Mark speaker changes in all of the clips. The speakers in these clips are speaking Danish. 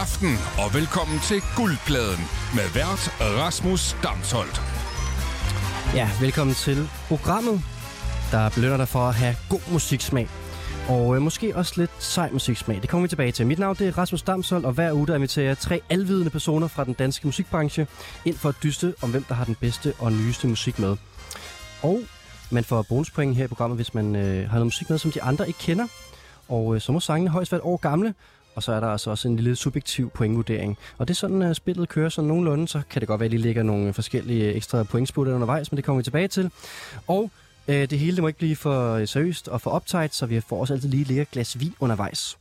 Speaker 1: aften og velkommen til Guldpladen med vært Rasmus Damsholdt.
Speaker 2: Ja, velkommen til programmet, der belønner dig for at have god musiksmag. Og øh, måske også lidt sej musiksmag. Det kommer vi tilbage til. Mit navn det er Rasmus Damsholdt, og hver uge der inviterer jeg tre alvidende personer fra den danske musikbranche ind for at dyste om, hvem der har den bedste og nyeste musik med. Og man får bonuspoint her i programmet, hvis man øh, har noget musik med, som de andre ikke kender. Og øh, så må sangene højst være et år gamle, og så er der altså også en lille subjektiv pointvurdering. Og det er sådan, at spillet kører sådan nogenlunde, så kan det godt være, at lige ligger nogle forskellige øh, ekstra pointsputter undervejs, men det kommer vi tilbage til. Og øh, det hele det må ikke blive for øh, seriøst og for optaget, så vi får også altid lige ligge et glas vin undervejs.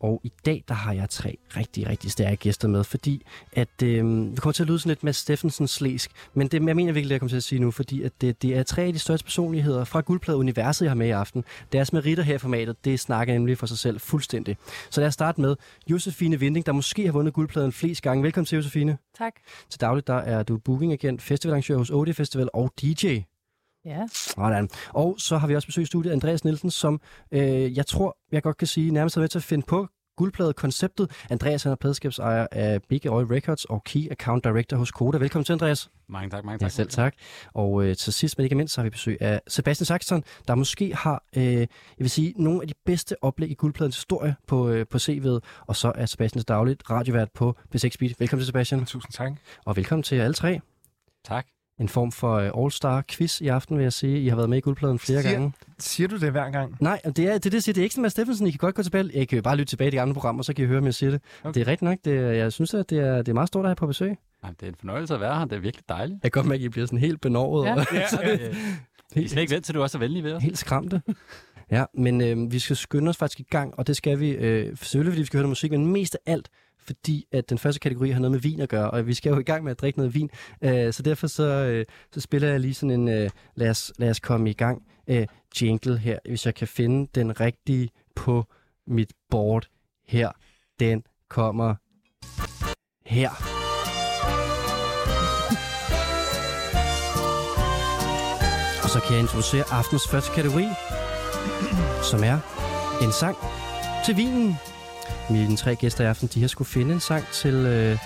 Speaker 2: Og i dag, der har jeg tre rigtig, rigtig stærke gæster med, fordi at øh, vi kommer til at lyde sådan lidt med Steffensen slæsk, men det, jeg mener virkelig, det jeg kommer til at sige nu, fordi at det, det er tre af de største personligheder fra Guldplade-universet, jeg har med i aften. Deres meritter her i formatet, det snakker nemlig for sig selv fuldstændig. Så lad os starte med Josefine Vinding, der måske har vundet Guldpladen flest gange. Velkommen til, Josefine.
Speaker 3: Tak.
Speaker 2: Til dagligt, der er du bookingagent, festivalarrangør hos OD Festival og DJ.
Speaker 3: Ja.
Speaker 2: Sådan. Og så har vi også besøgt i studiet Andreas Nielsen, som øh, jeg tror, jeg godt kan sige, nærmest er med til at finde på guldpladekonceptet. Andreas han er pladskabsejer af Big Oil Records og Key Account Director hos Koda. Velkommen til, Andreas.
Speaker 4: Mange tak, mange tak.
Speaker 2: Ja, selv tak. Og øh, til sidst, men ikke mindst, så har vi besøg af Sebastian Saxton, der måske har, øh, jeg vil sige, nogle af de bedste oplæg i guldpladens historie på, øh, på CV'et. Og så er Sebastian dagligt radiovært på B6 Beat. Velkommen til, Sebastian.
Speaker 4: Tusind tak.
Speaker 2: Og velkommen til jer alle tre.
Speaker 4: Tak.
Speaker 2: En form for øh, all-star-quiz i aften, vil jeg sige. I har været med i guldpladen flere
Speaker 5: Siger-
Speaker 2: gange.
Speaker 5: Siger du det hver gang?
Speaker 2: Nej, det er det, er det jeg siger. Det er ikke sådan, at Steffensen, I kan godt gå tilbage. I kan jo bare lytte tilbage i de andre programmer, så kan I høre, om jeg siger det. Okay.
Speaker 5: Okay.
Speaker 2: Det er rigtigt nok. Det er, jeg synes, at det er, det er meget stort at have på besøg. Jeg
Speaker 4: Jamen, det er en fornøjelse at være her. Det er virkelig dejligt.
Speaker 2: kan godt mærke, at I bliver sådan helt benovet.
Speaker 3: Ja.
Speaker 2: og
Speaker 4: Ja, ja, ja. Vi er
Speaker 2: helt,
Speaker 4: slet ikke vant til, at du også er venlig ved os.
Speaker 2: helt skræmte. Ja, men øh, vi skal skynde os faktisk i gang, og det skal vi øh, selvfølgelig, fordi vi skal høre noget musik, men mest af alt, fordi at den første kategori har noget med vin at gøre, og vi skal jo i gang med at drikke noget vin. Øh, så derfor så, øh, så spiller jeg lige sådan en, øh, lad, os, lad os komme i gang, øh, jingle her, hvis jeg kan finde den rigtige på mit board her. Den kommer her. Og så kan jeg introducere aftens første kategori, som er en sang til vinen. Mine tre gæster i aften, de har skulle finde en sang til, øh,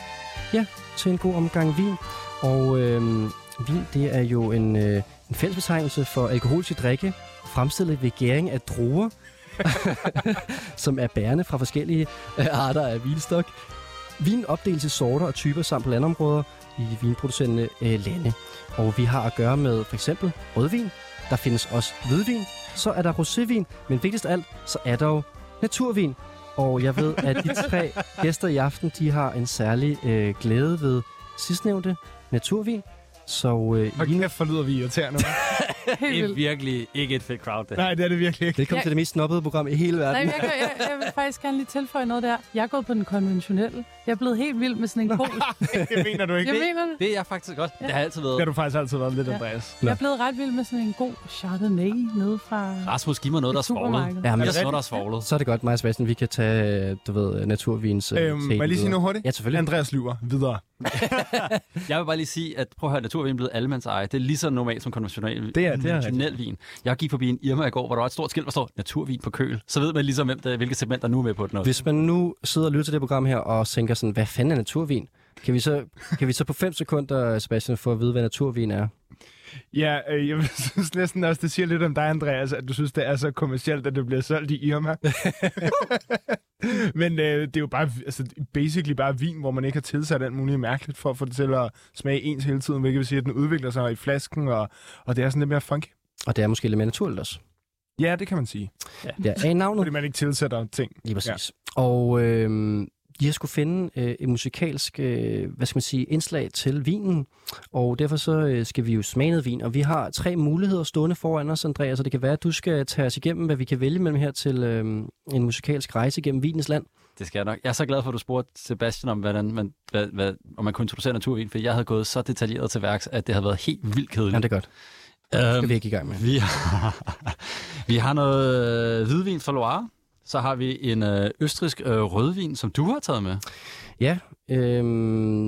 Speaker 2: ja, til en god omgang vin. Og øh, vin, det er jo en, øh, en fællesbetegnelse for alkoholiske drikke, fremstillet ved gæring af druer, som er bærende fra forskellige øh, arter af vinstok. Vin opdeles i sorter og typer samt på landområder i vinproducerende øh, lande. Og vi har at gøre med for eksempel rødvin, der findes også hvidvin, så er der rosévin, men vigtigst af alt, så er der jo naturvin. Og jeg ved, at de tre gæster i aften, de har en særlig øh, glæde ved sidstnævnte naturvin. Så øh,
Speaker 5: Og
Speaker 2: I-
Speaker 5: kæft, for lyder vi irriterende.
Speaker 3: Helt
Speaker 4: Det er
Speaker 3: vildt.
Speaker 4: virkelig ikke et fedt crowd, det.
Speaker 5: Nej, det er det virkelig ikke.
Speaker 2: velkommen
Speaker 3: Jeg-
Speaker 2: til det mest snobbede program i hele
Speaker 3: Nej,
Speaker 2: verden.
Speaker 3: men jeg, kan, jeg, jeg vil faktisk gerne lige tilføje noget der. Jeg er gået på den konventionelle. Jeg er blevet helt vild med sådan en pol.
Speaker 5: Det mener du ikke.
Speaker 3: Jeg mener det.
Speaker 4: Det er jeg faktisk godt.
Speaker 3: Ja.
Speaker 4: Det har altid
Speaker 5: Det har
Speaker 4: været.
Speaker 5: du faktisk altid været lidt,
Speaker 3: Ja.
Speaker 5: Andreas.
Speaker 3: Jeg er blevet ret vild med sådan en god Chardonnay nede fra
Speaker 4: Rasmus, giv mig noget, der er svoglet.
Speaker 3: supermarkedet.
Speaker 2: Ja, men
Speaker 4: Jeg noget, der er svoglet.
Speaker 2: så er det godt, Maja Sebastian, vi kan tage, øh, du ved, øh, naturvins... øh,
Speaker 5: Øhm,
Speaker 2: scene
Speaker 5: må jeg lige sige
Speaker 2: videre.
Speaker 5: noget hurtigt?
Speaker 2: Ja, selvfølgelig.
Speaker 5: Andreas lyver videre.
Speaker 4: Jeg vil bare lige sige, at prøv at høre, naturvin er blevet allemandseje. Det er lige så normalt som konventionel
Speaker 5: Det er- det er
Speaker 4: konventionel vin. Jeg gik forbi en Irma i går, hvor der var et stort skilt, hvor står naturvin på køl. Så ved man ligesom, hvem der, hvilket segment, der nu er med på den.
Speaker 2: Hvis man nu sidder og lytter til det program her og tænker sådan, hvad fanden er naturvin? Kan vi så, kan vi så på 5 sekunder, Sebastian, få at vide, hvad naturvin er?
Speaker 5: Ja, øh, jeg synes næsten også, det siger lidt om dig, Andreas, at du synes, det er så kommercielt, at det bliver solgt i Irma. Men øh, det er jo bare, altså, basically bare vin, hvor man ikke har tilsat alt muligt mærkeligt for at få det til at smage ens hele tiden, hvilket vil sige, at den udvikler sig i flasken, og, og det er sådan lidt mere funky.
Speaker 2: Og det er måske lidt mere naturligt også.
Speaker 5: Ja, det kan man sige,
Speaker 2: Ja, af navnet.
Speaker 5: fordi man ikke tilsætter ting.
Speaker 2: Lige præcis. Ja. Og øh, jeg skulle finde øh, et musikalsk øh, hvad skal man sige, indslag til vinen, og derfor så øh, skal vi jo smage noget vin, og vi har tre muligheder stående foran os, Andreas, og det kan være, at du skal tage os igennem, hvad vi kan vælge mellem her til øh, en musikalsk rejse gennem vinens land.
Speaker 4: Det skal jeg nok. Jeg er så glad for, at du spurgte Sebastian om, hvordan man, hvad, hvad, om man kunne introducere naturvin, for jeg havde gået så detaljeret til værks, at det havde været helt vildt
Speaker 2: Ja,
Speaker 4: kedeligt.
Speaker 2: det er godt. Det
Speaker 4: Øhm,
Speaker 2: skal vi ikke i gang med.
Speaker 4: vi, har, vi har noget øh, hvidvin fra Loire, så har vi en øh, østrisk øh, rødvin, som du har taget med,
Speaker 2: Ja, øh,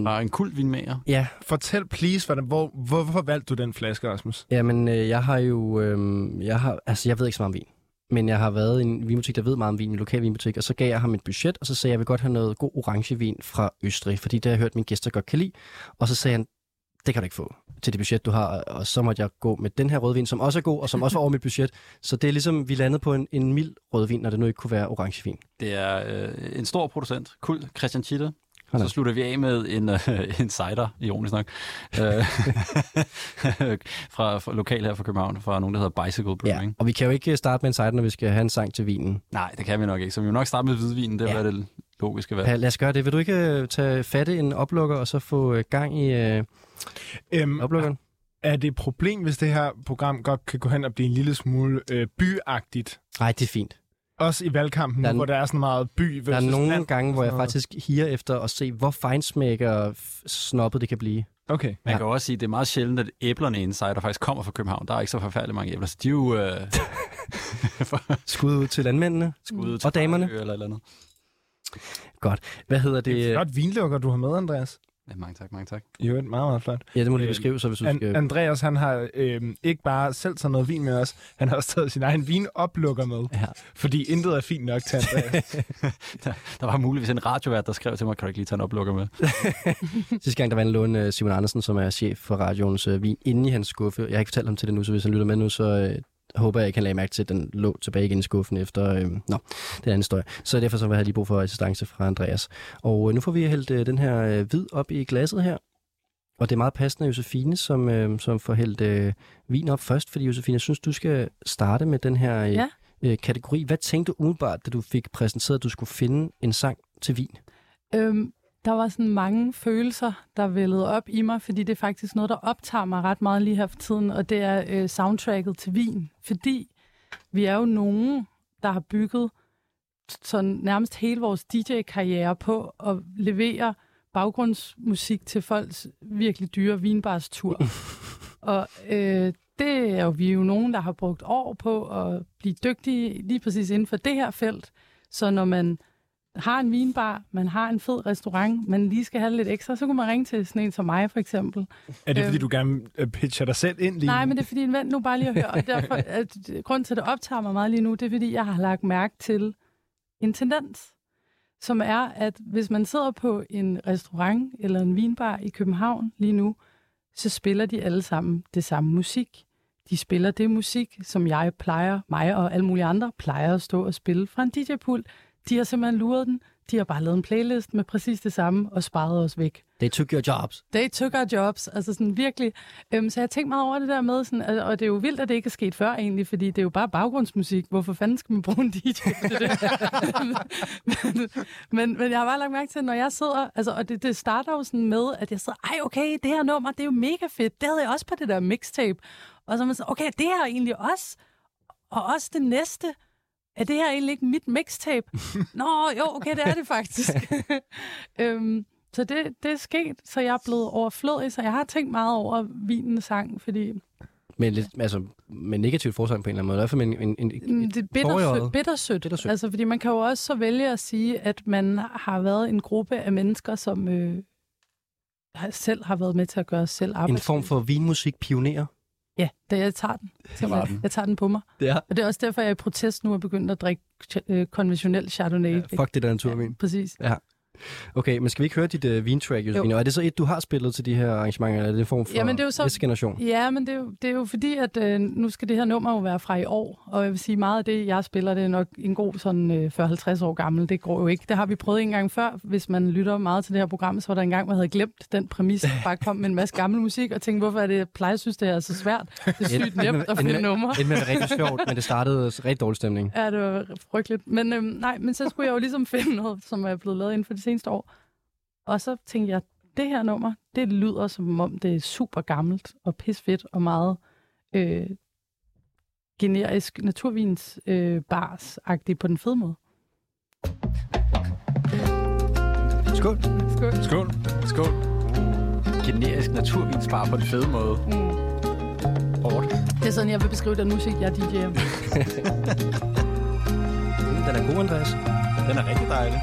Speaker 4: og en kult vinmager.
Speaker 2: ja,
Speaker 5: Fortæl please, hvordan, hvor, hvor, hvorfor valgte du den flaske, Rasmus?
Speaker 2: Jamen, øh, jeg har jo... Øh, jeg, har, øhm, altså, jeg ved ikke så meget om vin. men jeg har været i en vinbutik, der ved meget om vin, en lokal vinbutik, og så gav jeg ham et budget, og så sagde jeg, jeg vil godt have noget god orangevin fra Østrig, fordi det har jeg hørt, mine gæster godt kan lide. Og så sagde han, det kan du ikke få til det budget, du har, og så måtte jeg gå med den her rødvin, som også er god, og som også var over mit budget. Så det er ligesom, vi landede på en, en mild rødvin, når det nu ikke kunne være orangevin.
Speaker 4: Det er øh, en stor producent, Kul Christian Chitte.
Speaker 2: Hold
Speaker 4: Så
Speaker 2: op.
Speaker 4: slutter vi af med en, øh, en cider, ironisk nok, øh, fra, fra lokal her fra København, fra nogen, der hedder Bicycle Brewing.
Speaker 2: Ja, og vi kan jo ikke starte med en sejt, når vi skal have en sang til vinen.
Speaker 4: Nej, det kan vi nok ikke. Så vi må nok starte med hvidvinen, det
Speaker 2: Ja.
Speaker 4: ja. var det logiske valg.
Speaker 2: Ja. Lad os gøre det. Vil du ikke øh, tage fat i en oplukker, og så få øh, gang i øh,
Speaker 5: Øhm,
Speaker 2: oplukkeren?
Speaker 5: er det et problem, hvis det her program godt kan gå hen og blive en lille smule øh, byagtigt?
Speaker 2: Nej, det er fint.
Speaker 5: Også i valgkampen,
Speaker 2: Der
Speaker 5: der
Speaker 2: er
Speaker 5: er,
Speaker 2: n-
Speaker 5: hvor der er sådan meget by
Speaker 2: Der
Speaker 5: versus
Speaker 2: er nogle
Speaker 5: land.
Speaker 2: gange, hvor jeg
Speaker 5: sådan noget.
Speaker 2: faktisk higer efter at se, hvor feinsmækker snoppet det kan blive.
Speaker 5: Okay.
Speaker 4: Man
Speaker 2: Ja.
Speaker 4: ja. kan jo også sige, at det er meget sjældent, at æblerne i en cider faktisk kommer fra København. Der er ikke så forfærdelig mange æbler, så de er jo øh,
Speaker 2: Skud ud til landmændene.
Speaker 4: skudt
Speaker 2: Og damerne.
Speaker 4: Eller, et eller andet.
Speaker 2: Hvad hedder det?
Speaker 5: Det er flot vinlukker, du har med, Andreas.
Speaker 4: Ja, mange tak, mange tak.
Speaker 5: Jo, det er meget, meget flot.
Speaker 2: Ja, det må du lige
Speaker 5: Øh,
Speaker 2: beskrive, så hvis du
Speaker 5: An-
Speaker 2: skal...
Speaker 5: Andreas, han har øh, ikke bare selv taget noget vin med os, han har også taget sin egen vinoplukker med.
Speaker 2: Ja.
Speaker 5: Fordi intet er fint nok til Andreas.
Speaker 4: Der var muligvis en radiovært, der skrev til mig, kan du ikke lige tage en oplukker med?
Speaker 2: Sidste gang, der var en lån øh, Simon Andersen, som er chef for radioens øh, vin, inde i hans skuffe. Jeg har ikke fortalt ham til det nu, så hvis han lytter med nu, så øh, håber jeg ikke, han lagde mærke til, at den lå tilbage igen i skuffen efter... Øh, nå, det er en anden historie. Så derfor så havde jeg lige brug for assistance fra Andreas. Og øh, nu får vi hældt øh, den her øh, hvid op i glasset her. Og det er meget passende, at Josefine, som, øh, som får hældt øh, vin op først, fordi Josefine, jeg synes, du skal starte med den her øh, ja.
Speaker 3: Ja.
Speaker 2: øh, kategori. Hvad tænkte du umiddelbart, da du fik præsenteret, at du skulle finde en sang til vin?
Speaker 3: Øhm, der var sådan mange følelser, der vældede op i mig, fordi det er faktisk noget, der optager mig ret meget lige her for tiden, og det er øh, soundtracket til Wien. Fordi vi er jo nogen, der har bygget sådan nærmest hele vores DJ-karriere på at levere baggrundsmusik til folks virkelig dyre vinbars tur. og øh, det er jo vi er jo nogen, der har brugt år på at blive dygtige lige præcis inden for det her felt. Så når man har en vinbar, man har en fed restaurant, man lige skal have lidt ekstra, så kunne man ringe til sådan en som mig for eksempel.
Speaker 5: er det, fordi
Speaker 3: Øhm.
Speaker 5: du gerne øh, pitcher dig selv ind lige
Speaker 3: Nej,
Speaker 5: nu?
Speaker 3: men det er fordi, en vent nu bare lige at høre. Og derfor, at, øh, grunden til, at det optager mig meget lige nu, det er fordi, jeg har lagt mærke til en tendens, som er, at hvis man sidder på en restaurant eller en vinbar i København lige nu, så spiller de alle sammen det samme musik. De spiller det musik, som jeg plejer, mig og alle mulige andre plejer at stå og spille fra en DJ-pult. De har simpelthen luret den. De har bare lavet en playlist med præcis det samme og sparet os væk
Speaker 2: They took your jobs.
Speaker 3: they took our jobs, altså sådan virkelig. Øhm, så jeg tænkte meget over det der med, sådan, og, og det er jo vildt, at det ikke er sket før egentlig, fordi det er jo bare baggrundsmusik. Hvorfor fanden skal man bruge en DJ til det? men, men, men jeg har bare lagt mærke til, når jeg sidder, altså, og det, det starter jo sådan med, at jeg sidder, ej okay, det her nummer, det er jo mega fedt, det havde jeg også på det der mixtape. Og så er man sådan, okay, det her er egentlig også, og også det næste, er det her egentlig ikke mit mixtape? Nå, jo, okay, det er det faktisk. øhm, så det, det er sket, så jeg er blevet overflødig, så jeg har tænkt meget over vinens sang, fordi
Speaker 2: Men, lidt, altså, med negativt fortegn på en eller anden måde. I hvert fald med en, en, en,
Speaker 3: mm,
Speaker 2: et,
Speaker 3: det er
Speaker 2: tår i øjet.
Speaker 3: bittersø- bittersødt.
Speaker 2: Bittersødt.
Speaker 3: bittersødt. Altså, fordi man kan jo også så vælge at sige, at man har været en gruppe af mennesker, som øh, har- selv har været med til at gøre os selv
Speaker 2: en
Speaker 3: arbejde.
Speaker 2: form for vinmusikpioner.
Speaker 3: Ja, det, jeg tager den. Simpelthen. Jeg tager den på mig.
Speaker 2: Ja.
Speaker 3: Og det er også derfor, jeg er i protest nu er begyndt at drikke ch- øh, konventionel Chardonnay. Ja,
Speaker 2: Fuck det der naturvin.
Speaker 3: Præcis.
Speaker 2: Okay, men skal vi ikke høre dit uh, vintrack, Josefine? Og er det så et, du har spillet til de her arrangementer, eller er det en form for
Speaker 3: Jamen, det er jo så-
Speaker 2: næste generation?
Speaker 3: Ja, men det er, jo, det er jo fordi, at øh, nu skal det her nummer jo være fra i år, og jeg vil sige, meget af det, jeg spiller, det er nok en god sådan øh, 40-50 år gammel. Det går jo ikke. Det har vi prøvet en gang før. Hvis man lytter meget til det her program, så var der en gang, man havde glemt den præmis, at bare kom med en masse gammel musik, og tænkte, hvorfor er det, jeg plejer at synes, det her er så svært? Det er sygt nemt at finde numre.
Speaker 2: Det er rigtig sjovt, men det startede også rigtig dårlig stemning.
Speaker 3: Ja, det var frygteligt. Men, øhm, nej, men så skulle jeg jo ligesom finde noget, som er blevet lavet inden for de seneste år. Og så tænkte jeg, det her nummer, det lyder som om, det er super gammelt og pisfedt og meget øh, generisk naturvins øh, bars på den fede måde.
Speaker 2: Skål.
Speaker 3: Skål.
Speaker 5: Skål.
Speaker 4: Skål. Generisk naturvinsbar på den fede måde. Hårdt.
Speaker 3: Det er sådan, jeg vil beskrive den musik, jeg DJ'er.
Speaker 2: Mm, Den er god, Andreas.
Speaker 4: Den er rigtig dejlig.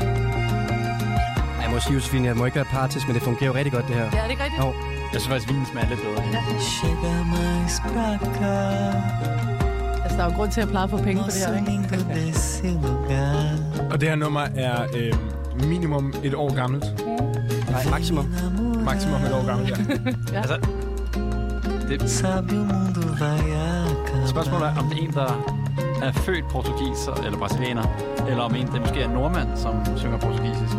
Speaker 2: Ej, Jeg må sige, Josefine, jeg må ikke være partisk, men det fungerer jo rigtig godt, det her.
Speaker 3: Ja, er det ikke rigtigt?
Speaker 2: Jo.
Speaker 4: Jeg synes faktisk, vinen smager lidt bedre.
Speaker 6: Chega mais pra cá.
Speaker 3: Altså, Altså, der er jo grund til, at jeg plejede at få penge på det her, ikke?
Speaker 5: Og det her nummer er øh, minimum et år gammelt.
Speaker 3: Mm.
Speaker 2: Nej, maksimum.
Speaker 5: Maksimum et år gammelt, ja.
Speaker 4: Altså, det, spørgsmålet er, om det er en, der er født portugiser eller brasilianer, eller om en, der måske er nordmand, som synger portugisisk.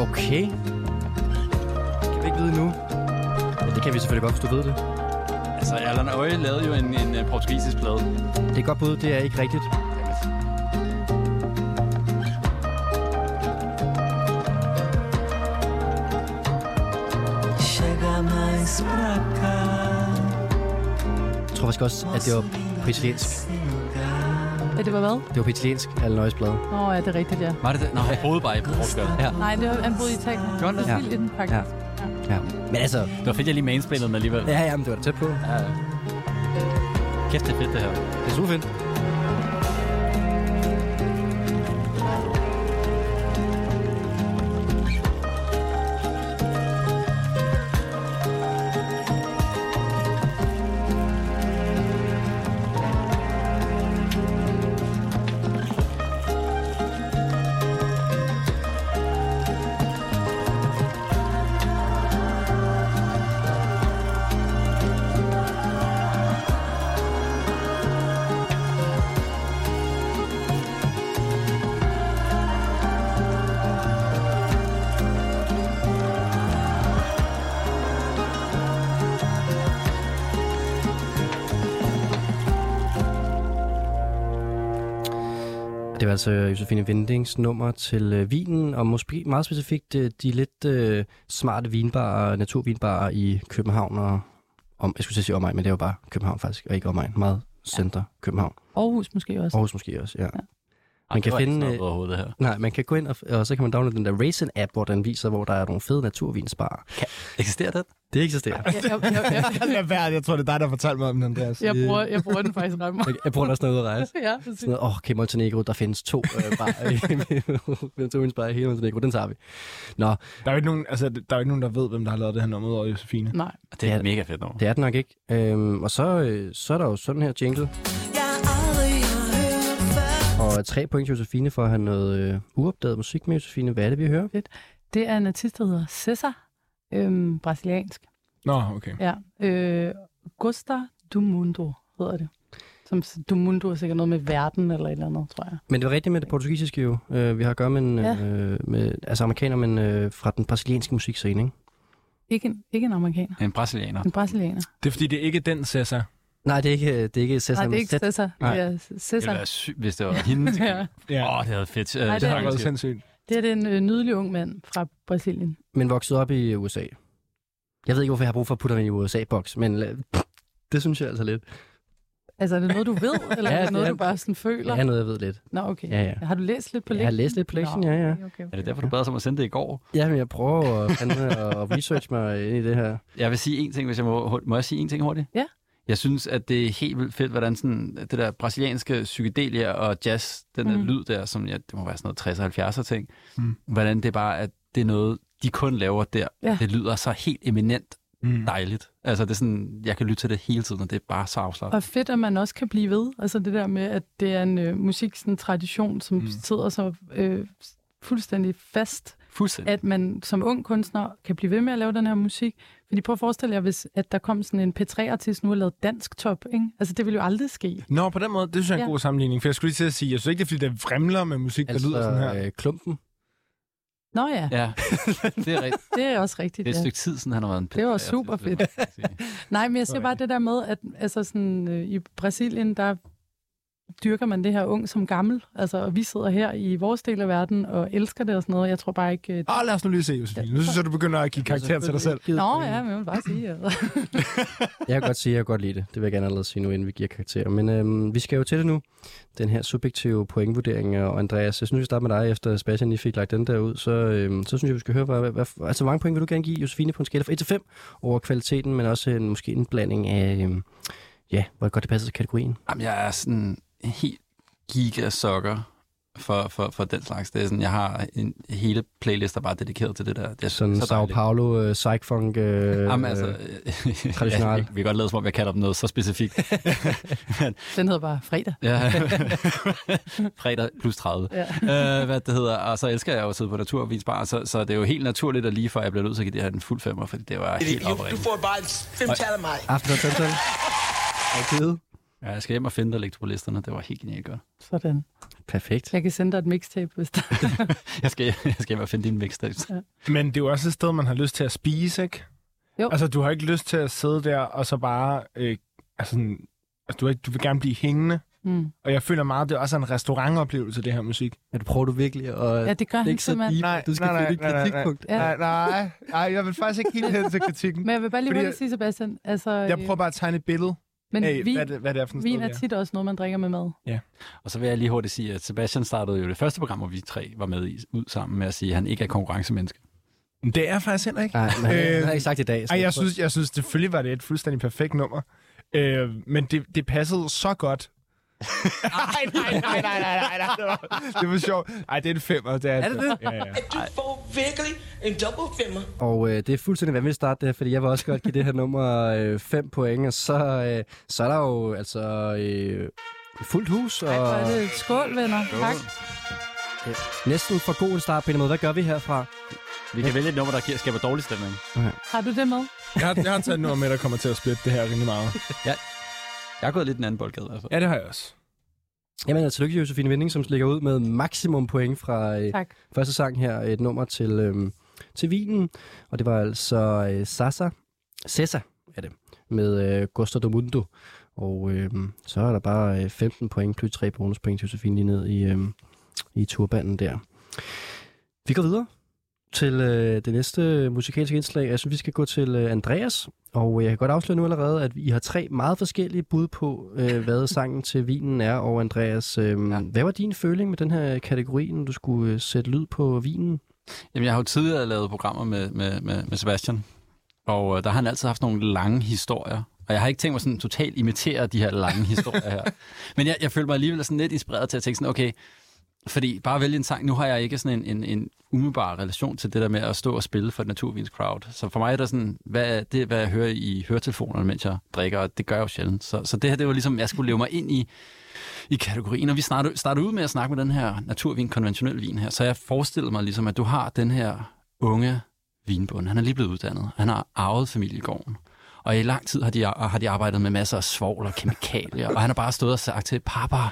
Speaker 2: Okay. Kan vi ikke vide nu? Ja, det kan vi selvfølgelig godt, hvis du ved det.
Speaker 4: Altså, Allan Øje lavede jo en, en øh, portugisisk plade.
Speaker 2: Det er et godt bud, det er ikke rigtigt.
Speaker 6: Chega mais pra cá.
Speaker 2: Jeg tror faktisk også, at det var på italiensk.
Speaker 3: Ja, det var hvad?
Speaker 2: Det var på italiensk, alle nøjes blade.
Speaker 3: Nå, ja, det er rigtigt, ja.
Speaker 4: Var det det? Nå, han boede bare i Portugal. Ja.
Speaker 3: Nej, det var, han boede i Italien.
Speaker 4: Gjorde han det?
Speaker 3: Brasilien, faktisk.
Speaker 2: Ja. Ja. Men altså,
Speaker 4: Det var fedt, jeg lige mainsplanede den alligevel.
Speaker 2: ja, ja, men det var da tæt på.
Speaker 4: Ja. Kæft, det er fedt, det her.
Speaker 2: Det er super fedt. Det var altså Josefine Vindings nummer til øh, vinen, og måske meget specifikt øh, de lidt øh, smarte vinbarer, naturvinbarer i København og om, jeg skulle til at sige omegn, men det er jo bare København faktisk, og ikke omegn. Meget center København.
Speaker 3: Aarhus måske også.
Speaker 2: Aarhus måske også, ja.
Speaker 4: Ej,
Speaker 2: kan
Speaker 4: det var ikke
Speaker 2: finde,
Speaker 4: sådan
Speaker 2: øh,
Speaker 4: noget overhovedet, det her.
Speaker 2: Nej, man kan gå ind, og, og så kan man downloade den der Raisin-app, hvor den viser, hvor der er nogle fede naturvinsbarer.
Speaker 4: Eksisterer det?
Speaker 2: Det eksisterer.
Speaker 3: Jeg, jeg, jeg, jeg,
Speaker 5: Lad være, jeg tror, det er dig, der fortalte mig om den, Andreas.
Speaker 3: jeg, bruger, jeg bruger den faktisk ret meget.
Speaker 2: Jeg, jeg bruger den også noget ud at rejse.
Speaker 3: Ja, præcis.
Speaker 2: altså. Sådan noget, åh, okay, Montenegro, der findes to øh, barer i, to bar i hele Montenegro, den tager vi. Nå,
Speaker 5: Der er jo ikke nogen, altså, der, er jo ikke nogen, der ved, hvem der har lavet det her nummer ud over Josefine.
Speaker 3: Nej.
Speaker 4: Det er et mega fedt nummer.
Speaker 2: det er den nok ikke. Øhm, og så, øh, så er der jo sådan her jingle, og tre point til Josefine for at have noget øh, uopdaget musik med Josefine. Hvad er det, vi hører?
Speaker 3: Det er en artist, der hedder Cesar, øhm, brasiliansk.
Speaker 5: Nå, okay.
Speaker 3: Ja. Øh, Gusta do Mundo hedder det. Som s- do Mundo er sikkert noget med verden eller et eller andet, tror jeg.
Speaker 2: Men det var rigtigt med det portugisiske jo. Øh, vi har at gøre med, en,
Speaker 3: Ja.
Speaker 2: øh, med altså amerikaner, men øh, fra den brasilianske musikscene, ikke?
Speaker 3: Ikke en, ikke en amerikaner,
Speaker 4: En brasilianer.
Speaker 3: en brasilianer.
Speaker 5: Det er fordi, det er ikke den Cæsar.
Speaker 2: Nej, det er ikke, det er ikke Cesar
Speaker 3: Nej, det er
Speaker 2: med
Speaker 3: ikke
Speaker 2: Z.
Speaker 3: Cesar.
Speaker 2: Nej.
Speaker 3: Det er
Speaker 4: Det ville
Speaker 3: Cesar.
Speaker 4: være sygt, hvis det var hende. Åh,
Speaker 3: Ja.
Speaker 5: Ja,
Speaker 4: oh, det havde været fedt. Øh,
Speaker 3: Ej,
Speaker 5: det har
Speaker 4: tanke.
Speaker 5: været sindssygt.
Speaker 3: Det er den øh, nydelige ung mand fra Brasilien.
Speaker 2: men voksede op i USA. Jeg ved ikke, hvorfor jeg har brug for at putte ham i en USA-boks, men la- det synes jeg altså lidt.
Speaker 3: Altså, er det noget, du ved, eller
Speaker 2: Ja,
Speaker 3: er
Speaker 2: det
Speaker 3: det noget,
Speaker 2: er-
Speaker 3: du bare sådan føler?
Speaker 2: Jeg er noget, jeg ved lidt.
Speaker 3: Nå, okay.
Speaker 2: Ja, ja.
Speaker 3: Har du læst lidt på
Speaker 2: Jeg har
Speaker 3: lektionen?
Speaker 2: læst lidt på lektionen,
Speaker 3: Nå,
Speaker 2: ja, ja.
Speaker 3: okay, okay,
Speaker 4: Er
Speaker 3: okay.
Speaker 4: det derfor, du bad os om at sende det i går?
Speaker 2: Jamen, jeg prøver at, fandme at research mig ind i det her.
Speaker 4: Jeg vil sige en ting, hvis jeg må... Må jeg sige en ting hurtigt?
Speaker 3: Ja.
Speaker 4: Jeg synes, at det er helt vildt fedt, hvordan sådan, det der brasilianske psykedelia og jazz, den der
Speaker 3: Mhm.
Speaker 4: lyd der, som ja, det må være sådan noget 60'er 70'er ting,
Speaker 5: Mm.
Speaker 4: hvordan det bare at det er noget, de kun laver der.
Speaker 3: Ja.
Speaker 4: Det lyder så helt eminent
Speaker 5: Mm.
Speaker 4: dejligt. Altså, det er sådan, jeg kan lytte til det hele tiden, og det er bare så afslappet.
Speaker 3: Og fedt, at man også kan blive ved. Altså det der med, at det er en øh, musik, sådan, en tradition, som
Speaker 5: Mm.
Speaker 3: mm. sidder så øh, fuldstændig fast,
Speaker 4: Fuldstændig.
Speaker 3: at man som ung kunstner kan blive ved med at lave den her musik. Fordi prøv at forestille jer, hvis, at der kom sådan en P3-artist nu og lavede dansk top, ikke? Altså det ville jo aldrig ske.
Speaker 5: Nå, på den måde, det synes jeg er en
Speaker 3: Ja.
Speaker 5: god sammenligning, for jeg skulle lige til at sige, jeg synes ikke, det er, fordi det vrimler med musik, der
Speaker 2: Altså,
Speaker 5: lyder sådan her.
Speaker 2: øh, klumpen.
Speaker 3: Nå ja,
Speaker 4: Ja, det er rigtigt.
Speaker 3: det er også rigtigt.
Speaker 4: Det er et
Speaker 3: ja.
Speaker 4: stykke tid siden, han har været en
Speaker 3: Det var
Speaker 4: pædagog,
Speaker 3: super
Speaker 4: synes jeg, man kan sige.
Speaker 3: Nej, men jeg siger
Speaker 5: Sådan.
Speaker 3: bare det der med, at altså sådan, øh, i Brasilien, der dyrker man det her ung som gammel. Altså, og vi sidder her i vores del af verden og elsker det og sådan noget. Jeg tror bare ikke... Øh,
Speaker 5: Åh, lad os nu lige se, Josefine. Nu synes jeg, du begynder at give karakter Ah, til dig selv.
Speaker 3: Nå ja, men jeg vil bare sige... Altså.
Speaker 2: Jeg kan godt sige, at jeg kan godt lide det. Det vil jeg gerne allerede sige nu, inden vi giver karakterer. Men øhm, vi skal jo til det nu. Den her subjektive pointvurdering. Og Andreas, jeg synes, vi starter med dig, efter Sebastian lige fik lagt den der ud. Så, øhm, så synes jeg, vi skal høre, hvad, hvad, hvad, altså, hvor mange point vil du gerne give Josefine på en skala fra 1 til 5 over kvaliteten, men også en, måske en blanding af, øhm, ja, hvor godt det passer til kategorien.
Speaker 4: Jamen, jeg er sådan helt gigasukker for, for, for den slags. Det er sådan, jeg har en hele playlist, der bare er dedikeret til det der. Det er
Speaker 2: Sådan
Speaker 4: så
Speaker 2: Sao
Speaker 4: dejligt.
Speaker 2: Paulo, øh, psych-funk. Øh,
Speaker 4: Jamen, altså,
Speaker 2: øh,
Speaker 4: ja,
Speaker 2: traditional.
Speaker 4: vi- vi kan godt lade, som om jeg kalder dem noget så specifikt.
Speaker 3: Den hedder bare fredag.
Speaker 4: Ja. Fredag plus 30.
Speaker 3: Ja.
Speaker 4: øh, hvad det hedder. Og så elsker jeg jo at sidde på naturvinsbar, så, så det er jo helt naturligt, at lige før jeg bliver nødt til at give det her en fuld femmer, fordi det var helt
Speaker 7: Du
Speaker 4: oprigtigt.
Speaker 7: får bare et femtal af mig.
Speaker 2: Aften og Tømtal. Okay.
Speaker 4: Ja, jeg skal hjem og finde dig og lægge det på listerne. Det var helt genialt godt.
Speaker 3: Sådan.
Speaker 2: Perfekt.
Speaker 3: Jeg kan sende dig et mixtape, hvis der...
Speaker 4: Jeg skal, jeg skal hjem og finde din mixtape.
Speaker 5: Men det er jo også et sted, man har lyst til at spise, ikke?
Speaker 3: Jo.
Speaker 5: Altså, du har ikke lyst til at sidde der og så bare... Øh, altså, sådan- altså du, har ikke- du vil gerne blive hængende.
Speaker 3: Mm.
Speaker 5: Og jeg føler meget, det er også en restaurantoplevelse, det her musik.
Speaker 2: Ja, du prøver du virkelig at...
Speaker 3: Ja, det gør han
Speaker 2: ikke så
Speaker 3: simpelthen.
Speaker 2: deep. Du skal finde dit kritikpunkt.
Speaker 3: Ja.
Speaker 5: Nej, nej, nej, jeg vil faktisk ikke helt hen til kritikken.
Speaker 3: Men jeg vil bare lige
Speaker 5: Fordi
Speaker 3: hurtigt
Speaker 5: jeg-
Speaker 3: sige, Sebastian, altså,
Speaker 5: Jeg
Speaker 3: øh,
Speaker 5: prøver bare at tegne et billede Øh,
Speaker 3: men
Speaker 5: af,
Speaker 3: vin,
Speaker 5: hvad, det, hvad det er for en sted,
Speaker 3: vin er
Speaker 5: det
Speaker 3: tit også noget, man drikker med mad.
Speaker 4: Og så vil jeg lige hurtigt sige, at Sebastian startede jo det første program, hvor vi tre var med i, ud sammen med at sige, at han ikke er konkurrencemenneske.
Speaker 5: Men Det er jeg faktisk heller ikke.
Speaker 2: Nej, men han,
Speaker 5: Øh,
Speaker 2: han har ikke sagt i dag. så
Speaker 5: Ej, jeg
Speaker 2: tror-
Speaker 5: synes, jeg synes selvfølgelig var det et fuldstændig perfekt nummer. Øh, men det, det passede så godt. nej, nej, nej, nej, nej, nej, nej. Det var, det var sjovt. Ej, det er en femmer. Det er,
Speaker 2: Er det det?
Speaker 5: Ja, ja.
Speaker 7: Du får virkelig en double femmer.
Speaker 2: Og øh, det er fuldstændig vanvittigt start det her, fordi jeg vil også godt give det her nummer 5 point, og så, øh, så er der jo altså øh, fuldt hus, og
Speaker 3: Ej, hvor er det. Skål, venner. Tak.
Speaker 2: næsten for god en start på en eller anden måde. Hvad gør vi herfra?
Speaker 4: Vi kan vælge et nummer, der giver- skaber dårlig stemning.
Speaker 3: Har du det med?
Speaker 5: Jeg, har, jeg har taget et nummer med, der kommer til at splitte det her rigtig meget.
Speaker 4: Jeg har gået lidt den anden boldgade i
Speaker 2: altså.
Speaker 4: hvert fald.
Speaker 5: Ja, det har jeg også.
Speaker 2: Jamen, altså, tillykke Josefine Vinding, som ligger ud med maksimum point fra øh,
Speaker 3: Tak.
Speaker 2: første sang her, et nummer til, øh, til vinen, og det var altså øh, Sasa, Sessa er det, med øh, Gusto do Mundo. Og øh, så er der bare øh, 15 point plus 3 bonuspoint til Josefine lige ned i, øh, i turbanden der. Vi går videre til øh, det næste musikalske indslag. Jeg synes, vi skal gå til øh, Andreas. Og øh, jeg kan godt afsløre nu allerede, at I har tre meget forskellige bud på, øh, hvad sangen til vinen er. Og Andreas, øh, ja. hvad var din føling med den her kategori, når du skulle øh, sætte lyd på vinen?
Speaker 4: Jamen, jeg har jo tidligere lavet programmer med, med, med, med Sebastian, og øh, der har han altid haft nogle lange historier. Og jeg har ikke tænkt mig sådan totalt imitere de her lange historier her. Men jeg, jeg følte mig alligevel sådan lidt inspireret til at tænke sådan, okay, fordi bare vælge en sang, nu har jeg ikke sådan en, en, en umiddelbar relation til det der med at stå og spille for et naturvins crowd. Så for mig er der sådan, hvad er det, hvad jeg hører i høretelefonerne, mens jeg drikker, og det gør jeg jo sjældent. Så, så det her, det var ligesom, jeg skulle leve mig ind i, i kategorien, og vi startede, startede ud med at snakke med den her naturvin, konventionel vin her, så jeg forestillede mig ligesom, at du har den her unge vinbund, han er lige blevet uddannet, han har arvet familiegården, og i lang tid har de, har de arbejdet med masser af svovl og kemikalier, og han har bare stået og sagt til pappa,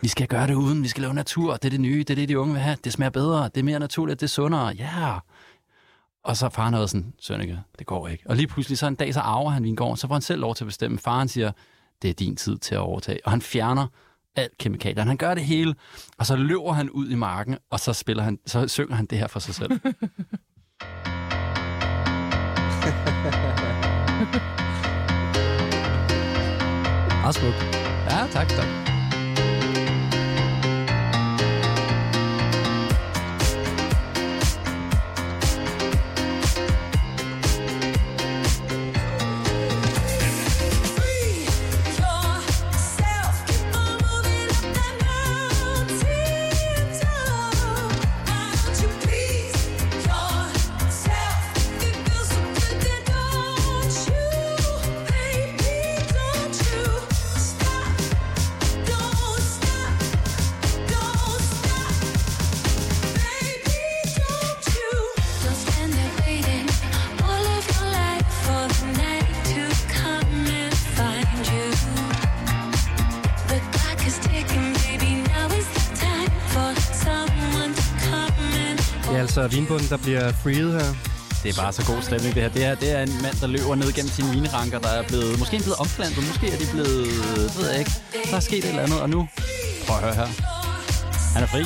Speaker 4: vi skal gøre det uden, vi skal lave natur, det er det nye, det er det, de unge vil have, det smager bedre, det er mere naturligt, det er sundere, ja. Yeah. Og så har faren været sådan, Sønneke, det går ikke. Og lige pludselig, så en dag, så arver han vingården, så får han selv lov til at bestemme. Faren siger, det er din tid til at overtage. Og han fjerner alt kemikalierne. Han gør det hele, og så løber han ud i marken, og så, spiller han, så synger han det her for sig selv.
Speaker 2: Meget smukt.
Speaker 4: Ja, tak, tak.
Speaker 8: Find you the clock is ticking, baby. Now is the time for someone to come and
Speaker 2: Det er altså vinbunden, der bliver freed her.
Speaker 4: Det er bare så god stemning, det her. Det her det er en mand, der løber ned gennem sine vinranker, der er blevet, måske er blevet omplantet, måske er de blevet, det ved jeg ikke. Der er sket et eller andet, og nu, prøv at høre her. Han er fri.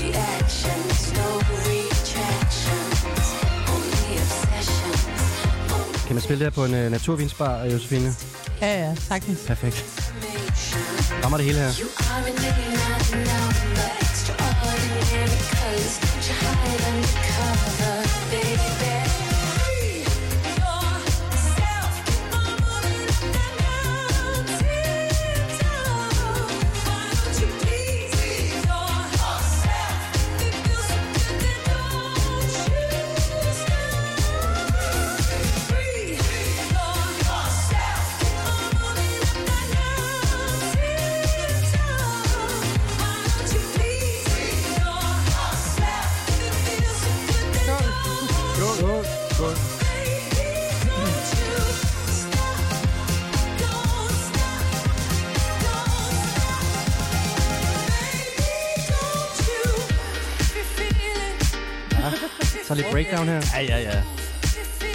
Speaker 8: Reactions, no retractions.
Speaker 2: Kan man spille det her på en øh, naturvinsbar, Josefine?
Speaker 3: Ja, ja, sagtens.
Speaker 2: Perfekt. Rammer det hele her.
Speaker 8: You are an outnumber, extraordinary colors. Don't you hide under cover, baby. Yourself, I'm moving the mountains. Why don't you please be yourself? It feels so good to know you yourself.
Speaker 2: Så lidt breakdown her.
Speaker 4: Ja, ja, ja.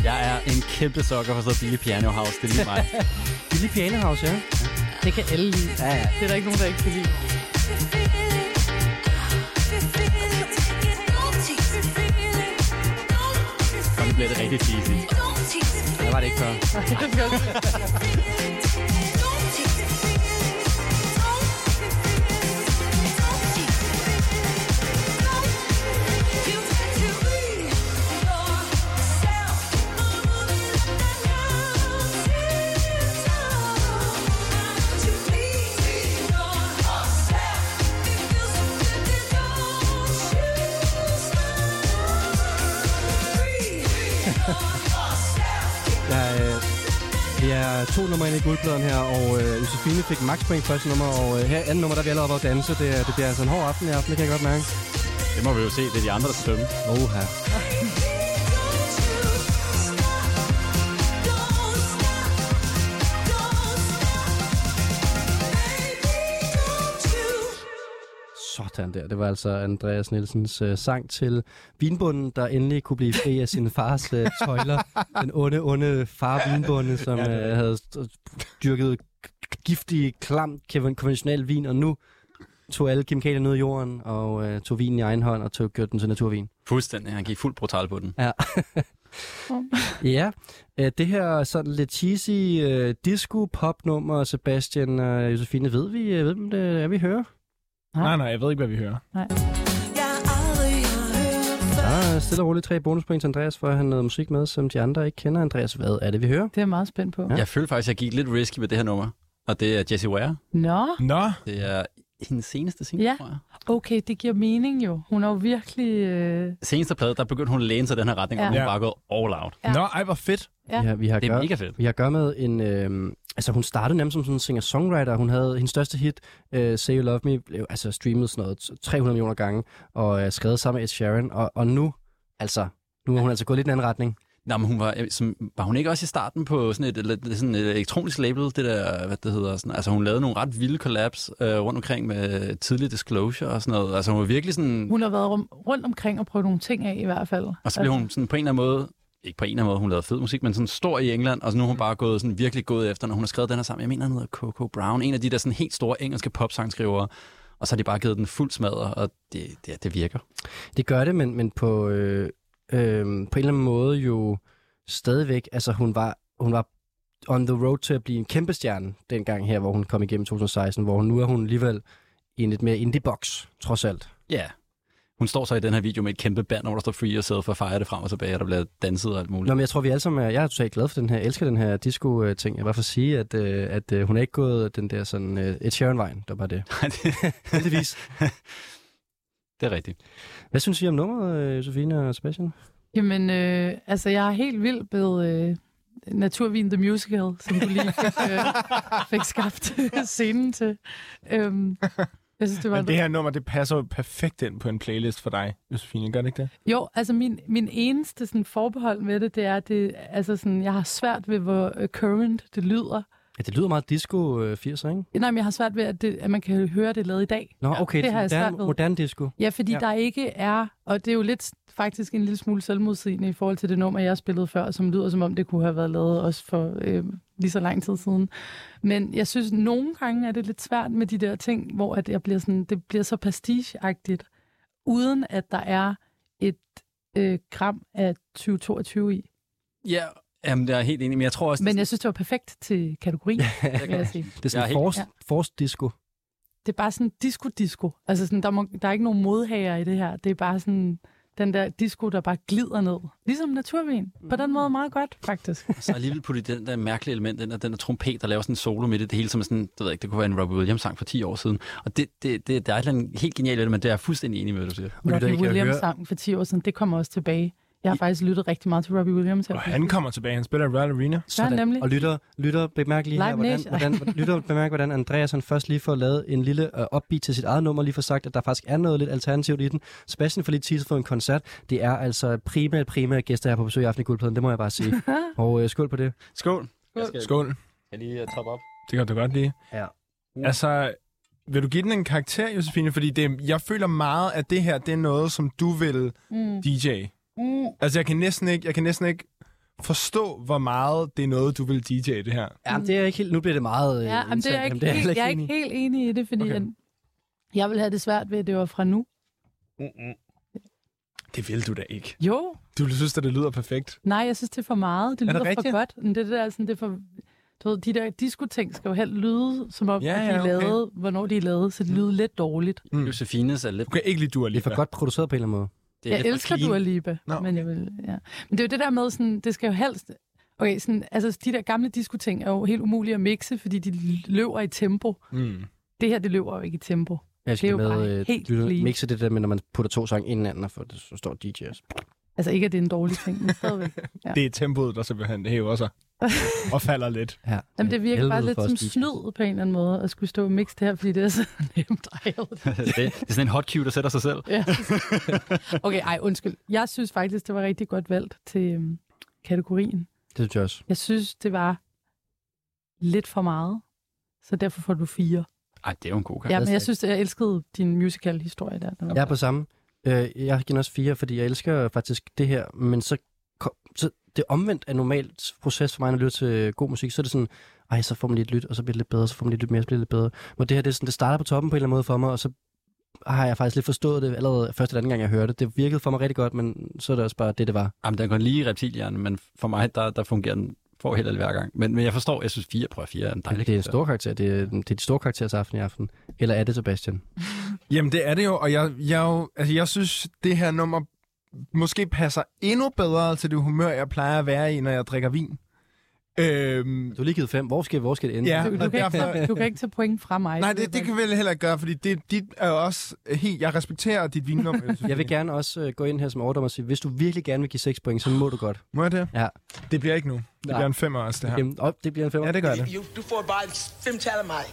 Speaker 4: Jeg er en kæmpe sokker for så Billy Piano House. Det er lige mig.
Speaker 2: Billy Piano House, ja.
Speaker 3: Det kan alle lide. Ja, ja. Det er der ikke nogen, der ikke kan lide.
Speaker 4: Nu bliver det rigtig cheesy.
Speaker 2: Det var det ikke før. Der er, øh, vi er to numre inde i guldpladen her, og øh, Josefine fik max point første nummer, og øh, her anden nummer, der er vi allerede oppe at danse. Det, er- det bliver altså en hård aften i aften, det kan jeg godt mærke.
Speaker 4: Det må vi jo se. Det er de andre, der skal dømme.
Speaker 2: Oh, her. Sådan der. Det var altså Andreas Nielsens øh, sang til vinbunden, der endelig kunne blive fri af sin fars øh, tøjler. Den onde, onde far vinbunde, som øh, havde st- dyrket g- giftig, klam, kevin- konventionel vin, og nu tog alle kemikalierne ud af jorden, og øh, tog vinen i egen hånd, og tog, gjorde den til naturvin.
Speaker 4: Fuldstændig. Han gik fuldt brutal på den.
Speaker 2: Ja. ja, øh, det her sådan lidt cheesy øh, disco-pop-nummer, Sebastian og Josefine, ved vi, øh, ved vi, om det er, vi hører?
Speaker 5: Nej, nej, jeg ved ikke, hvad vi hører.
Speaker 2: Der er stille og roligt tre bonuspoint til Andreas, for at han noget musik med, som de andre ikke kender. Andreas, hvad er det, vi hører?
Speaker 3: Det er jeg meget spændt på. Ja.
Speaker 4: Jeg følte faktisk, at jeg gik lidt risky med det her nummer. Og det er Jessie Ware.
Speaker 3: Nå,
Speaker 5: Nå,
Speaker 4: Det er hendes seneste single,
Speaker 3: Ja.
Speaker 4: tror jeg.
Speaker 3: okay, det giver mening jo. Hun er jo virkelig... Øh...
Speaker 4: Seneste plade, der begyndte hun at læne sig i den her retning, ja.
Speaker 3: Ja.
Speaker 4: og hun er bare
Speaker 5: Ja.
Speaker 4: gået all out.
Speaker 3: Ja.
Speaker 5: nå, ej, hvor fedt.
Speaker 3: Ja.
Speaker 2: Vi har, vi har
Speaker 4: Det er
Speaker 2: gør,
Speaker 4: mega fedt.
Speaker 2: vi har at gøre med en... Øh, altså, hun startede nemlig som sådan en singer-songwriter. Hun havde hendes største hit, øh, Say You Love Me, blev altså streamet sådan noget 300 millioner gange, og øh, skrevet sammen med Ed Sheeran. Og, og nu, altså, nu er hun altså gået lidt i en anden retning.
Speaker 4: Nå, men hun var, øh, som, var hun ikke også i starten på sådan et, lidt- sådan et elektronisk label, det der, hvad det hedder, sådan, altså hun lavede nogle ret vilde collabs øh, rundt omkring med tidlig disclosure og sådan noget, altså hun var virkelig sådan,
Speaker 3: Hun har været rum, rundt omkring og prøvet nogle ting af i hvert fald. Altså,
Speaker 4: og så blev hun sådan på en eller anden måde, ikke på en eller anden måde, hun lavede fed musik, men sådan stor i England, og så nu er
Speaker 3: Mm.
Speaker 4: hun bare gået sådan virkelig gået efter, når hun har skrevet den her sammen, jeg mener han hedder Coco Brown, en af de der sådan helt store engelske popsangskrivere, og så har de bare givet den fuld smadre, og det, det, det virker.
Speaker 2: Det gør det, men, men på, øh, øh, på en eller anden måde jo stadigvæk, altså hun var, hun var on the road til at blive en kæmpe stjerne dengang her, hvor hun kom igennem 2016, hvor hun, nu er hun alligevel i en lidt mere indie-box, trods alt.
Speaker 4: Ja. Yeah. Hun står så i den her video med et kæmpe band, hvor der står Free Yourself og fejrer det frem og tilbage, og der bliver danset og alt muligt.
Speaker 2: Nå, men jeg tror, vi alle sammen er, jeg er totalt glad for den her, jeg elsker den her disco-ting. Jeg vil bare sige, at, øh, at øh, hun er ikke gået den der sådan øh, Ed Sheeran-vejen, der var det.
Speaker 4: Nej, det,
Speaker 2: Heldigvis.
Speaker 4: det er rigtigt.
Speaker 2: Hvad synes I om nummeret, øh, Josefine og Sebastian?
Speaker 3: Jamen, øh, altså, jeg er helt vild ved øh, Naturvin The Musical, som du lige fik, øh, fik skabt scenen til. Øhm, jeg synes, det var
Speaker 5: Men det her nummer, det passer jo perfekt ind på en playlist for dig, Josefine. Gør det ikke det?
Speaker 3: Jo, altså min, min eneste sådan, forbehold med det, det er, at det, altså, sådan, jeg har svært ved, hvor øh, current det lyder.
Speaker 2: Ja, det lyder meget disco-80'er, ikke?
Speaker 3: Nej, men jeg har svært ved, at, det, at man kan høre det lavet i dag.
Speaker 2: Nå, okay,
Speaker 3: det har jeg
Speaker 2: moderne,
Speaker 3: svært ved.
Speaker 2: moderne disco.
Speaker 3: Ja, fordi
Speaker 5: Ja.
Speaker 3: ja. der ikke er, og det er jo lidt faktisk en lille smule selvmodsigende i forhold til det nummer, jeg spillede før, som lyder som om, det kunne have været lavet også for øh, lige så lang tid siden. Men jeg synes, nogle gange er det lidt svært med de der ting, hvor at jeg bliver sådan, det bliver så pastiche-agtigt, uden
Speaker 2: Altså,
Speaker 3: at der er et øh, gram af 2022 i.
Speaker 4: Ja, Jamen, det er jeg helt enig, men jeg tror også,
Speaker 3: Men
Speaker 4: det,
Speaker 3: jeg synes, det var perfekt til kategorien, vil jeg sige.
Speaker 2: Det er sådan
Speaker 4: Jeg er
Speaker 2: en
Speaker 4: helt-
Speaker 2: forced, forced disco.
Speaker 3: Det er bare sådan disco-disco. Altså, sådan, der, må, der er ikke nogen modhager i det her. Det er bare sådan den der disco, der bare glider ned. Ligesom naturvin. På den måde meget godt, faktisk.
Speaker 4: så alligevel putte den der mærkelige element ind, og den der trompet, der laver sådan en solo midt i det hele, som er sådan, det ved jeg ikke, det kunne være en Robbie Williams-sang for 10 år siden. Og det, det, det, der er et eller andet helt genialt ved det, men det er jeg fuldstændig enig med, hvad du siger.
Speaker 2: lytter
Speaker 3: Robbie
Speaker 2: ikke, jeg hører-
Speaker 3: Williams-sangen for 10 år siden, det kommer også tilbage. Jeg har faktisk lyttet rigtig meget til Robbie Williams. her.
Speaker 5: Og han kommer tilbage. Han spiller i Royal Arena.
Speaker 3: Sådan, nemlig.
Speaker 2: Og lytter, lytter bemærk lige her,
Speaker 3: Live
Speaker 2: hvordan,
Speaker 3: Nation.
Speaker 2: hvordan, lytter bemærk, hvordan Andreas han først lige får lavet en lille øh, opbeat til sit eget nummer, lige for sagt, at der faktisk er noget lidt alternativt i den. Sebastian får lige teaset for en koncert. Det er altså primært, primært gæster her på besøg i Aften i Guldpladen, det må jeg bare sige. og øh, skål på det.
Speaker 4: Skål! Jeg skal,
Speaker 5: Skål.
Speaker 4: jeg lige uh, top op?
Speaker 5: Det kan du godt lide.
Speaker 2: Ja.
Speaker 5: Altså, vil du give den en karakter, Josefine? Fordi det, jeg føler meget, at det her det er noget, som du vil
Speaker 3: Mm.
Speaker 5: DJ.
Speaker 3: Mm.
Speaker 5: Altså, jeg kan næsten ikke, jeg kan næsten ikke forstå, hvor meget det er noget, du vil DJ det her.
Speaker 2: Ja, men det er ikke helt, nu bliver det meget øh,
Speaker 3: Ja, men det er jeg
Speaker 2: internt.
Speaker 3: ikke,
Speaker 2: Jamen, det er
Speaker 3: helt, jeg er ikke
Speaker 2: enig i.
Speaker 3: helt enig i det, fordi
Speaker 5: Okay.
Speaker 3: okay. jeg ville have det svært ved, at det var fra nu.
Speaker 5: Det vil du da ikke.
Speaker 3: Jo,
Speaker 5: Du synes, at det lyder perfekt.
Speaker 3: nej, jeg synes, det er for meget. Det
Speaker 5: Er det
Speaker 3: lyder for
Speaker 5: rigtigt?
Speaker 3: godt. Men det der, sådan, det er for, du ved, de der disco-ting skal jo helt lyde, som om
Speaker 5: Ja,
Speaker 3: ja, ja, de
Speaker 5: ja,
Speaker 3: er
Speaker 5: okay.
Speaker 3: lavet, hvornår de er lavet, så det lyder lidt dårligt.
Speaker 5: Mm.
Speaker 4: Josefines er lidt...
Speaker 5: Du kan ikke lide Dua
Speaker 2: Det er
Speaker 5: Lipa.
Speaker 2: for godt produceret på en eller anden måde.
Speaker 4: Det er
Speaker 3: Jeg
Speaker 4: lidt for
Speaker 3: elsker
Speaker 4: clean.
Speaker 3: Dua Lipa,
Speaker 5: Nå,
Speaker 3: no. men,
Speaker 5: okay.
Speaker 3: jeg vil, ja. men det er jo det der med, sådan, det skal jo helst... Okay, sådan, altså de der gamle disco-ting er jo helt umulige at mixe, fordi de løber i tempo.
Speaker 5: Mm.
Speaker 3: Det her, det løber jo ikke i tempo.
Speaker 2: Jeg skal
Speaker 3: jo bare
Speaker 2: med, øh,
Speaker 3: helt
Speaker 2: lytter-
Speaker 3: clean.
Speaker 2: mixe det der med, når man putter to sange inden anden, og får det, så står DJ's.
Speaker 3: Altså ikke, at det er en dårlig ting, men stadigvæk. Ja.
Speaker 5: Det er tempoet, der simpelthen hæver sig og falder lidt.
Speaker 2: Ja.
Speaker 3: Jamen, det virker
Speaker 2: Helvede
Speaker 3: bare lidt
Speaker 2: for os
Speaker 3: som
Speaker 2: DJ's.
Speaker 3: snyd på en eller anden måde, at skulle stå og mixe det her, fordi det er så nemt. Ej, jeg ved det.
Speaker 4: det, det er sådan en hot cue, der sætter sig selv.
Speaker 3: Ja. Okay, ej, undskyld. Jeg synes faktisk, det var rigtig godt valgt til øhm, kategorien.
Speaker 2: Det synes jeg også.
Speaker 3: Jeg synes, det var lidt for meget, så derfor får du fire.
Speaker 4: Ej, det er jo en god kamp.
Speaker 3: Ja, men jeg synes, jeg elskede din musical-historie der. Den var-
Speaker 2: Jeg er på samme. Øh, jeg giver den også fire, fordi jeg elsker faktisk det her, men så, kom- så det omvendt er normalt proces for mig, når jeg lytter til øh, god musik, så er det sådan, ej, så får man lige et lyt, og så bliver det lidt bedre, så får man lige et lyt mere, så bliver det lidt bedre. Men det her, det, er sådan, det starter på toppen på en eller anden måde for mig, og så har jeg faktisk lidt forstået det allerede første eller anden gang, jeg hørte det. Det virkede for mig rigtig godt, men så er det også bare det, det var.
Speaker 4: Jamen, den går lige i reptilhjernen, men for mig, der, der fungerer den for helt hver gang. Men, men jeg forstår, jeg synes 4 prøver 4 er en dejlig
Speaker 2: Det er en
Speaker 4: karakter.
Speaker 2: stor karakter. Det er, det er de store karakterers aften i aften. Eller er det, Sebastian?
Speaker 5: Jamen, det er det jo, og jeg, jeg, jo- altså, jeg synes, det her nummer måske passer endnu bedre til det humør, jeg plejer at være i, når jeg drikker vin. Øhm,
Speaker 2: Du har lige givet fem. Hvor skal, hvor skal det ende?
Speaker 5: ja,
Speaker 3: Du, du,
Speaker 5: og
Speaker 3: kan ikke,
Speaker 5: derfor,
Speaker 3: tage- du kan ikke tage point fra mig.
Speaker 5: Nej, det, det kan vi vel heller ikke gøre, fordi det, dit er jo også øh, helt... Jeg respekterer dit vinnummer. Josefine.
Speaker 2: Jeg vil gerne også øh, gå ind her som overdommer og sige, hvis du virkelig gerne vil give 6 point, så må du godt.
Speaker 5: Må jeg det?
Speaker 2: Ja.
Speaker 5: Det bliver ikke nu. Det
Speaker 2: Nej.
Speaker 5: bliver en femmer også, det her.
Speaker 2: Jamen, op, det bliver en femmer.
Speaker 5: Ja, det gør det.
Speaker 7: You, du får bare fem tal af mig.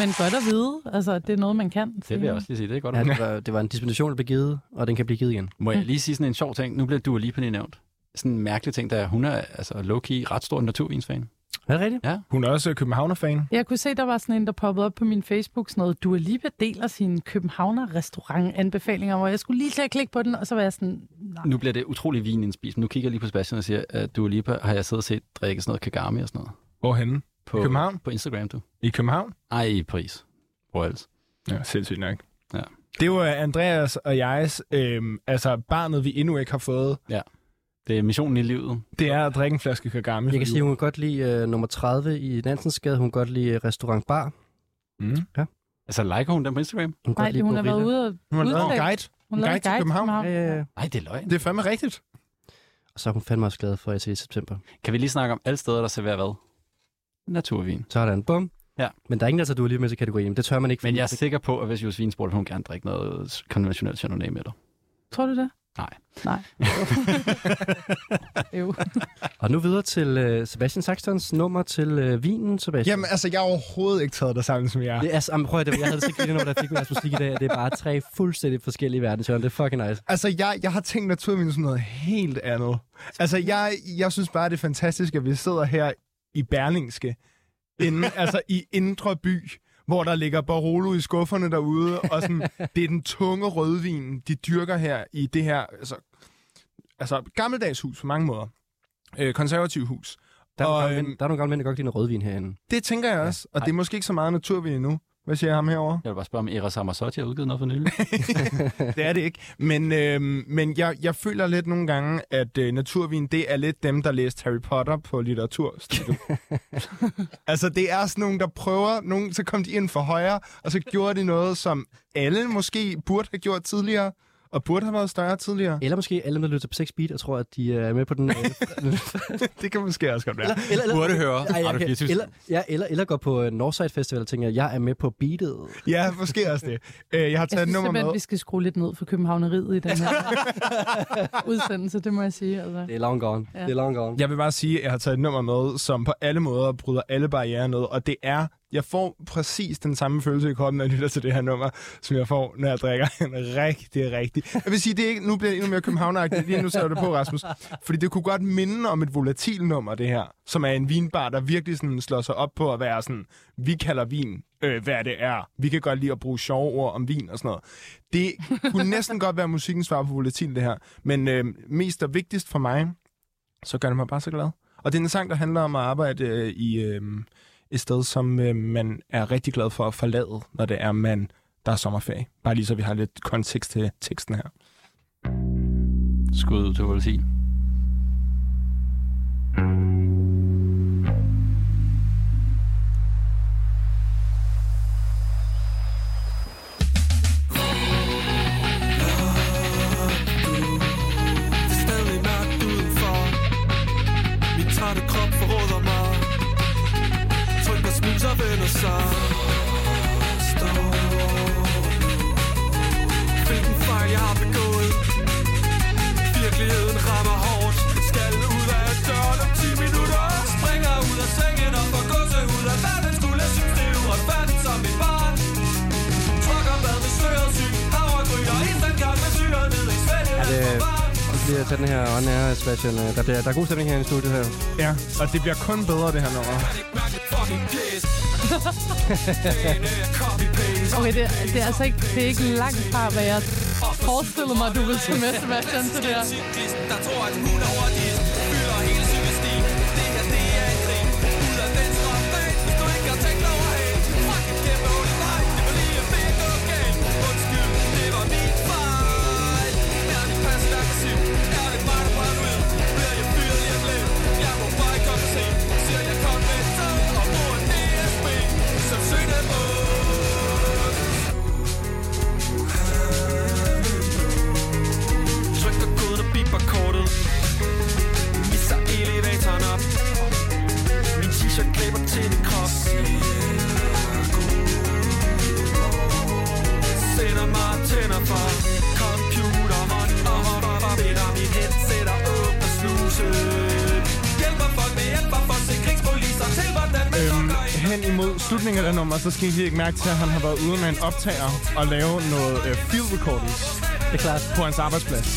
Speaker 3: Men godt at vide, altså, det er noget, man kan.
Speaker 4: Det vil jeg også lige sige, det er godt.
Speaker 2: Ja, det var, det var en dispensation, der blev givet, og den kan blive givet igen.
Speaker 4: Må jeg lige sige sådan en sjov ting? Nu bliver du lige på lige nævnt. Sådan en mærkelig ting, der er, hun er altså low-key ret stor naturvinsfan.
Speaker 2: Er det rigtigt?
Speaker 5: Hun er også københavner-fan.
Speaker 3: Jeg kunne se, der var sådan en, der poppede op på min Facebook, sådan noget, Dua Lipa deler sine Københavner-restaurant-anbefalinger, hvor jeg skulle lige til at klikke på den, og så var jeg sådan, nej,
Speaker 4: Nu bliver det utrolig vinindspist. Nu kigger jeg lige på Sebastian og siger, at du lige på, har jeg siddet og set drikke sådan noget kagami og sådan noget.
Speaker 5: Hvorhenne?
Speaker 4: På,
Speaker 5: København?
Speaker 4: På Instagram, du.
Speaker 5: I København?
Speaker 4: Ej, i Paris. Hvor ellers?
Speaker 5: Ja, sindssygt nok.
Speaker 4: Ja.
Speaker 5: Det var Andreas og jegs, øhm, altså barnet, vi endnu ikke har fået,
Speaker 4: Det er missionen i livet.
Speaker 5: det er at drikke en flaske kagami.
Speaker 2: Jeg kan sige, hun kan godt lide øh, nummer 30 i Nansens Gade. Hun kan godt lide øh, Restaurant Bar.
Speaker 5: Mm.
Speaker 4: Altså, liker hun den på Instagram?
Speaker 2: Hun kan
Speaker 3: nej
Speaker 2: godt lide
Speaker 3: hun har været
Speaker 2: Gorilla.
Speaker 3: ude og
Speaker 5: Hun har lavet en
Speaker 3: udtale-
Speaker 5: guide.
Speaker 3: hun
Speaker 5: en
Speaker 3: lavede
Speaker 5: guide til København.
Speaker 2: Ja, ja, ja.
Speaker 4: Nej, det er løgn.
Speaker 5: Øh, Det er fandme rigtigt.
Speaker 2: Og så er hun fandme også glad for, at jeg siger i september.
Speaker 4: Kan vi lige snakke om alle steder, der serverer hvad? Naturvin.
Speaker 2: Sådan, bum.
Speaker 4: Ja.
Speaker 2: Men der er ingen, der tager du lige med til kategorien. Det tør man ikke.
Speaker 4: Men
Speaker 2: fordi-
Speaker 4: jeg er sikker på, at hvis Josefine spurgte, vil hun gerne drikke noget konventionelt chardonnay med dig.
Speaker 3: Tror du det?
Speaker 4: Nej.
Speaker 3: Nej. Jo.
Speaker 2: Og nu videre til øh, Sebastian Saxtons nummer til øh, vinen, Sebastian.
Speaker 5: Jamen, altså, jeg har overhovedet ikke taget dig sammen som jer.
Speaker 2: Det er, altså- jamen, prøv at det, jeg havde set det nummer, der fik med musik i dag, og det er bare tre fuldstændig forskellige verdenshjørner. Det er fucking nice.
Speaker 5: Altså, jeg, jeg har tænkt naturligvis som noget helt andet. Altså, jeg, jeg synes bare, det er fantastisk, at vi sidder her i Berlingske, inde, altså i Indre By, hvor der ligger Barolo i skufferne derude, og sådan, det er den tunge rødvin, de dyrker her i det her, altså, altså gammeldags hus på mange måder. Øh, konservativ hus.
Speaker 2: Der er, og,
Speaker 5: Og,
Speaker 2: nogle gamle,
Speaker 5: øhm,
Speaker 2: mænd, der er nogle gamle mænd, der godt kan lide noget rødvin herinde.
Speaker 5: Det tænker jeg også, og det er måske ikke så meget naturvin endnu, Hvad siger ham herover?
Speaker 4: Jeg vil bare spørge, om Eros Ramazzotti har udgivet noget for nylig.
Speaker 5: det er det ikke. Men, øh, men jeg, jeg føler lidt nogle gange, at øh, naturvin, det er lidt dem, der læste Harry Potter på litteraturstudiet. altså, det er sådan nogen, der prøver, nogen, så kom de ind for højre, og så gjorde de noget, som alle måske burde have gjort tidligere, og burde have været større tidligere.
Speaker 2: Eller måske alle, der lytter på 6 Beat og tror, at de er med på den... øh,
Speaker 5: Det kan måske også godt være.
Speaker 2: eller, eller, eller,
Speaker 4: Burde høre.
Speaker 2: Ej,
Speaker 4: Radio
Speaker 2: okay.
Speaker 4: 24.
Speaker 2: eller, ja, eller, eller går på øh, Northside Festival og tænker, jeg er med på beatet.
Speaker 5: Ja, måske også det. Øh, jeg har
Speaker 3: Jeg
Speaker 5: taget et
Speaker 3: synes
Speaker 5: nummer
Speaker 3: simpelthen,
Speaker 5: med.
Speaker 3: vi skal skrue lidt ned for københavneriet i den her udsendelse, det må jeg sige. Altså.
Speaker 2: Det er long gone. Ja. Det er long gone.
Speaker 5: Jeg vil bare sige, at jeg har taget et nummer med, som på alle måder bryder alle barriere ned, og det er, jeg får præcis den samme følelse i kroppen, når jeg lytter til det her nummer, som jeg får, når jeg drikker en rigtig, rigtig... Jeg vil sige, det er ikke, nu bliver det endnu mere københavneragtigt, lige nu ser du det på, Rasmus. Fordi det kunne godt minde om et volatil nummer, det her, som er en vinbar, der virkelig sådan slår sig op på at være sådan, vi kalder vin, øh, hvad det er. Vi kan godt lide at bruge sjove ord om vin og sådan noget. Det kunne næsten godt være musikkens svar på volatil, det her. Men øh, mest og vigtigst for mig, så gør det mig bare så glad. Og det er en sang, der handler om at arbejde øh, i øh, et sted, som øh, man er rigtig glad for at forlade, når det er, man der er sommerferie. Bare lige så vi har lidt kontekst til teksten her.
Speaker 4: Skud ud til Volatil.
Speaker 6: Det er stadig mørkt udenfor Min trætte krop forråder mig Tryk og smil, så vender sig Stå Hvilken fejl jeg har begået Virkeligheden rammer hårdt Skal ud af døren om 10 minutter Springer ud af sengen og får gåsehud af verden skulle jeg synes, det er uretfærdigt som et barn Trukker bad med søret syg Havregryn og instant kaffe med syret ned i svælget
Speaker 2: Er det,
Speaker 6: for barn
Speaker 2: vi bliver tage den her on air, Sebastian. Øh, Der, bliver, der er god stemning her i studiet her.
Speaker 5: Ja, og det bliver kun bedre, det her nummer.
Speaker 3: Okay, det, det, er altså ikke, det er ikke langt fra, hvad jeg forestillede mig, du ville tage med, Sebastian, til det her.
Speaker 6: Der tror, at hun er hurtigst Fylder hele cykelstien Det her, det er en krig Ud af den strøm bag Hvis du ikke har tænkt over helt Fuck et kæmpe hul i vejen Det var lige en fint og galt Undskyld, det var min fejl Er det passet aggressiv? Er det bare, der brænder ud? Bliver jeg fyret lige om lidt? Jeg må bare ikke komme sent Siger jeg kom med et tag Og bruger en DSB Som søgte mod trykker koden og biber kortet Misser elevatoren op Min t-shirt klæber til din krop Sender mig og tænder for computeren Og hopper og binder mit headset og åbner snuset Hjælper folk med hjælper forsikringspoliser til hvordan man
Speaker 5: Øhm,
Speaker 6: lukker en
Speaker 5: hen imod slutningen af det nummer, så skal I ikke mærke til, at han har været ude med en optager og lave noget øh, field recordings
Speaker 2: Det er klart.
Speaker 5: på hans arbejdsplads.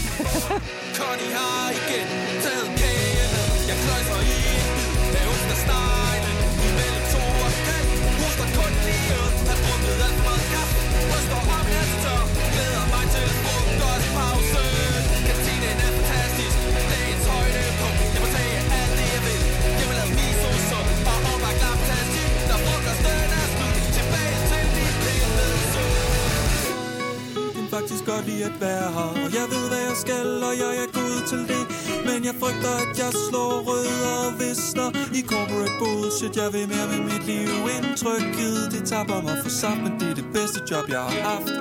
Speaker 6: Conny har igen taget kagen ned. Jeg kløjser i en bid af onsdagsnegle. Imellem to og kald, hoster kun lige ud. Har drukket alt for meget kaffe, ryster om hans tør. Glæder mig til frokostpause. Kantinen er fantastisk, dagens højdepunkt. Jeg må tage alt det, jeg vil. Jeg vil have miso suppe og hårdbagt laptastik. Når frokosten er slut, tilbage til mit billede kan faktisk godt lide at være her Og jeg ved hvad jeg skal, og jeg er god til det Men jeg frygter at jeg slår rødder og visner I corporate bullshit, jeg vil mere med mit liv Indtrykket, det tapper mig for samt Men det er det bedste job jeg har haft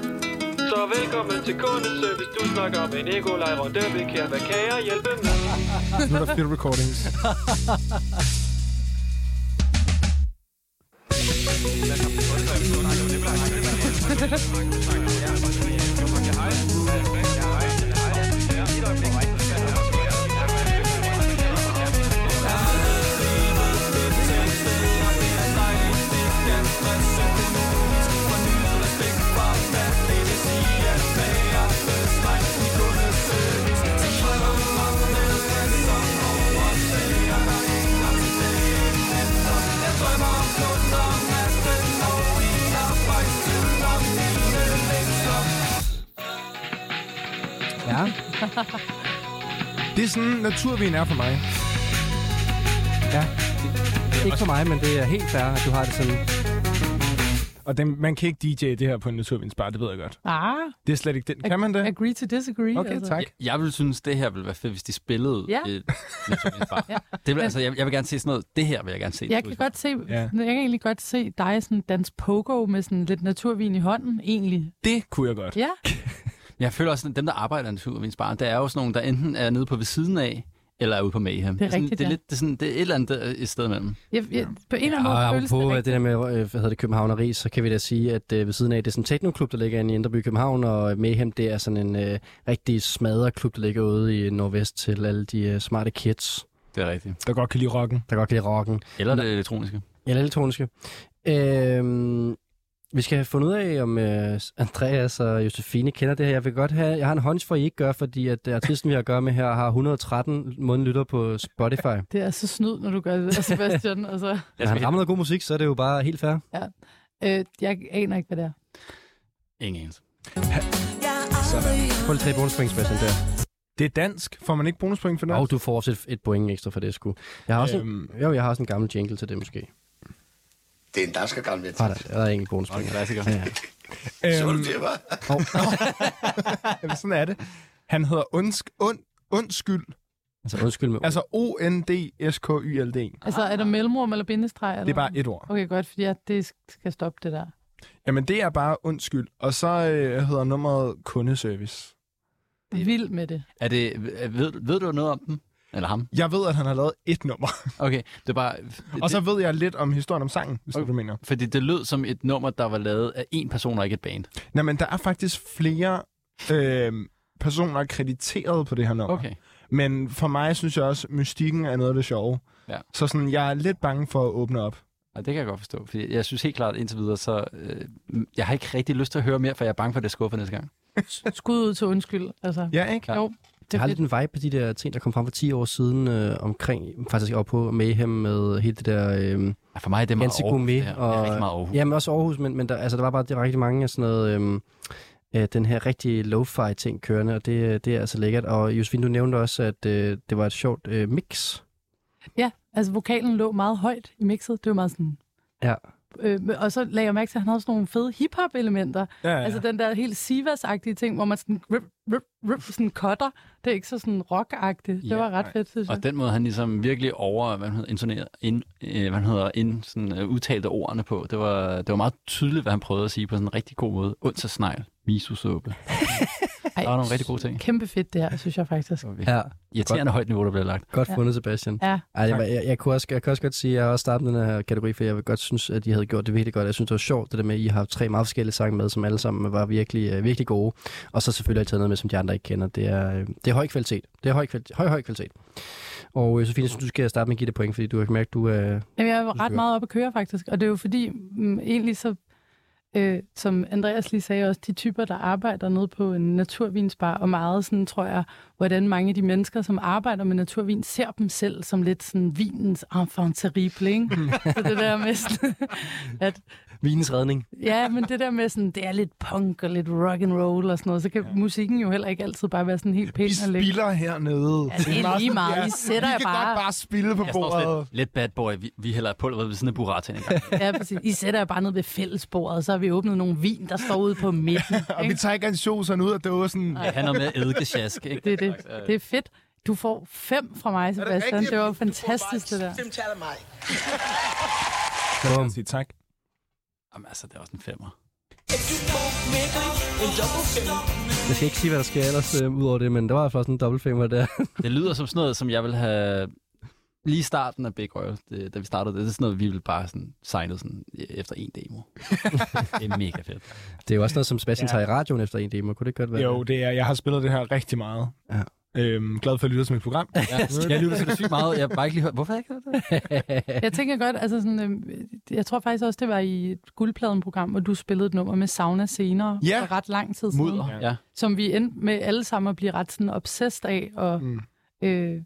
Speaker 6: Så velkommen til kundeservice Du snakker med Nikolaj Rondøvik Her, hvad kan jeg hjælpe med?
Speaker 5: Nu er der field recordings.
Speaker 2: Ja.
Speaker 5: Det er sådan, naturvin er for mig.
Speaker 2: ja. Ikke for mig, men det er helt fair, at du har det sådan.
Speaker 5: Og den, man kan ikke DJ det her på en naturvindsbar, det ved jeg godt.
Speaker 3: Ah,
Speaker 5: Det er slet ikke den. Kan man det?
Speaker 3: agree to disagree. altså.
Speaker 5: Okay, tak.
Speaker 4: Jeg, jeg ville synes, det her ville være fedt, hvis de spillede
Speaker 3: Ja.
Speaker 4: et naturvidenskab.
Speaker 3: Ja.
Speaker 4: Det vil, altså, jeg, jeg vil gerne se sådan noget. Det her vil jeg gerne se.
Speaker 3: Jeg kan, godt se,
Speaker 5: Ja.
Speaker 3: jeg kan egentlig godt se dig sådan danse pogo med sådan lidt naturvin i hånden, egentlig.
Speaker 5: Det kunne jeg godt.
Speaker 3: Ja,
Speaker 4: Men jeg føler også, at dem, der arbejder i naturvidenskab, der er jo sådan nogle, der enten er nede på ved siden af, eller er ude på Mayhem.
Speaker 3: Det er
Speaker 4: sådan,
Speaker 3: rigtigt,
Speaker 4: det, er
Speaker 3: ja.
Speaker 4: lidt, det, er sådan, det er et eller andet der, et sted imellem.
Speaker 3: jeg, jeg, på en eller anden måde
Speaker 2: Og
Speaker 3: føles
Speaker 2: Ah, apropos
Speaker 3: det
Speaker 2: det, det
Speaker 3: rigtigt.
Speaker 2: der med, øh, hvad hedder det, københavneri, så kan vi da sige, at øh, ved siden af, det er sådan en teknoklub, der ligger inde i Indreby København, og Mayhem, det er sådan en øh, rigtig smadreklub, der ligger ude i Nordvest til alle de øh, smarte kids,
Speaker 4: Det er rigtigt.
Speaker 5: Der godt kan lide rocken.
Speaker 2: der godt kan lide rocken.
Speaker 4: Eller det elektroniske.
Speaker 2: Eller elektroniske. Øhm, vi skal have fundet ud af, om øh, Andreas og Josefine kender det her. Jeg vil godt have, jeg har en hunch for, at I ikke gør, fordi at øh, artisten, vi har at gøre med her, har 113 månedlytter på Spotify.
Speaker 3: Det er så snyd, når du gør det, der, Sebastian. altså,
Speaker 2: Når han rammer noget god musik, så er det jo bare helt fair.
Speaker 3: øh, jeg aner ikke, hvad det er.
Speaker 4: Ingen anelse.
Speaker 2: Få lige tre bonuspoint, Sebastian, der.
Speaker 5: Det er dansk. Får man ikke bonuspoint for det?
Speaker 2: Og du får også et, et point ekstra for det, sgu. Jeg har også øhm.
Speaker 5: Øhm,
Speaker 2: en, jo, jeg har også en gammel jingle til det, måske.
Speaker 9: Det er en dansker gammel
Speaker 2: Har der, der er egentlig bonuspoint.
Speaker 4: En klassiker.
Speaker 2: Ja.
Speaker 5: øhm,
Speaker 9: det, var?
Speaker 5: jamen, sådan er det. Han hedder Undsk, und, Undskyld.
Speaker 2: Altså, undskyld med altså,
Speaker 5: Altså O-N-D-S-K-Y-L-D.
Speaker 3: Altså, er der mellemrum eller bindestreg? Eller?
Speaker 5: E. Det er bare et ord.
Speaker 3: Okay, godt, fordi jeg, det skal stoppe det der.
Speaker 5: Jamen, det er bare undskyld. Og så øh, hedder nummeret kundeservice.
Speaker 3: Det er vild med det.
Speaker 4: Er det, øh, er- ved, ved du noget om dem? Eller ham?
Speaker 5: Jeg ved, at han har lavet et nummer.
Speaker 4: Okay, det er bare...
Speaker 5: Og så ved jeg lidt om historien om sangen, hvis okay. du mener.
Speaker 4: Fordi det lød som et nummer, der var lavet af en person og ikke et band.
Speaker 5: Nej, men der er faktisk flere øh, personer krediteret på det her nummer.
Speaker 4: Okay.
Speaker 5: Men for mig synes jeg også, at mystikken er noget af det sjove.
Speaker 4: Ja.
Speaker 5: Så sådan, jeg er lidt bange for at åbne op.
Speaker 4: Og det kan jeg godt forstå. Fordi jeg synes helt klart indtil videre, så øh, jeg har ikke rigtig lyst til at høre mere, for jeg er bange for, at det skuffer næste gang.
Speaker 3: Skud ud til undskyld. Altså,
Speaker 5: Ja, ikke?
Speaker 4: Ja.
Speaker 3: Jo, det
Speaker 2: jeg
Speaker 3: er
Speaker 2: har
Speaker 3: fedt.
Speaker 2: lidt en vibe på de der ting, der kom frem for 10 år siden øh, omkring, faktisk op på Mayhem med hele det der... Øh,
Speaker 4: Ja, for mig er det meget
Speaker 2: Ganske
Speaker 4: Aarhus,
Speaker 2: gourmet
Speaker 4: det her. Det er
Speaker 2: og-
Speaker 4: rigtig meget Aarhus.
Speaker 2: Ja, men også Aarhus, men, men der, altså, der var bare det var rigtig mange af sådan noget, øhm, øh, den her rigtig lo-fi ting kørende, og det, øh, det er altså lækkert. Og Josefine, du nævnte også, at øh, det var et sjovt øh, mix.
Speaker 3: Ja, altså vokalen lå meget højt i mixet. Det var meget sådan...
Speaker 2: Ja.
Speaker 3: Øh, og så lagde jeg mærke til, at han havde sådan nogle fede hip-hop-elementer.
Speaker 5: Ja, ja.
Speaker 3: Ja. Altså den der helt Sivas-agtige ting, hvor man sådan, rip, rip, rip, sådan cutter. Det er ikke så sådan rock-agtigt. Det
Speaker 4: Ja,
Speaker 3: var ret
Speaker 5: nej.
Speaker 3: fedt, synes jeg.
Speaker 4: Og den måde, han ligesom virkelig over, hvad han hedder, intoneret, ind, øh, hvad han hedder, ind, sådan, øh, udtalte ordene på, det var, det var meget tydeligt, hvad han prøvede at sige på sådan en rigtig god måde. Onsdagsnegl, misusåbe.
Speaker 3: Ej,
Speaker 4: Der var nogle rigtig gode ting.
Speaker 3: Kæmpe fedt det her, synes jeg faktisk.
Speaker 4: Det var virkelig Irriterende højt niveau, der blev lagt.
Speaker 2: Godt
Speaker 3: Ja.
Speaker 2: fundet, Sebastian.
Speaker 3: Ja.
Speaker 2: Ej, jeg, jeg, jeg, kunne også, jeg kan også godt sige, at jeg har også startet den her kategori, for jeg vil godt synes, at I havde gjort det virkelig godt. Jeg synes, det var sjovt, det der med, at I har haft tre meget forskellige sange med, som alle sammen var virkelig, øh, virkelig gode. Og så selvfølgelig har I taget noget med, som de andre ikke kender. Det er, øh, det er høj kvalitet. Det er høj, kvalitet, høj, høj kvalitet. Og øh, Sofie, jeg synes, du skal starte med at give det point, fordi du har mærket, du er... Øh,
Speaker 3: Jamen, jeg var ret
Speaker 2: kører.
Speaker 3: meget op at køre, faktisk. Og det er jo fordi, mm, egentlig så, øh, som Andreas lige sagde også, de typer, der arbejder nede på en naturvinsbar, og meget sådan, tror jeg, hvordan mange af de mennesker, som arbejder med naturvin, ser dem selv som lidt sådan vinens enfant terrible, ikke? så det der med sådan, at,
Speaker 2: Vinens redning.
Speaker 3: ja, men det der med sådan, det er lidt punk og lidt rock and roll og sådan noget, så kan ja. musikken jo heller ikke altid bare være sådan helt pæn
Speaker 5: Vi
Speaker 3: og lækker.
Speaker 5: spiller hernede.
Speaker 3: Ja, det er
Speaker 5: meget-
Speaker 3: lige meget.
Speaker 5: Ja,
Speaker 3: I sætter
Speaker 5: vi
Speaker 3: jer
Speaker 5: kan
Speaker 3: bare-
Speaker 5: godt bare spille på
Speaker 4: Jeg står
Speaker 5: bordet.
Speaker 4: lidt, lidt bad boy. Vi, vi hælder pulver ved siden af burrata en gang.
Speaker 3: Ja, præcis. I sætter jer bare ned ved fællesbordet, så har vi åbnet nogle vin, der står ude på midten.
Speaker 5: Og
Speaker 3: ikke?
Speaker 5: vi tager ikke ansjoserne ud af dåsen.
Speaker 4: Det handler med eddikesjask, ikke?
Speaker 3: Det er, det, det er fedt. Du får fem fra mig, Sebastian. Altså, Det,
Speaker 7: rigtigt?
Speaker 3: det var
Speaker 7: Du får bare
Speaker 3: fantastisk, det der.
Speaker 7: Fem tal af mig.
Speaker 5: Kan jeg sige tak?
Speaker 4: Jamen, altså, det er også en femmer.
Speaker 2: Jeg skal ikke sige, hvad der sker ellers øh, ud over det, men der var altså også en dobbeltfemmer der.
Speaker 4: Det lyder som sådan noget, som jeg vil have... Lige i starten af Big Oil, det, da vi startede det, det er sådan noget, vi ville bare sådan signet sådan øh, efter en demo. det er mega fedt.
Speaker 2: Det er jo også noget, som Sebastian ja. tager i radioen efter en demo. Kunne det ikke godt være?
Speaker 5: Jo, det er, jeg har spillet det her rigtig meget.
Speaker 2: Ja.
Speaker 5: Øhm, glad for at lytte til mit program.
Speaker 4: Ja, jeg lytter til det sygt meget. Jeg har bare ikke lige hørt, hvorfor har jeg ikke hørt det?
Speaker 3: Jeg tænker godt, altså sådan, øh, jeg tror faktisk også, det var i et guldpladen-program, hvor du spillede et nummer med Sauna senere,
Speaker 5: Ja.
Speaker 3: for ret lang tid siden,
Speaker 4: Mudder. Ja.
Speaker 3: som vi endte med alle sammen at blive ret sådan obsessed af, og
Speaker 5: Mm.
Speaker 3: mm. øh,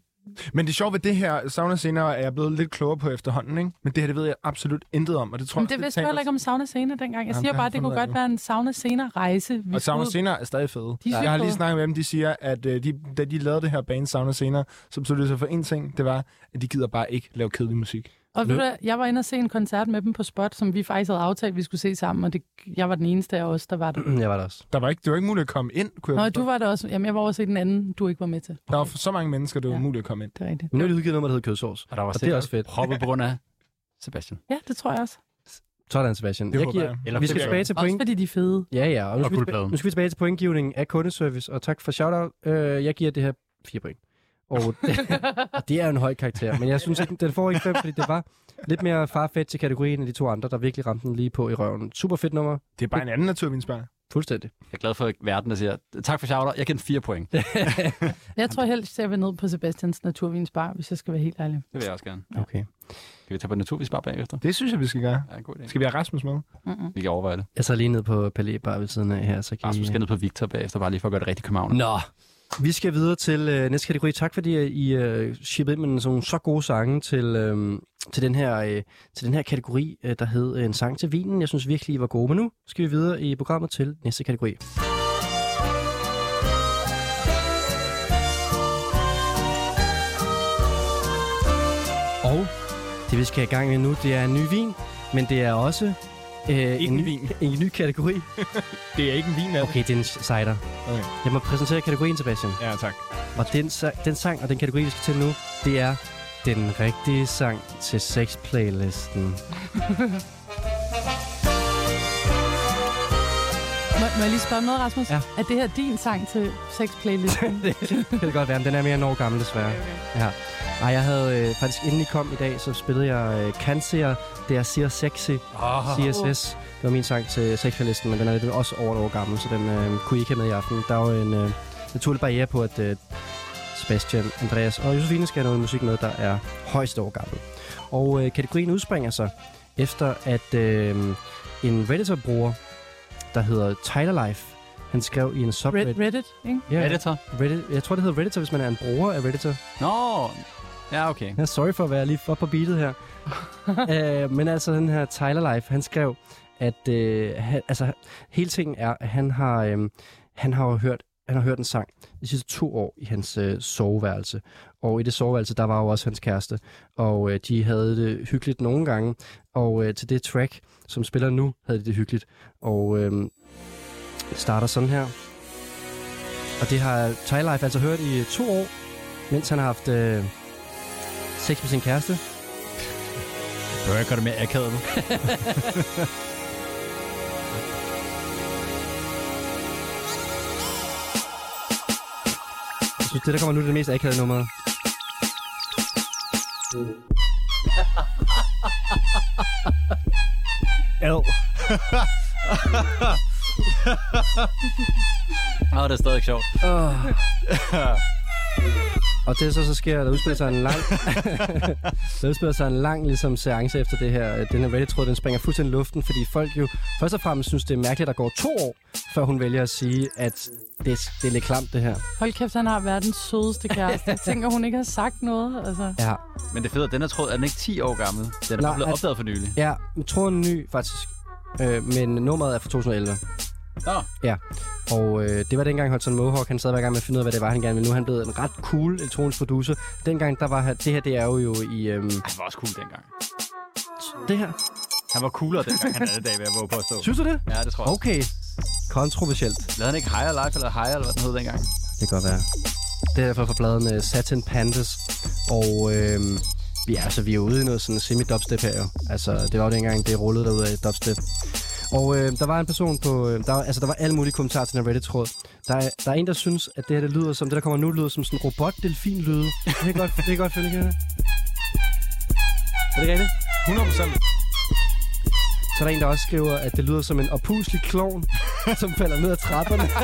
Speaker 5: Men det sjove ved det her, sauna senere, er jeg blevet lidt klogere på efterhånden, ikke? Men det her, det ved jeg absolut intet om, og det tror
Speaker 3: men
Speaker 5: jeg...
Speaker 3: det vidste jeg heller ikke om Sauna senere dengang. Jeg
Speaker 5: Jamen,
Speaker 3: siger
Speaker 5: det
Speaker 3: bare,
Speaker 5: har
Speaker 3: det
Speaker 5: jeg
Speaker 3: kunne
Speaker 5: fundet
Speaker 3: godt
Speaker 5: ud af
Speaker 3: være en Sauna senere rejse. Vi
Speaker 5: Og Sauna
Speaker 3: skulle-
Speaker 5: Senere er stadig fede.
Speaker 3: De er sygt
Speaker 5: jeg har lige
Speaker 3: fede.
Speaker 5: snakket med dem, de siger, at øh, de, da de lavede det her band Sauna Senere, så besluttede de sig for en ting, det var, at de gider bare ikke lave kedelig musik.
Speaker 3: Og ved du, hvad, jeg var inde og se en koncert med dem på Spot, som vi faktisk havde aftalt, at vi skulle se sammen, og det, jeg var den eneste af os, der var der.
Speaker 2: Jeg var der også.
Speaker 5: Der var ikke, det var ikke muligt at komme ind, kunne
Speaker 3: Nå,
Speaker 5: jeg
Speaker 3: du var der også. Jamen, jeg var over at se den anden, du ikke var med til.
Speaker 5: Der var så mange mennesker, det var
Speaker 3: Ja.
Speaker 5: umuligt at komme ind.
Speaker 3: Det er rigtigt.
Speaker 2: Men nu er det udgivet nummer, der hedder Kødsovs.
Speaker 4: Og der var
Speaker 2: Og det er
Speaker 4: sikkert
Speaker 2: også fedt.
Speaker 4: proppet på grund af Sebastian.
Speaker 3: Ja, det tror jeg også.
Speaker 2: Sådan, Sebastian.
Speaker 5: Det
Speaker 2: jeg
Speaker 5: håber
Speaker 2: giver,
Speaker 5: jeg.
Speaker 2: eller vi skal
Speaker 5: Det
Speaker 2: tilbage til
Speaker 3: Også
Speaker 2: point.
Speaker 3: fordi de er fede.
Speaker 2: Ja, ja. Og nu,
Speaker 4: Og
Speaker 2: skal vi, tilbage,
Speaker 4: guldpladen.
Speaker 2: nu skal vi tilbage til pointgivning af kundeservice, og tak for shoutout. Øh, jeg giver det her fire point. Og det, og det er jo en høj karakter, men jeg synes ikke, den får ikke fem, fordi det var lidt mere farfetch til kategorien end de to andre, der virkelig ramte den lige på i røven. Super fedt nummer.
Speaker 5: Det er bare en anden naturvinsbar.
Speaker 2: Fuldstændig.
Speaker 4: Jeg er glad for, at verden der siger, tak for shout Jeg kan fire point. Det
Speaker 3: Jeg tror helst, jeg vil ned på Sebastians Naturvinsbar, hvis jeg skal være helt ærlig.
Speaker 4: vil jeg også gerne.
Speaker 2: Okay.
Speaker 4: Kan vi tage på naturvis bare bagefter?
Speaker 5: Det synes jeg, vi skal gøre.
Speaker 4: Ja, en god idé.
Speaker 5: Skal vi have Rasmus med?
Speaker 4: Vi kan overveje det.
Speaker 2: Jeg tager lige ned på Palais bare ved siden af her, så kan
Speaker 4: Rasmus
Speaker 2: I...
Speaker 4: skal ned på Victor bagefter, bare lige for at gøre det rigtig københavn.
Speaker 2: Nå, vi skal videre til øh, næste kategori. Tak fordi øh, I øh, shippede ind med sådan nogle så gode sange til, øh, til, den her, øh, til den her kategori, øh, der hed øh, En sang til vinen. Jeg synes virkelig, I var gode. Men nu skal vi videre i programmet til næste kategori. Og det, vi skal i gang med nu, det er en ny vin, men det er også øh, en,
Speaker 5: en
Speaker 2: ny,
Speaker 5: vin.
Speaker 2: en ny kategori.
Speaker 5: Det er ikke en vin, er det?
Speaker 2: Okay, det er en cider.
Speaker 5: Okay.
Speaker 2: Jeg må præsentere kategorien, Sebastian.
Speaker 5: Ja, tak.
Speaker 2: Og den, sa- den sang og den kategori, vi skal til nu, det er den rigtige sang til sex-playlisten.
Speaker 3: Må, må jeg lige spørge om noget, Rasmus?
Speaker 2: Ja.
Speaker 3: Er det her din sang til sexplaylisten?
Speaker 2: Det kan det godt være, men den er mere end år gammel, desværre. Ja. Ej, jeg havde øh, faktisk, inden I kom i dag, så spillede jeg øh, Cancer, det er Siger Sexy, oh. CSS. Det var min sang til sexplaylisten, men den er lidt også over et år gammel, så den øh, kunne I ikke have med i aften. Der er jo en øh, naturlig barriere på, at øh, Sebastian, Andreas og Josefine skal have noget musik med, der er højst år gammel. Og øh, kategorien udspringer sig efter, at øh, en Redditor-bruger, der hedder Tyler Life, han skrev i en subreddit...
Speaker 3: Red, Reddit, ikke?
Speaker 2: Ja.
Speaker 4: Editor?
Speaker 2: Reddit, jeg tror, det hedder Redditor, hvis man er en bruger af Redditor.
Speaker 4: Nå, ja, okay.
Speaker 2: Jeg er sorry for at være lige for på beatet her. øh, men altså, den her Tyler Life, han skrev, at øh, han, altså, hele tingen er, at han har, øh, han har jo hørt han har hørt en sang de sidste to år i hans øh, soveværelse. Og i det soveværelse, der var jo også hans kæreste. Og øh, de havde det hyggeligt nogle gange. Og øh, til det track, som spiller nu, havde de det hyggeligt. Og øh, det starter sådan her. Og det har Tyler Life altså hørt i to år, mens han har haft... Øh, sex med sin kæreste.
Speaker 4: Prøv at gøre det mere akavet nu.
Speaker 2: Jeg synes, det der kommer nu, det er det mest akavede nummer. Ad.
Speaker 4: Nå, det er stadig sjovt.
Speaker 2: Og det så, så sker, der udspiller sig en lang... der udspiller sig en lang ligesom, seance efter det her. Den her Reddit-tråd, den springer fuldstændig i luften, fordi folk jo først og fremmest synes, det er mærkeligt, at der går to år, før hun vælger at sige, at det, det er lidt klamt, det her.
Speaker 3: Hold kæft, han har verdens sødeste kæreste. Jeg tænker, hun ikke har sagt noget. Altså.
Speaker 2: Ja,
Speaker 4: Men det fede er, den her tråd er den ikke 10 år gammel. Den er
Speaker 2: Nej,
Speaker 4: bare blevet
Speaker 2: at-
Speaker 4: opdaget for nylig.
Speaker 2: ja tråden er ny, faktisk. Øh, men nummeret er fra 2011.
Speaker 4: Nå,
Speaker 2: Ja, og øh, det var dengang Hudson Mohawk, han sad hver gang med at finde ud af, hvad det var, han gerne ville. Nu er han blevet en ret cool elektronisk producer. Dengang, der var han, det her, det er jo, jo i, øhm,
Speaker 4: han var også cool dengang.
Speaker 2: det her.
Speaker 4: Han var coolere dengang, han er i dag, vil jeg våge på at stå.
Speaker 2: Synes du det?
Speaker 4: Ja, det tror jeg.
Speaker 2: Okay, kontroversielt.
Speaker 4: Lavede han ikke Higher Life eller Higher, eller hvad den hed dengang?
Speaker 2: Det kan godt være. Det er derfor fra pladen uh, Satin Pandas. Og øh, vi, er, altså, vi er ude i noget sådan semi-dubstep her jo. Altså, det var jo dengang, det rullede derude af dubstep. Og øh, der var en person på... Øh, der, var- altså, der var alle mulige kommentarer til den her Reddit-tråd. Der er, der er en, der synes, at det her det lyder som... Det, der kommer nu, lyder som sådan robot-delfin-lyde. Det kan jeg godt, det kan jeg godt følge, kan jeg det? Er det rigtigt?
Speaker 5: 100 procent.
Speaker 2: Så er der en, der også skriver, at det lyder som en opuslig klovn, som falder ned ad trapperne.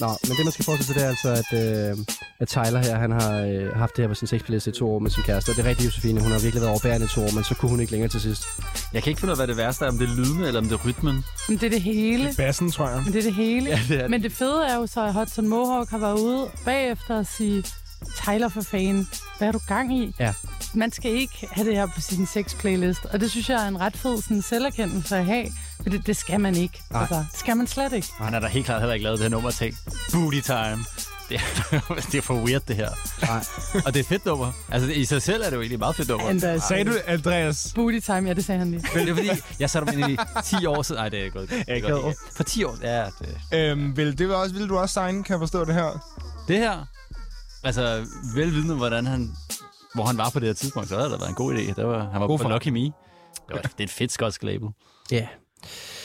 Speaker 2: Nå, men det man skal forestille sig, det er altså, at, øh, at Tyler her, han har øh, haft det her på sin sexplayliste i to år med sin kæreste. Og det er rigtigt, Josefine, hun har virkelig været overbærende i to år, men så kunne hun ikke længere til sidst.
Speaker 4: Jeg kan ikke finde ud af, hvad det værste er, om det er lydene eller om det er rytmen.
Speaker 3: Men det er det hele.
Speaker 5: Bassen, tror jeg.
Speaker 3: Men det er det hele. Ja,
Speaker 4: det er det.
Speaker 3: Men det fede er jo så, at Hudson Mohawk har været ude bagefter og sige, Tyler for fanden, hvad er du gang i?
Speaker 2: Ja.
Speaker 3: Man skal ikke have det her på sin sex-playlist. Og det synes jeg er en ret fed sådan, selverkendelse at have. For det, det skal man ikke.
Speaker 2: Nej.
Speaker 3: det skal man slet ikke.
Speaker 4: Og han har da helt klart heller ikke lavet det her nummer og tænkt, booty time. Det er, det er for weird, det her. Nej. Og det er et fedt nummer. Altså, i sig selv er det jo egentlig meget fedt nummer.
Speaker 3: And, uh,
Speaker 5: Sagde du, Andreas?
Speaker 3: Booty time, ja, det sagde han lige.
Speaker 4: Men det er fordi, jeg satte mig ind i 10 år siden. Nej, det er godt. Det er
Speaker 5: Ikke
Speaker 4: godt.
Speaker 5: over.
Speaker 4: For 10 år ja, det,
Speaker 5: Øhm, vil, det vil, også, vil du også signe, kan jeg forstå det her?
Speaker 4: det her. Altså, velvidende, hvordan han, hvor han var på det her tidspunkt, så havde det været en god idé. Det var, han var
Speaker 5: God
Speaker 4: god for
Speaker 5: for-
Speaker 4: Lucky Me. Det, var, det er et fedt skotsk label.
Speaker 2: Ja,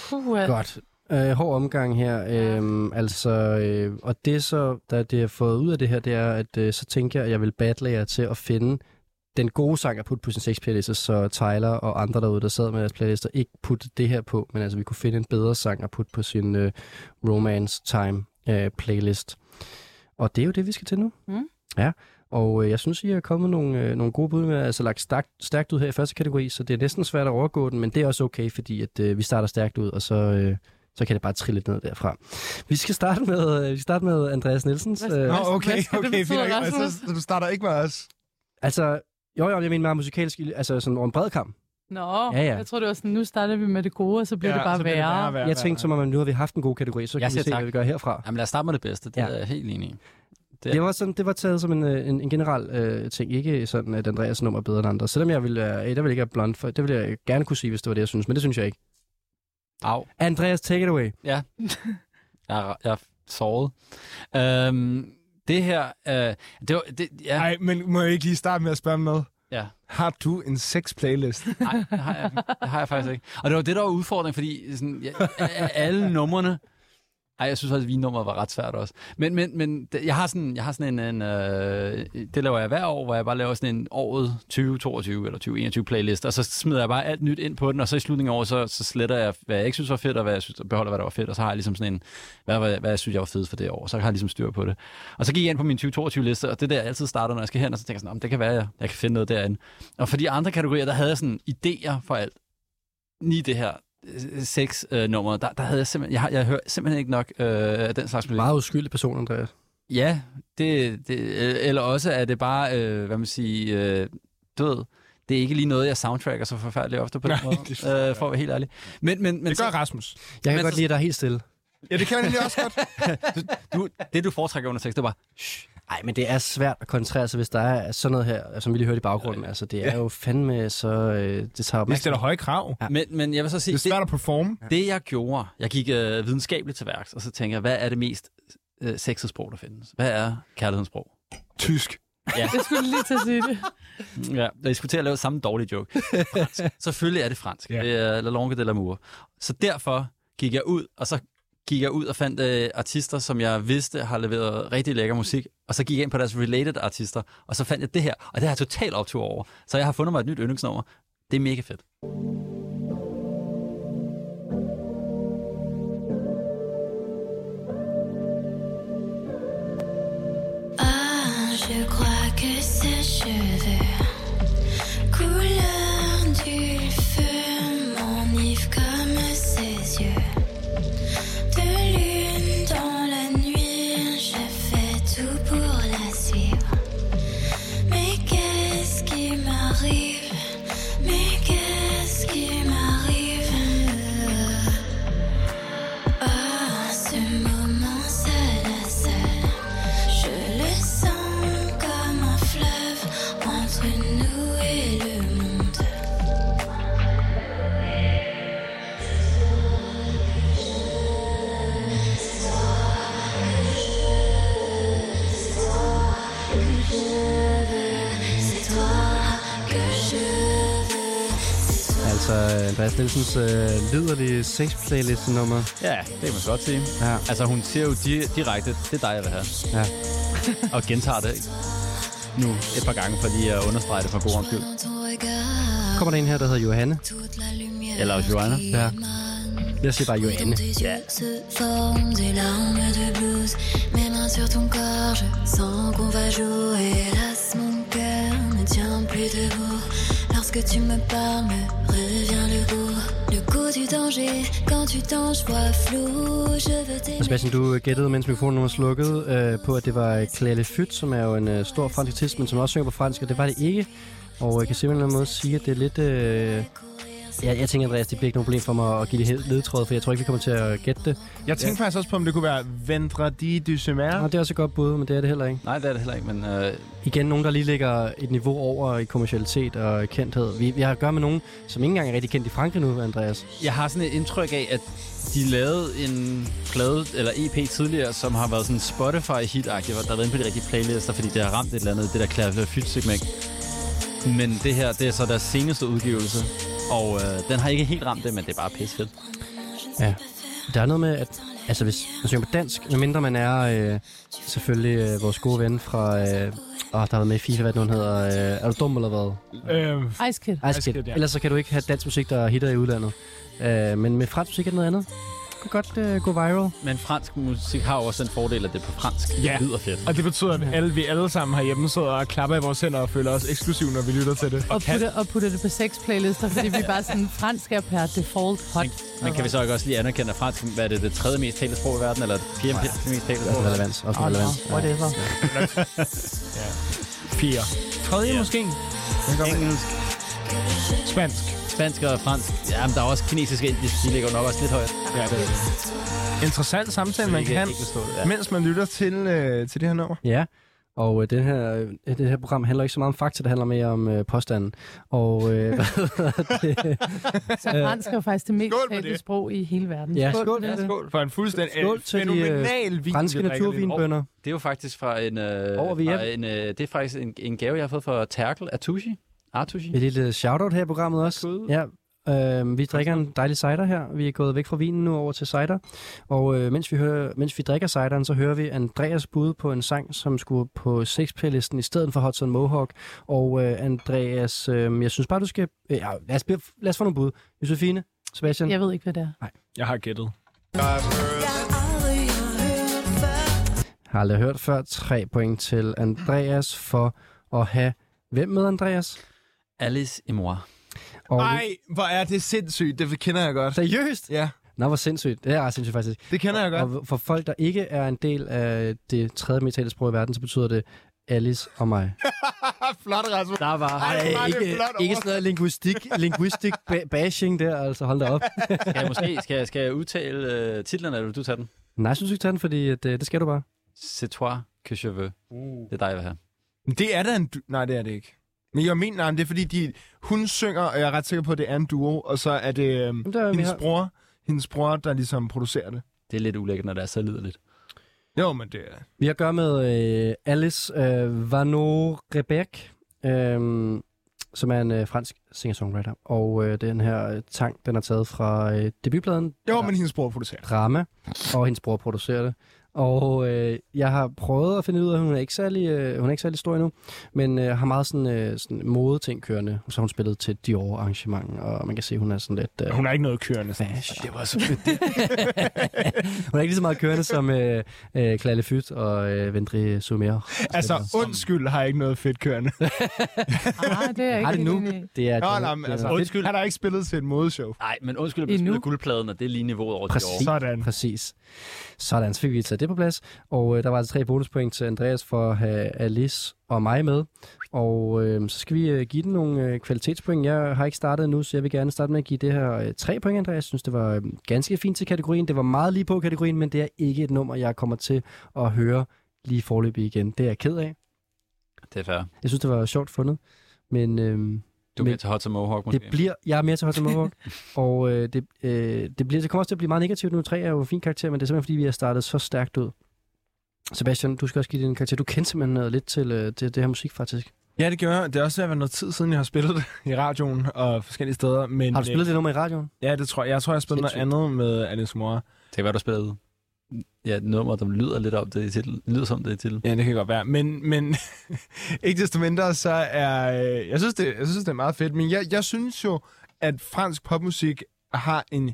Speaker 3: Puh, uh,
Speaker 2: godt. Øh, hård omgang her. Øhm, altså, øh, og det så, der det jeg har fået ud af det her, det er, at øh, så tænker jeg, at jeg vil battle jer til at finde den gode sang at putte på sin 6 playliste, så Tyler og andre derude, der sad med deres playlister, ikke putte det her på, men altså vi kunne finde en bedre sang at putte på sin øh, Romance Time øh, playlist. Og det er jo det, vi skal til nu.
Speaker 3: Mm.
Speaker 2: Ja, og øh, jeg synes, I har kommet nogle, øh, nogle gode bud med, altså lagt stærkt, stærkt ud her i første kategori, så det er næsten svært at overgå den, men det er også okay, fordi at, øh, vi starter stærkt ud, og så, øh, så kan det bare trille lidt ned derfra. Vi skal starte med, øh, vi starter med Andreas Nielsens.
Speaker 3: Hvad-
Speaker 2: Øh,
Speaker 5: Nå,
Speaker 3: Hvad-
Speaker 5: okay,
Speaker 3: hvad skal det
Speaker 5: okay.
Speaker 3: betyde,
Speaker 5: fint nok.
Speaker 3: Rasmus?
Speaker 5: Altså, så du starter ikke med os.
Speaker 2: altså, jo, jo, jeg mener meget musikalsk, altså sådan over en bred kamp.
Speaker 3: Nå,
Speaker 2: Ja,
Speaker 3: ja,
Speaker 2: ja.
Speaker 3: ja. jeg tror det var sådan, nu starter vi med det gode, og så bliver ja, det bare
Speaker 5: så
Speaker 3: værre.
Speaker 5: bliver
Speaker 3: værre.
Speaker 2: Jeg tænkte som om, at nu har vi haft en god kategori, så
Speaker 4: Jeg
Speaker 2: kan vi
Speaker 4: siger
Speaker 2: se,
Speaker 4: tak.
Speaker 2: hvad vi gør herfra.
Speaker 4: Jamen, lad os starte med det bedste. Det
Speaker 2: Ja.
Speaker 4: ja. er jeg helt enig i. Ja.
Speaker 2: Det var, sådan, det var taget som en, øh, en, en generel øh, ting, ikke sådan, at Andreas nummer er bedre end andre. Selvom jeg ville, øh, der ville ikke være blond, for det ville jeg gerne kunne sige, hvis det var det, jeg synes, men det synes jeg ikke.
Speaker 4: Au.
Speaker 2: Andreas, take it away.
Speaker 4: Ja. Jeg er, jeg er såret. Øhm, det her... Øh, det var, det, ja,
Speaker 5: Nej, men må jeg ikke lige starte med at spørge med?
Speaker 4: ja.
Speaker 5: Har du en sex-playlist?
Speaker 4: Nej, det har, jeg, det har jeg faktisk ikke. Og det var det, der var udfordringen, fordi sådan, jeg, af alle numrene... Ej, jeg synes faktisk, at vinnummeret var ret svært også. Men, men, men det- jeg har sådan, jeg har sådan en... en øh, det laver jeg hver år, hvor jeg bare laver sådan en året 2022 eller 2021 playlist, og så smider jeg bare alt nyt ind på den, og så i slutningen af året, så, så sletter jeg, hvad jeg ikke synes var fedt, og hvad jeg synes, og beholder, hvad der var fedt, og så har jeg ligesom sådan en, hvad, hvad, hvad jeg synes, jeg var fed for det år, så har jeg ligesom styr på det. Og så gik jeg ind på min 2022-liste, og det er der, jeg altid starter, når jeg skal hen, og så tænker jeg sådan, "Nå, men det kan være, jeg, jeg kan finde noget derinde. Og for de andre kategorier, der havde jeg sådan idéer for alt. Lige det her øh, seks øh, nummer, der, der havde jeg simpelthen, jeg, har- jeg hører simpelthen ikke nok øh, af den slags musik.
Speaker 2: Meget uskyldig person, Andreas.
Speaker 4: Ja, det, det, øh, eller også er det bare, øh, hvad man siger, øh, du ved, det er ikke lige noget, jeg soundtracker så forfærdeligt ofte på den
Speaker 5: Nej,
Speaker 4: måde,
Speaker 5: det forstår
Speaker 4: øh, for at være helt ærlig. Men, men, men
Speaker 5: Det
Speaker 4: så-
Speaker 5: gør Rasmus.
Speaker 2: Jeg kan
Speaker 4: Men
Speaker 2: godt
Speaker 4: så-
Speaker 2: lide, at der er helt stille.
Speaker 5: Ja, det kan jeg nemlig også godt.
Speaker 4: du, det, du foretrækker under tekst, det er bare, shh,
Speaker 2: Nej, men det er svært at koncentrere sig, hvis der er sådan noget her, som vi lige hørte i baggrunden. Altså, det er jo fandme så... Øh, det tager
Speaker 5: Vi stiller
Speaker 2: opmærksomhed.
Speaker 5: høje krav.
Speaker 4: ja. men, men jeg vil så sige,
Speaker 5: Det er svært at performe.
Speaker 4: Det jeg gjorde, jeg gik øh, videnskabeligt til værks, og så tænker jeg, hvad er det mest øh, sexede sprog, der findes? Hvad er kærlighedens sprog?
Speaker 5: Tysk.
Speaker 3: Jeg skulle lige til at sige det.
Speaker 4: Ja, jeg skulle til at lave samme dårlige joke. Fransk. Selvfølgelig er det fransk.
Speaker 5: Ja.
Speaker 4: Yeah. Det er La Longue de l'amour. Så derfor gik jeg ud, og så gik jeg ud og fandt øh, artister, som jeg vidste har leveret rigtig lækker musik, og så gik jeg ind på deres related artister, og så fandt jeg det her, og det har jeg totalt optur over. Så jeg har fundet mig et nyt yndlingsnummer. Det er mega fedt.
Speaker 8: Ah, je crois que ses cheveux, couleur du feu, m'enivre comme ses yeux. De lune dans la nuit, je fais tout pour la suivre. Mais qu'est-ce qui m'arrive? Mais qu'est-ce qui m'arrive? Ah, ce moment seul à seul, je le sens comme un fleuve entre nous et le monde. C'est toi que je veux, c'est toi.
Speaker 2: Altså, Andreas Nielsens øh, lyderlige sex-playliste-nummer.
Speaker 4: Ja, det kan man godt sige.
Speaker 2: Ja.
Speaker 4: Altså, hun siger jo di- direkte, det er dig, jeg vil have.
Speaker 2: Ja.
Speaker 4: og gentager det ikke? nu et par gange, for lige at understrege det for god ordens skyld.
Speaker 8: Dans ton regard,
Speaker 2: Kommer der en her, der hedder Johanne?
Speaker 8: toute la lumière
Speaker 4: Eller Joanna.
Speaker 8: qui
Speaker 2: Ja.
Speaker 8: émane.
Speaker 2: Jeg siger bare Johanne.
Speaker 8: Dans tes yeux se forment des larmes de blouse. Mes mains sur ton corps, je sens qu'on va jouer. Hélas, mon cœur ne tient plus debout. Lorsque tu me parles, me revient le goût. Le goût du danger, quand tu t'en, je vois flou. Je veux
Speaker 2: Og
Speaker 8: t'aimer.
Speaker 2: Sebastian, du gættede, mens mikrofonen var slukket, øh, på, at det var Claire Lefüt, som er jo en øh, stor fransk artist, men som også synger på fransk, og det var det ikke. Og jeg kan simpelthen måde sige, at det er lidt øh, Jeg, jeg tænker, Andreas, det bliver ikke noget problem for mig at give det helt ledtråd, for jeg tror ikke, vi kommer til at gætte det.
Speaker 5: Jeg tænkte faktisk også på, om det kunne være Vendradi du
Speaker 2: Ja.
Speaker 5: Semer.
Speaker 2: Nå, det er også et godt bud, men det er det heller ikke.
Speaker 4: Nej, det er det heller ikke, men øh,
Speaker 2: Igen, nogen, der lige ligger et niveau over i kommercialitet og kendthed. Vi, vi har at gøre med nogen, som ikke engang er rigtig kendt i Frankrig nu, Andreas.
Speaker 4: jeg har sådan et indtryk af, at de lavede en plade eller EP tidligere, som har været sådan Spotify-hit-agtig, hvor der har været inde på de rigtige playlister, fordi det har ramt et eller andet, det der klavefytsegment. Men det her, det er så deres seneste udgivelse, og øh, den har ikke helt ramt det, men det er bare pissefedt.
Speaker 2: Ja. Der er noget med, at altså, hvis man synger på dansk, medmindre man er øh, selvfølgelig øh, vores gode ven fra... Øh, åh, der har været med i FIFA, hvad den nu hedder. Øh, er du dum eller hvad?
Speaker 5: Øh,
Speaker 3: Ice Kid.
Speaker 2: Ice Kid.
Speaker 5: Kid, ja.
Speaker 2: Ellers så kan du ikke have dansk musik, der er hitter i udlandet. Øh, men med fransk musik er det noget andet. Det kunne godt øh, gå viral.
Speaker 4: Men fransk musik har jo også den fordel, at det er på fransk.
Speaker 5: Ja.
Speaker 4: Det lyder fedt.
Speaker 5: og det betyder, at alle, vi alle sammen herhjemme sidder og klapper i vores hænder og føler os eksklusive, når vi lytter til det.
Speaker 3: Og putte, og putte det på seks playlister, fordi vi er bare sådan, fransk er per default hot.
Speaker 4: Men kan vi så ikke også lige anerkende, at fransk hvad er det, det tredje mest talte sprog i verden, eller det fjerde mest talte
Speaker 2: Også
Speaker 4: sprog i
Speaker 2: med
Speaker 4: verden?
Speaker 2: relevans. Også med
Speaker 3: Oh, no,
Speaker 2: relevans. Ja.
Speaker 3: whatever.
Speaker 5: Fire. Tredje yeah. måske.
Speaker 4: Engelsk,
Speaker 5: Spansk.
Speaker 4: spansk og fransk. Jamen, der er også kinesisk og indisk, de ligger jo nok også lidt højt.
Speaker 5: Ja, det er det. Interessant samtale, man
Speaker 4: Ikke-
Speaker 5: kan have,
Speaker 4: ikke forstå det, ja.
Speaker 5: mens man lytter til, øh, til det her nummer.
Speaker 2: Ja, og øh, det, her, øh, det her program handler ikke så meget om fakta, det handler mere om øh, påstanden. Og øh, hvad hedder det?
Speaker 3: Så fransk er jo faktisk det mest
Speaker 5: Skål for
Speaker 3: talte
Speaker 5: det.
Speaker 3: sprog i hele verden.
Speaker 2: Ja,
Speaker 3: Skål.
Speaker 2: skål, ja, skål.
Speaker 5: Skål for en fuldstændig
Speaker 2: Skål til de, øh,
Speaker 5: fænomenal vin, vi
Speaker 2: Franske
Speaker 5: drikker lige nu.
Speaker 2: naturvinbønder.
Speaker 4: Det er jo faktisk fra en... Øh,
Speaker 2: Over ved
Speaker 4: fra en
Speaker 2: hjem.
Speaker 4: øh, det er faktisk en, en gave, jeg har fået fra Terkel Atushi. Atushi.
Speaker 2: Et lille shout-out her i programmet også.
Speaker 4: Skud.
Speaker 2: Ja, øh, vi drikker en dejlig cider her. Vi er gået væk fra vinen nu over til cider. Og øh, mens, vi hører, mens vi drikker cideren, så hører vi Andreas bud på en sang, som skulle på 6 listen i stedet for Hudson Mohawk. Og øh, Andreas, øh, jeg synes bare, du skal... Øh, ja, lad, os, blive- lad os få nogle bud. Josefine, Sebastian.
Speaker 3: Jeg ved ikke, hvad det er.
Speaker 5: Jeg har gættet.
Speaker 2: Har aldrig hørt før. Tre point til Andreas for at have... Hvem med, Andreas?
Speaker 4: Alice et moi.
Speaker 2: Og
Speaker 5: Nej, hvor er det sindssygt. Det kender jeg godt.
Speaker 2: Seriøst?
Speaker 5: Ja,
Speaker 2: Nå, hvor sindssygt. Det er ret sindssygt, faktisk.
Speaker 5: det kender jeg godt.
Speaker 2: Og for folk, der ikke er en del af det tredje mest talte sprog i verden, så betyder det Alice og mig.
Speaker 5: Flot, Rasmus.
Speaker 2: Der var
Speaker 5: Ej, hvor er det
Speaker 2: ikke,
Speaker 5: flot
Speaker 2: ikke sådan noget linguistik, linguistik ba- bashing der, altså hold da op.
Speaker 4: Skal jeg måske skal jeg, skal jeg udtale øh, titlerne, eller vil du tage den?
Speaker 2: Nej, jeg synes ikke, tage den, fordi at, øh, det skal du bare.
Speaker 4: C'est toi que je veux. Det er dig, jeg vil have.
Speaker 5: Det er da en... Du- nej, det er det ikke. Men jeg mener, nej, men det er fordi, de, hun synger, og jeg er ret sikker på, at det er en duo, og så er det øhm,
Speaker 2: Jamen, der, er vi
Speaker 5: hendes,
Speaker 2: har...
Speaker 5: bror, hendes bror, der ligesom producerer det.
Speaker 4: Det er lidt ulækkert, når det er så liderligt.
Speaker 5: Jo, men det er...
Speaker 2: Vi har at gøre med øh, Alice øh, Vano Rebek, øh, som er en øh, fransk singer-songwriter. Og øh, den her øh, tang, den er taget fra øh, debutpladen
Speaker 5: Jo,
Speaker 2: Ja.
Speaker 5: ja. men hendes bror producerer det.
Speaker 2: Rama, og hendes bror producerer det. Og øh, jeg har prøvet at finde ud af, at hun er ikke særlig, øh, hun er ikke særlig stor endnu, men øh, har meget sådan, øh, sådan modeting kørende. Så har hun spillet til Dior-arrangement, og man kan se, at hun er sådan lidt... Øh,
Speaker 5: Hun har ikke noget kørende. Sådan.
Speaker 2: Fashion. Det var så fedt. hun er ikke lige så meget kørende som øh, øh, Claire Lefyt og øh, Vendry Sumer.
Speaker 5: Altså, undskyld har ikke noget fedt kørende.
Speaker 3: Nej, det er jeg
Speaker 2: Har
Speaker 3: ikke
Speaker 2: det nu?
Speaker 3: helt enig i.
Speaker 2: Det er,
Speaker 5: Nå,
Speaker 2: det,
Speaker 5: nej, men altså, undskyld. Han har ikke spillet til et modeshow.
Speaker 4: Nej, men undskyld, at blive
Speaker 3: Endnu.
Speaker 4: spillet guldpladen, og det er lige niveauet over
Speaker 2: Præcis.
Speaker 4: de år.
Speaker 5: Sådan.
Speaker 2: Præcis. Sådan, så fik vi taget det på plads. Og øh, der var altså tre bonuspoint til Andreas for at have Alice og mig med. Og øh, så skal vi øh, give den nogle øh, kvalitetspoint. Jeg har ikke startet endnu, så jeg vil gerne starte med at give det her øh, tre point, Andreas. Jeg synes, det var øh, ganske fint til kategorien. Det var meget lige på kategorien, men det er ikke et nummer, jeg kommer til at høre lige forløbig igen. Det er jeg ked af.
Speaker 4: Det er fair.
Speaker 2: Jeg synes, det var sjovt fundet. Men øh,
Speaker 4: Du
Speaker 2: Men-
Speaker 4: kan tage Hot som Mohawk, måske.
Speaker 2: det bliver, jeg er mere til Holstein Mohawk, og øh, det, øh, det, bliver, det kommer også til at blive meget negativt nu. 3 er jo en fin karakter, men det er simpelthen, fordi vi har startet så stærkt ud. Sebastian, du skal også give din karakter. Du kendte simpelthen noget lidt til, øh, til det her musik, faktisk.
Speaker 5: Ja, det gør jeg. Det er også ved at være noget tid siden, jeg har spillet det i radioen og forskellige steder. Men,
Speaker 2: Har du spillet det nummer i radioen?
Speaker 5: Øh, ja, det tror jeg. Jeg tror, jeg har spillet noget andet med Alice Mora.
Speaker 4: Det kan være, du spillede ja, et nummer, der lyder lidt om det i titlen. Lyder som det i titlen.
Speaker 5: Ja, det kan godt være. Men, men ikke desto mindre, så er... øh, Jeg synes, det, jeg synes, det er meget fedt. Men jeg, jeg synes jo, at fransk popmusik har en...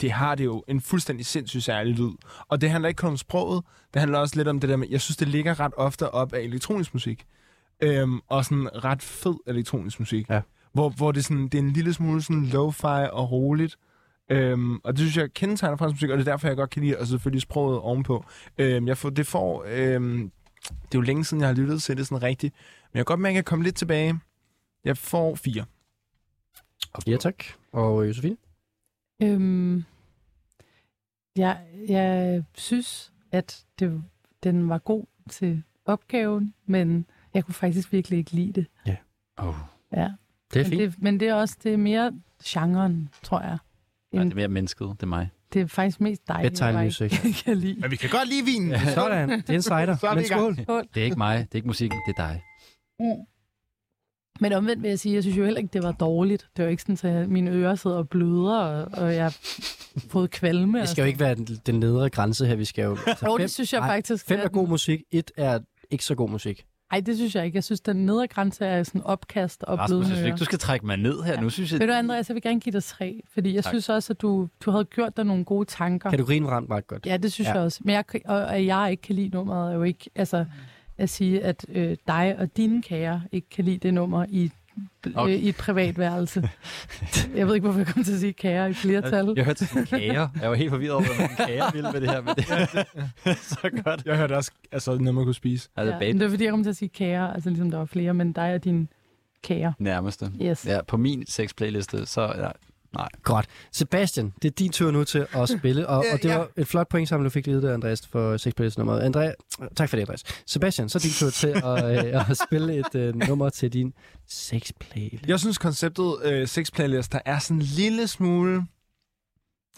Speaker 5: Det har det jo. En fuldstændig sindssygt særlig lyd. Og det handler ikke kun om sproget. Det handler også lidt om det der med... Jeg synes, det ligger ret ofte op af elektronisk musik. Øhm, og sådan ret fed elektronisk musik.
Speaker 2: Ja.
Speaker 5: Hvor, hvor det, er sådan, det er en lille smule sådan lo-fi og roligt. Øhm, og det synes jeg kendetegner fransk musik, og det er derfor, jeg godt kan lide det, og selvfølgelig sproget ovenpå. Øhm, jeg får, det får... Øhm, det er jo længe siden, jeg har lyttet til det sådan rigtigt. Men jeg kan godt mærke, at jeg kommer lidt tilbage. Jeg får fire.
Speaker 2: Ja, tak. Og øh, Josefine?
Speaker 3: Øhm, jeg, jeg synes, at det, den var god til opgaven, men jeg kunne faktisk virkelig ikke lide det.
Speaker 4: Oh.
Speaker 3: Ja.
Speaker 2: Det er
Speaker 3: men,
Speaker 2: fint.
Speaker 3: det men det er også det er mere genren, tror jeg.
Speaker 4: Nej, det er mere mennesket, det er mig.
Speaker 3: Det er faktisk mest dig,
Speaker 2: Bedtime
Speaker 3: jeg
Speaker 2: music.
Speaker 3: ikke kan lide.
Speaker 5: Men vi kan godt lide vinen.
Speaker 2: Sådan, det er insider.
Speaker 5: Så er vi
Speaker 2: Men
Speaker 5: i gang.
Speaker 2: skål.
Speaker 4: Det er ikke mig, det er ikke musikken, det er dig.
Speaker 3: Mm. Men omvendt vil jeg sige, jeg synes jo heller ikke, det var dårligt. Det var ikke sådan, at jeg- mine ører sidder og bløder, og, og jeg har fået kvalme.
Speaker 2: Det
Speaker 3: og
Speaker 2: skal jo ikke være den, den nedre grænse her. Vi skal jo... Altså,
Speaker 3: sådan. altså- Jo, det synes jeg
Speaker 2: ej,
Speaker 3: faktisk.
Speaker 2: Fem er
Speaker 3: at-
Speaker 2: god musik, et er ikke så god musik.
Speaker 3: Nej, det synes jeg ikke. Jeg synes, den nedre grænse er sådan opkast og
Speaker 4: Rasmus, jeg
Speaker 3: blødende
Speaker 4: synes
Speaker 3: ører.
Speaker 4: ikke, du skal trække mig ned her. Nu synes jeg,
Speaker 3: Ved du, Andreas, jeg vil gerne give dig tre, fordi jeg
Speaker 4: Tak.
Speaker 3: tak. synes også, at du, du havde gjort dig nogle gode tanker.
Speaker 2: Kategorien ramte meget godt.
Speaker 3: Ja, det synes
Speaker 2: Ja.
Speaker 3: ja. jeg også. Men jeg, kan- og, og jeg ikke kan lide nummeret, er jo ikke... Altså,
Speaker 4: Mm.
Speaker 3: at sige, at øh, dig og dine kære ikke kan lide det nummer i, okay.
Speaker 4: Okay.
Speaker 3: øh, i et privat værelse. jeg ved ikke, hvorfor jeg kom til at sige kære i flertal.
Speaker 4: Jeg hørte sådan kager. Jeg var helt forvirret over, hvordan kager ville med det her. Men det er så godt.
Speaker 5: Jeg hørte også, altså noget, man kunne spise.
Speaker 4: Altså,
Speaker 3: ja,
Speaker 4: bag
Speaker 3: men det var, fordi jeg kom til at sige kære, altså ligesom der var flere, men dig og dine kære.
Speaker 4: nærmeste.
Speaker 3: Yes.
Speaker 4: Ja, på min sex playliste, så ja,
Speaker 2: Godt. Sebastian, det er din tur nu til at spille, og,
Speaker 5: Ja,
Speaker 2: og det
Speaker 5: ja.
Speaker 2: var et flot point, som du fik lige der, Andreas, for sexplaylist-nummeret. Andreas, tak for det, Andreas. Sebastian, så er din tur til at, øh, at spille et øh, nummer til din sexplaylist.
Speaker 5: Jeg synes, konceptet øh, Six Playlist, der er sådan en lille smule...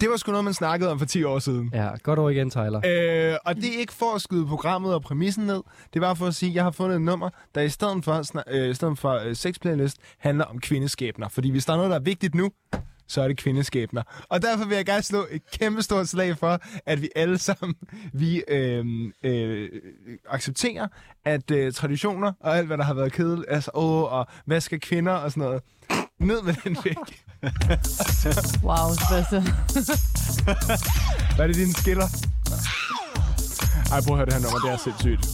Speaker 5: Det var sgu noget, man snakkede om for 10 år siden.
Speaker 2: Ja, godt over igen, Tyler.
Speaker 5: Øh, og det er ikke for at skyde programmet og præmissen ned. Det er bare for at sige, at jeg har fundet et nummer, der i stedet for, sna- øh, i stedet for øh, Six Playlist handler om kvindeskæbner. Fordi hvis der er noget, der er vigtigt nu, så er det kvindeskæbner. Og derfor vil jeg gerne slå et kæmpe stort slag for, at vi alle sammen vi, øh, øh, accepterer, at øh, traditioner og alt, hvad der har været kedeligt, altså åh, og hvad skal kvinder og sådan noget, ned med den væk.
Speaker 3: Wow, Sebastian.
Speaker 5: Hvad er det, dine skiller? Ej, prøv at høre det her nummer, det er sindssygt.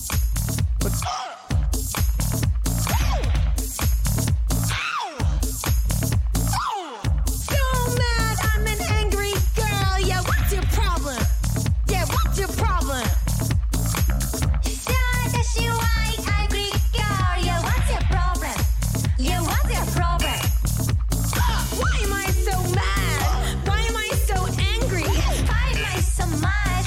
Speaker 8: So mad, I'm an angry girl. Yeah, what's your problem? Yeah, what's your problem? She white angry girl. Yeah, what's your problem? Yeah, what's your problem? Why am I so mad? Why am I so angry? Why am I so mad?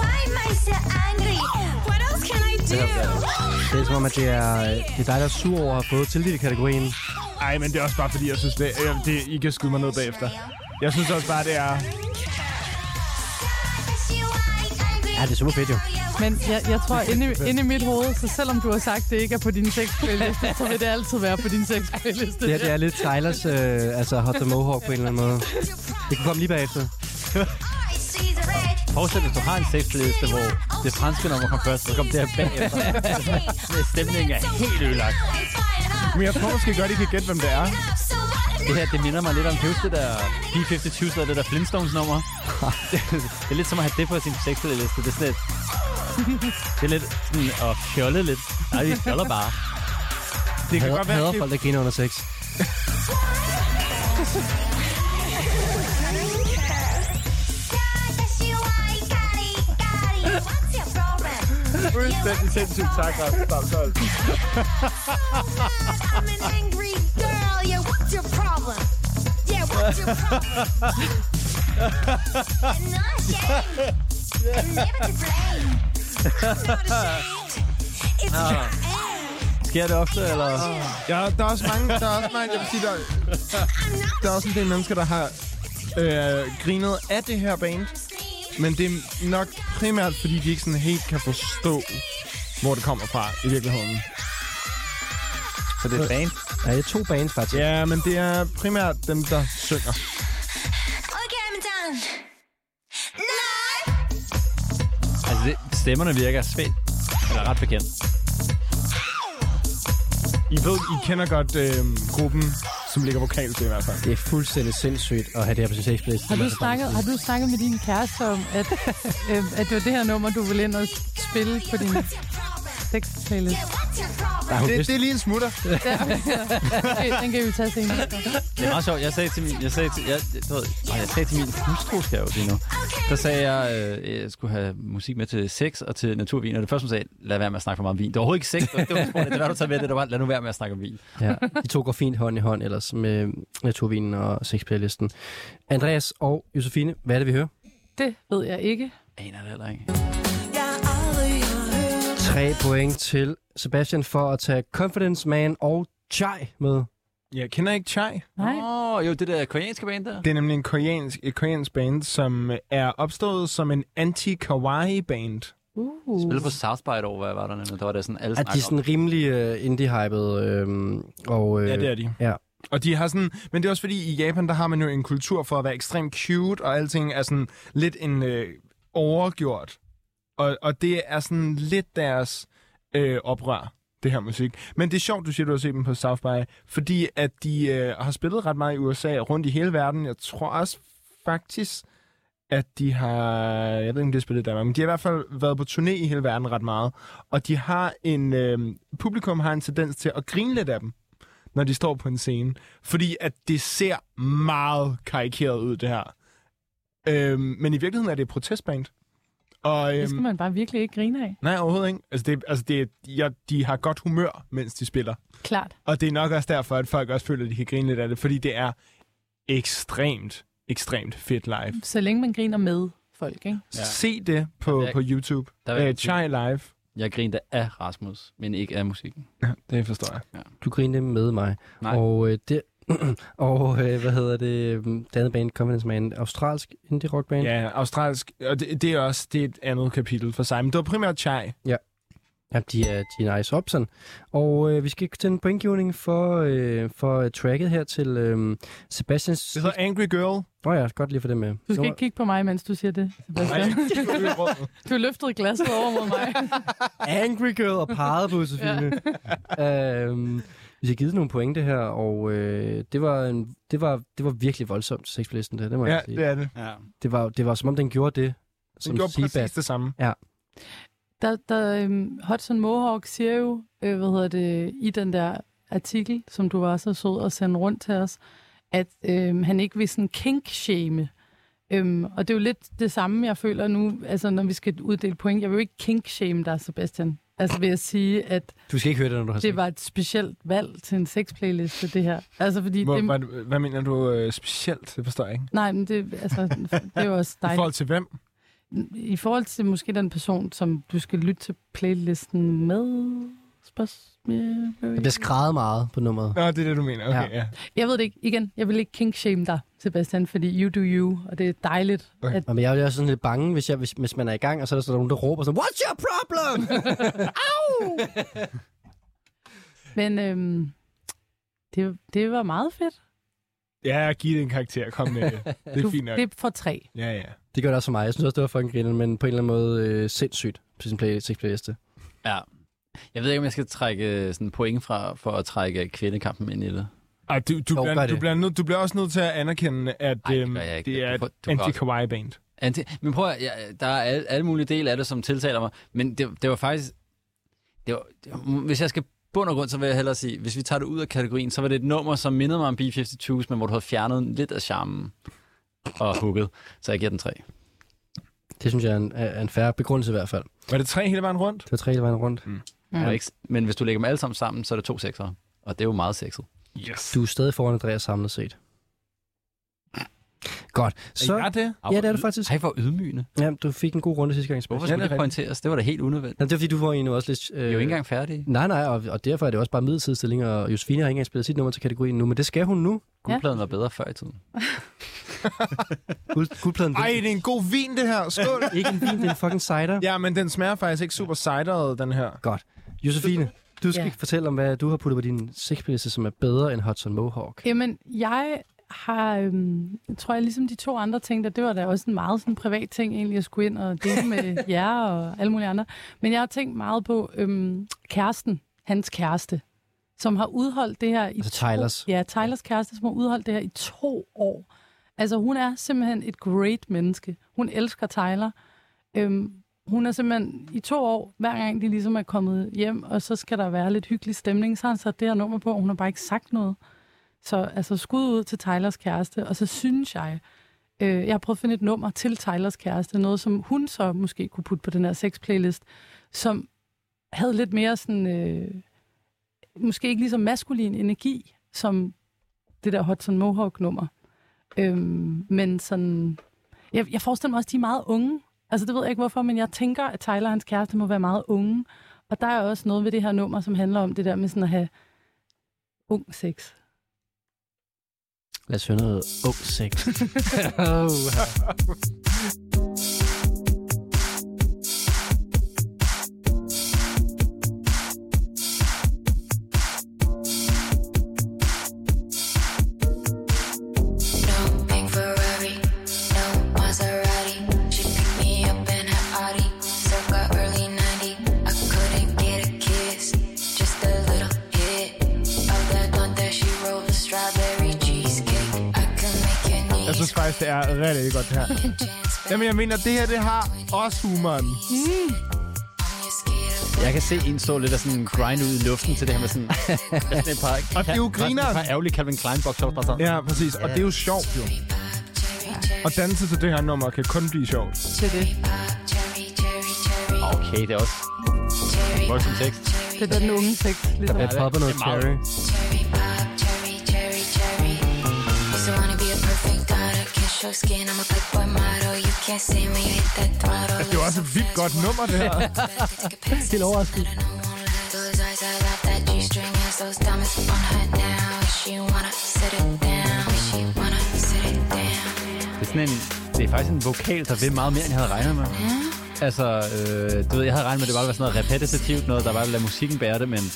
Speaker 8: Why am I so angry? What else can I do?
Speaker 2: Det er som om, at det er, øh, det er dig, der er sur over at have fået tildelt kategorien.
Speaker 5: Ej, men det er også bare fordi, jeg synes, det, øh, det I kan skyde mig ned bagefter. Jeg synes også bare, det er...
Speaker 2: Ja, det er super fedt, jo.
Speaker 3: Men jeg, jeg tror, inde i, inde i mit hoved, så selvom du har sagt, at det ikke er på din sexplayliste, så vil det altid være på din sexplayliste.
Speaker 2: Det her det er lidt Tylers øh, altså hot the mohawk på en eller anden måde. Det kan komme lige bagefter.
Speaker 4: Forestil dig, hvis du har en sexliste, hvor det franske nummer kom først, så kom det her bagefter. Stemningen er helt ødelagt.
Speaker 5: Men jeg tror måske godt, I kan gætte, hvem det er.
Speaker 4: Det her, det minder mig lidt om, kan du huske det der B-52, så det der Flintstones nummer? det er lidt som at have det på sin sex playliste. Det er sådan lidt, det er lidt sådan at fjolle lidt. Nej, vi fjoller bare.
Speaker 5: Det kan
Speaker 2: Hader,
Speaker 5: godt være,
Speaker 2: hader
Speaker 5: at
Speaker 2: folk, der griner under sex.
Speaker 5: det er fuldstændig sindssygt tak, Rasmus Damsholm.
Speaker 8: I'm an angry girl. Yeah, what's your problem? Yeah, what's your problem? I'm not ashamed. I'm never to blame. I'm not ashamed. It's your aim.
Speaker 4: Sker det ofte, eller?
Speaker 5: Ja, der er også mange, der er også mange, jeg vil sige, der,
Speaker 8: I'm not
Speaker 5: der er også en del mennesker, der har øh, grinet af det her band.
Speaker 8: ashamed.
Speaker 5: Men det er nok primært, fordi de ikke sådan helt kan forstå, hvor det kommer fra i virkeligheden.
Speaker 4: Så det er fan.
Speaker 2: Ja, det er to bands, faktisk.
Speaker 5: Ja, men det er primært dem, der synger.
Speaker 8: Okay, I'm done. No!
Speaker 4: Altså, det, stemmerne virker svært. Eller ret bekendt.
Speaker 5: I ved, I kender godt øh, gruppen, som ligger vokal til i hvert fald.
Speaker 2: Det er fuldstændig sindssygt at have det her på sin sexplaylist.
Speaker 3: Har du, snakket, har du snakket med øhm, din kæreste om, at, øh, at det var det her nummer, du ville ind og spille på din sextale.
Speaker 2: Der er hun
Speaker 5: Det,
Speaker 2: vist.
Speaker 5: det er lige en smutter.
Speaker 3: Okay, den kan vi tage senere.
Speaker 4: Det er meget sjovt. Jeg sagde til min, jeg sagde til, jeg, du ved, åh, jeg sagde til min hustru, skal jeg jo lige nu. Der sagde jeg, øh, jeg skulle have musik med til sex og til naturvin. Og det første, hun sagde, lad være med at snakke for meget om vin. Det var overhovedet ikke sex. Det var det, hun spurgte. Det var, du tager med det. Det var, lad nu være med at snakke om vin.
Speaker 2: Ja, de to går fint hånd i hånd ellers med naturvinen og sexspillelisten. Andreas og Josefine, hvad er det, vi hører?
Speaker 3: Det ved jeg ikke.
Speaker 4: Aner det heller ikke.
Speaker 2: Tre point til Sebastian for at tage Confidence Man og Chai med.
Speaker 5: Jeg kender ikke Chai.
Speaker 3: Nej.
Speaker 4: Åh, oh, jo, det der koreanske band der.
Speaker 5: Det er nemlig en koreansk, et koreansk band, som øh, er opstået som en anti-kawaii-band.
Speaker 3: Uh.
Speaker 4: Spillede på South by et år, hvad var der nemlig? Der var der sådan alle
Speaker 2: Er de
Speaker 4: snakker om.
Speaker 2: sådan rimelig uh, indie-hyped? Øh, og, øh,
Speaker 5: Ja, det er de.
Speaker 2: Ja.
Speaker 5: Og de har sådan, men det er også fordi, i Japan, der har man jo en kultur for at være ekstremt cute, og alting er sådan lidt en øh, overgjort. Og, og det er sådan lidt deres øh, oprør, det her musik. Men det er sjovt, du siger, du har set dem på South by, fordi at de øh, har spillet ret meget i USA og rundt i hele verden. Jeg tror også faktisk, at de har, jeg ved ikke, om de har spillet i Danmark, men de har i hvert fald været på turné i hele verden ret meget. Og de har en, øh, publikum har en tendens til at grine lidt af dem når de står på en scene. Fordi at det ser meget karikeret ud, det her. Øhm, men i virkeligheden er det et protestband. Og,
Speaker 3: Det skal
Speaker 5: øhm,
Speaker 3: man bare virkelig ikke grine af.
Speaker 5: nej, overhovedet ikke. Altså, det, altså det, ja, de har godt humør, mens de spiller.
Speaker 3: Klart.
Speaker 5: Og det er nok også derfor, at folk også føler, at de kan grine lidt af det, fordi det er ekstremt, ekstremt fedt live.
Speaker 3: Så længe man griner med folk, ikke?
Speaker 5: Ja. Se det på,
Speaker 4: Der er-
Speaker 5: på YouTube.
Speaker 4: der er-
Speaker 5: Øh, Chai Live.
Speaker 4: Jeg grinte af Rasmus, men ikke af musikken.
Speaker 5: Ja, det forstår jeg.
Speaker 2: Du grinte med mig.
Speaker 4: Nej.
Speaker 2: Og, øh, det, og øh, hvad hedder det? øhm, Det andet band, Confidence Man, australsk indie-rockband.
Speaker 5: Ja, australsk. Og det, det er også det er et andet kapitel for sig. Men det var primært Chai.
Speaker 2: Ja, de er, de er nice opsen. Og øh, vi skal til en pointgivning for, øh, for tracket her til øh, Sebastians...
Speaker 5: Det hedder Angry Girl.
Speaker 2: Nå ja, godt lige for det med.
Speaker 3: Du skal
Speaker 2: Nu-
Speaker 3: ikke kigge på mig, mens du siger det, Sebastian.
Speaker 5: Nej,
Speaker 3: Du løftede glasset over mod mig.
Speaker 2: Angry Girl og pegede på Josefine. øhm, vi har givet nogle pointe her, og øh, det, var en, det, var, det var virkelig voldsomt, sexplisten der, det må
Speaker 5: Ja,
Speaker 2: jeg sige.
Speaker 5: det er det.
Speaker 4: Ja.
Speaker 2: Det, var, det var som om, den gjorde det,
Speaker 5: Som
Speaker 2: som
Speaker 5: den gjorde
Speaker 2: Seabat.
Speaker 5: præcis det samme.
Speaker 3: Der, der, um, Hudson Mohawk siger jo, øh, hvad hedder det, i den der artikel, som du var så sød at sende rundt til os, at øhm, han ikke vil sådan kink-shame. Øhm, og det er jo lidt det samme, jeg føler nu, altså når vi skal uddele point. Jeg vil jo ikke kink-shame dig, Sebastian. Altså vil jeg sige, at
Speaker 2: Du skal ikke høre det, når du har
Speaker 3: det
Speaker 2: sex.
Speaker 3: var et specielt valg til en sexplayliste, det her. Altså fordi...
Speaker 5: Hvor,
Speaker 3: det,
Speaker 5: hvad, hvad mener du øh, specielt? Det forstår jeg ikke.
Speaker 3: nej, men det, altså, det er jo også
Speaker 5: I
Speaker 3: dejligt.
Speaker 5: forhold til hvem?
Speaker 3: I forhold til måske den person, som du skal lytte til playlisten med... Spørgsmål.
Speaker 2: Det skrædede meget på nummeret.
Speaker 5: Nå, det er det, du mener. Okay, ja.
Speaker 3: Jeg ved det ikke. Igen, jeg vil ikke kink-shame dig, Sebastian, fordi you do you, og det er dejligt.
Speaker 5: Okay.
Speaker 3: At,
Speaker 2: Nå, Men jeg er jo også sådan lidt bange, hvis, jeg, hvis, hvis man er i gang, og så er der sådan nogen, der råber sådan, What's your problem?
Speaker 3: men øhm, det, det var meget fedt.
Speaker 5: Ja, giv det en karakter. Kom med det. Det
Speaker 3: Du,
Speaker 5: er fint nok.
Speaker 3: det får tre.
Speaker 5: Ja, ja.
Speaker 2: det gør det også for mig. Jeg synes også, det var fucking griner, men på en eller anden måde øh, sindssygt på sin play, sexplayliste.
Speaker 4: ja. Jeg ved ikke, om jeg skal trække øh, sådan point fra, for at trække kvindekampen ind i det.
Speaker 5: Ej, du, du,
Speaker 2: Jo, gør
Speaker 5: bliver, du,
Speaker 2: det.
Speaker 5: bliver nød, du bliver også nødt til at anerkende, at
Speaker 4: Ej, det
Speaker 5: øhm,
Speaker 4: gør jeg ikke.
Speaker 5: det
Speaker 4: Du
Speaker 5: er
Speaker 4: får-
Speaker 5: et
Speaker 4: du får-
Speaker 5: anti-kawaii-band.
Speaker 4: Anti- men prøv at, ja, der er alle, alle mulige dele af det, som tiltaler mig, men det, det var faktisk... Det var, det var, hvis jeg skal bund og grund, så vil jeg hellere sige, hvis vi tager det ud af kategorien, så var det et nummer, som mindede mig om B-52's, men hvor du havde fjernet lidt af charmen og hugget. Så jeg giver den tre.
Speaker 2: Det synes jeg er en, er en færre begrundelse i hvert fald.
Speaker 5: Var det tre hele vejen rundt? Mm.
Speaker 2: Det var tre hele vejen rundt.
Speaker 3: Mm.
Speaker 4: Ja. Ikke, men hvis du lægger dem alle sammen sammen, så er det to sekser. Og det er jo meget sexet.
Speaker 5: Yes.
Speaker 2: Du er stadig foran Andreas samlet set. Godt.
Speaker 5: Så...
Speaker 2: Så,
Speaker 5: Er det?
Speaker 2: ja, det er det faktisk.
Speaker 4: Ej, hvor ydmygende.
Speaker 2: Ja, du fik en god runde sidste gang.
Speaker 4: Hvorfor
Speaker 2: Sebastian.
Speaker 5: det
Speaker 4: skulle
Speaker 5: er
Speaker 4: det, det
Speaker 5: rigtigt.
Speaker 4: pointeres? Det var da helt unødvendigt.
Speaker 2: Nå, det er fordi, du får egentlig også lidt... Øh...
Speaker 4: Vi er jo ikke engang færdige.
Speaker 2: Nej, nej, og, og derfor er det også bare midlertidstilling, og Josefine har ikke engang spillet sit nummer til kategorien nu, men det skal hun nu.
Speaker 4: Guldpladen var bedre før i tiden.
Speaker 2: Guld, guldpladen
Speaker 5: Ej,
Speaker 2: vil
Speaker 5: det er en god vin, det her. Skål.
Speaker 2: ikke en vin, det er en fucking cider.
Speaker 5: ja, men den smager faktisk ikke super sideret, den her.
Speaker 2: Godt. Josefine, du skal
Speaker 3: Ja.
Speaker 2: ja. fortælle om, hvad du har puttet på din sexplayliste, som er bedre end Hudson Mohawk.
Speaker 3: Jamen, jeg har, øhm, jeg tror jeg ligesom de to andre tænkte, at det var da også en meget sådan privat ting egentlig at skulle ind og dele med jer og alle mulige andre. Men jeg har tænkt meget på øhm, kæresten, hans kæreste, som har udholdt det her i
Speaker 2: Altså Tylers.
Speaker 3: To, ja, Tylers kæreste, som har udholdt det her i to år. Altså hun er simpelthen et great menneske. Hun elsker Tyler. Øhm, Hun er simpelthen i to år, hver gang de ligesom er kommet hjem, og så skal der være lidt hyggelig stemning, så har han sat det her nummer på, og hun har bare ikke sagt noget. Så altså skud ud til Tylers kæreste, og så synes jeg, øh, jeg har prøvet at finde et nummer til Tylers kæreste, noget som hun så måske kunne putte på den her sex-playlist, som havde lidt mere sådan, øh, måske ikke lige så maskulin energi, som det der Hudson Mohawk-nummer. Øhm, men sådan, jeg, jeg forestiller mig også, at de er meget unge. Altså det ved jeg ikke hvorfor, men jeg tænker, at Tyler og hans kæreste må være meget unge. Og der er også noget ved det her nummer, som handler om det der med sådan at have ung sex.
Speaker 2: Lad os høre noget ung sex. oh,
Speaker 8: No pink Ferrari, no Maserati. She picked me up in her Audi, circa early '90s. I couldn't get a kiss, just a little hit of that blunt that she rolled, the strawberry cheesecake. I could make your
Speaker 5: Jeg
Speaker 8: knees
Speaker 5: synes faktisk, det er rigtig godt det her. Jamen, jeg mener, det her, det har også humoren.
Speaker 2: Mm.
Speaker 4: Jeg kan se en stå lidt og sådan grind ud i luften til det her med sådan, sådan et par...
Speaker 5: Og det er jo grineren.
Speaker 4: Det er ærgerligt Calvin Klein box bare sådan.
Speaker 5: Ja, præcis. Og det er jo sjovt, jo. Og danse til det her nummer kan kun blive sjovt.
Speaker 3: Til det.
Speaker 8: Cherry, cherry, cherry,
Speaker 4: Okay, det er også
Speaker 8: cherry,
Speaker 4: voldsom tekst.
Speaker 3: Det er den unge sex. Ligesom.
Speaker 2: jeg popper noget
Speaker 4: det er meget-
Speaker 2: cherry.
Speaker 8: cherry pop, cherry, cherry, cherry. Used to wanna be a perfect daughter, kiss your skin. I'm a playboy model, you can't see me hit that throttle.
Speaker 5: Altså, Det er jo også et vildt godt nummer, det her.
Speaker 2: Helt overrasket.
Speaker 8: Those eyes I love that G string has those diamonds on her now. If she wanna sit it down, if she wanna sit it down.
Speaker 4: Det er, sådan en, det er faktisk en vokal, der vil meget mere, end jeg havde regnet med. Altså, øh, du ved, jeg havde regnet med, at det bare var sådan noget repetitivt noget, der bare ville lade musikken bære det, men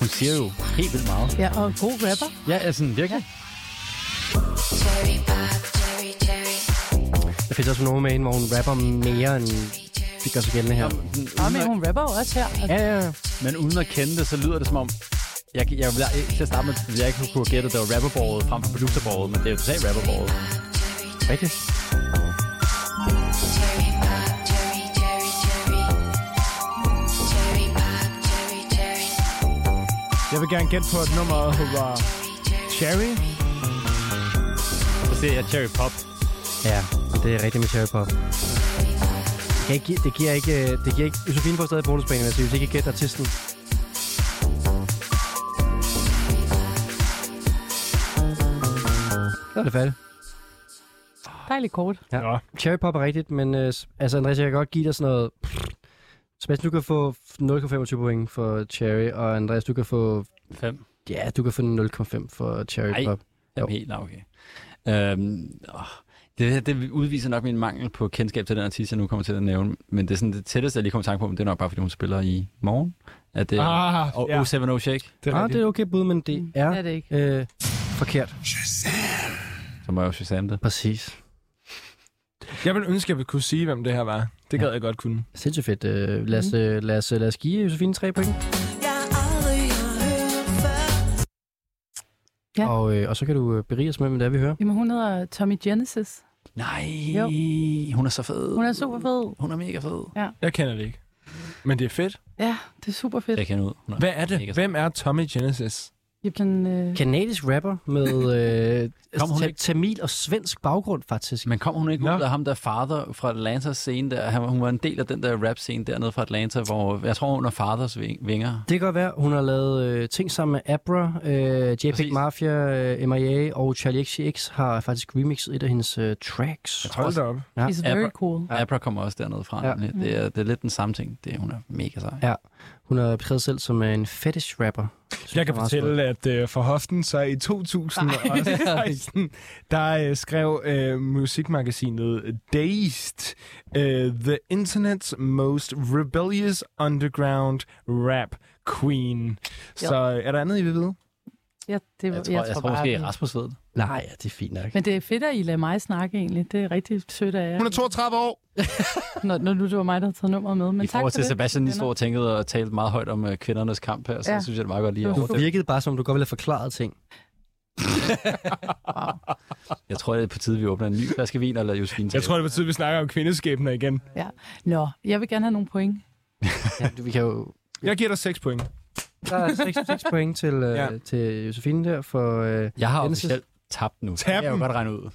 Speaker 4: hun siger jo helt vildt meget.
Speaker 3: Ja, og en god rapper.
Speaker 4: Ja, altså, virkelig.
Speaker 8: Cherry pop, cherry, cherry,
Speaker 2: Der findes også nogle med hende, hvor hun rapper mere, end det gør sig gældende her.
Speaker 3: Og men hun rapper jo også her. Altså,
Speaker 2: Ja, ja.
Speaker 4: øh, Men uden at kende det, så lyder det som om, jeg, jeg, jeg, jeg til at starte med, ville jeg ikke kunne gætte, at det var rapperbordet frem for producerbordet, men det er jo totalt rapperbordet.
Speaker 2: Rigtigt.
Speaker 8: cherry pop, cherry, cherry, cherry. Cherry pop, cherry, cherry,
Speaker 5: Jeg vil gerne gætte på, at nummeret var Cherry.
Speaker 4: Så ser jeg Cherry Pop.
Speaker 2: Ja, det er rigtigt med cherry pop. Det, kan ikke, gi- det giver ikke... øh, Det giver ikke... Josefine får stadig bonuspoint, altså, hvis jeg ikke gætte artisten. Så er det færdigt.
Speaker 3: dejligt kort.
Speaker 2: Ja.
Speaker 5: Nå.
Speaker 2: Cherry Pop er rigtigt, men øh, s- altså, Andreas, jeg kan godt give dig sådan noget... Sebastian, du kan få 0,25 point for Cherry, og Andreas, du kan få...
Speaker 4: 5.
Speaker 2: Ja, du kan få 0,5 for Cherry
Speaker 4: Ej.
Speaker 2: Pop. Jo.
Speaker 4: Jamen, helt nå, okay. Øhm, åh, det, her, det udviser nok min mangel på kendskab til den artist, jeg nu kommer til at nævne. Men det er sådan det tætteste, jeg lige kom i tanke på, men det er nok bare, fordi hun spiller i morgen. At det, ah,
Speaker 5: Ah,
Speaker 4: og
Speaker 5: ja.
Speaker 4: ja. 07 O Shake,
Speaker 5: Det er
Speaker 2: Ah, det
Speaker 5: rigtigt. Mm.
Speaker 2: er okay bud, men det er,
Speaker 3: Det er det ikke.
Speaker 2: Øh, forkert.
Speaker 4: så må jeg jo Shazam det.
Speaker 2: Præcis.
Speaker 5: Jeg ville ønske, at jeg ville kunne sige, hvem det her var. Det gad jeg godt kunne.
Speaker 2: Sindssygt fedt. Øh, lad, os,
Speaker 3: Mm.
Speaker 2: øh, lad, os, lad os give Josefine 3 point.
Speaker 3: Ja.
Speaker 2: Og, øh, og så kan du øh, berige os med, hvad det er, vi hører.
Speaker 3: Jamen, hun hedder Tommy Genesis.
Speaker 4: Nej,
Speaker 3: Jo.
Speaker 4: hun er så fed.
Speaker 3: Hun er super fed.
Speaker 4: Hun er mega fed.
Speaker 5: Jeg kender det ikke. Men det er fedt.
Speaker 3: Ja, det er super fedt.
Speaker 4: Jeg kender ud. Hun er.
Speaker 5: Hvad er
Speaker 4: Mega
Speaker 5: det? Hvem er Tommy Genesis?
Speaker 3: Jamen, øh,
Speaker 2: Kanadisk rapper med øh,
Speaker 4: Kom, hun
Speaker 2: ta-
Speaker 4: ikke-
Speaker 2: tamil og svensk baggrund, faktisk.
Speaker 4: Men kom hun ikke ud
Speaker 5: Nå.
Speaker 4: af ham der father fra Atlanta scene der? Han, var- hun var en del af den der rap scene dernede fra Atlanta, hvor jeg tror, hun er fathers ving- vinger.
Speaker 2: Det kan godt være, hun har lavet øh, ting sammen med Abra, øh, JPEG
Speaker 4: Præcis.
Speaker 2: Mafia, øh, MIA og Charlie XCX har faktisk remixet et af hendes øh, tracks.
Speaker 5: Hold da op.
Speaker 2: Ja.
Speaker 3: he's
Speaker 4: Ja,
Speaker 3: very
Speaker 4: for-
Speaker 3: cool.
Speaker 4: Ja. Abra kommer også dernede fra.
Speaker 2: Ja.
Speaker 4: Ja. Det, er, det er lidt den samme ting. Det, hun er mega sej.
Speaker 2: Ja. Hun har beskrevet selv som øh, en fetish rapper. Synes
Speaker 5: Jeg kan
Speaker 2: er meget smukt.
Speaker 5: fortælle, at øh, for hoften, så i 2016, der øh, skrev øh, musikmagasinet Dazed, øh, The Internet's Most Rebellious Underground Rap Queen. Så øh, er der andet, I vil vide?
Speaker 3: Ja, det,
Speaker 4: Jeg tror, jeg tror, jeg tror
Speaker 3: bare,
Speaker 4: måske,
Speaker 3: at-
Speaker 4: Rasmus ved det.
Speaker 2: Nej, ja, det er fint nok.
Speaker 3: Men det er fedt, at I lader mig snakke egentlig. Det er rigtig sødt af jer,
Speaker 5: Hun er 32 år.
Speaker 3: når, når nu det var mig, der havde taget nummeret med. Men
Speaker 4: I
Speaker 3: tak for
Speaker 4: forhold til
Speaker 3: det.
Speaker 4: Sebastian, lige stod
Speaker 3: venner.
Speaker 4: og tænkede og talte meget højt om øh, kvindernes kamp her, så
Speaker 3: Ja.
Speaker 4: ja. synes jeg, det er meget godt lige
Speaker 3: Du
Speaker 4: over
Speaker 2: Du virkede bare, som om du godt ville have forklaret ting.
Speaker 4: Jeg tror, det er på tide, vi åbner en ny flaske vin eller Josefine.
Speaker 5: Jeg tror, det betyder, at vi snakker om kvindeskæbner igen.
Speaker 3: Ja. Nå, jeg vil gerne have nogle point.
Speaker 2: Ja, vi kan jo...
Speaker 5: Jeg giver dig 6 point.
Speaker 2: Der er 6, 6 point til, øh,
Speaker 5: Ja.
Speaker 2: ja. til Josefine der for... Øh,
Speaker 4: Jeg har
Speaker 2: Dennis'
Speaker 4: officielt tabt nu.
Speaker 5: Tab
Speaker 4: Det kan jeg jo
Speaker 5: dem.
Speaker 4: godt regne ud.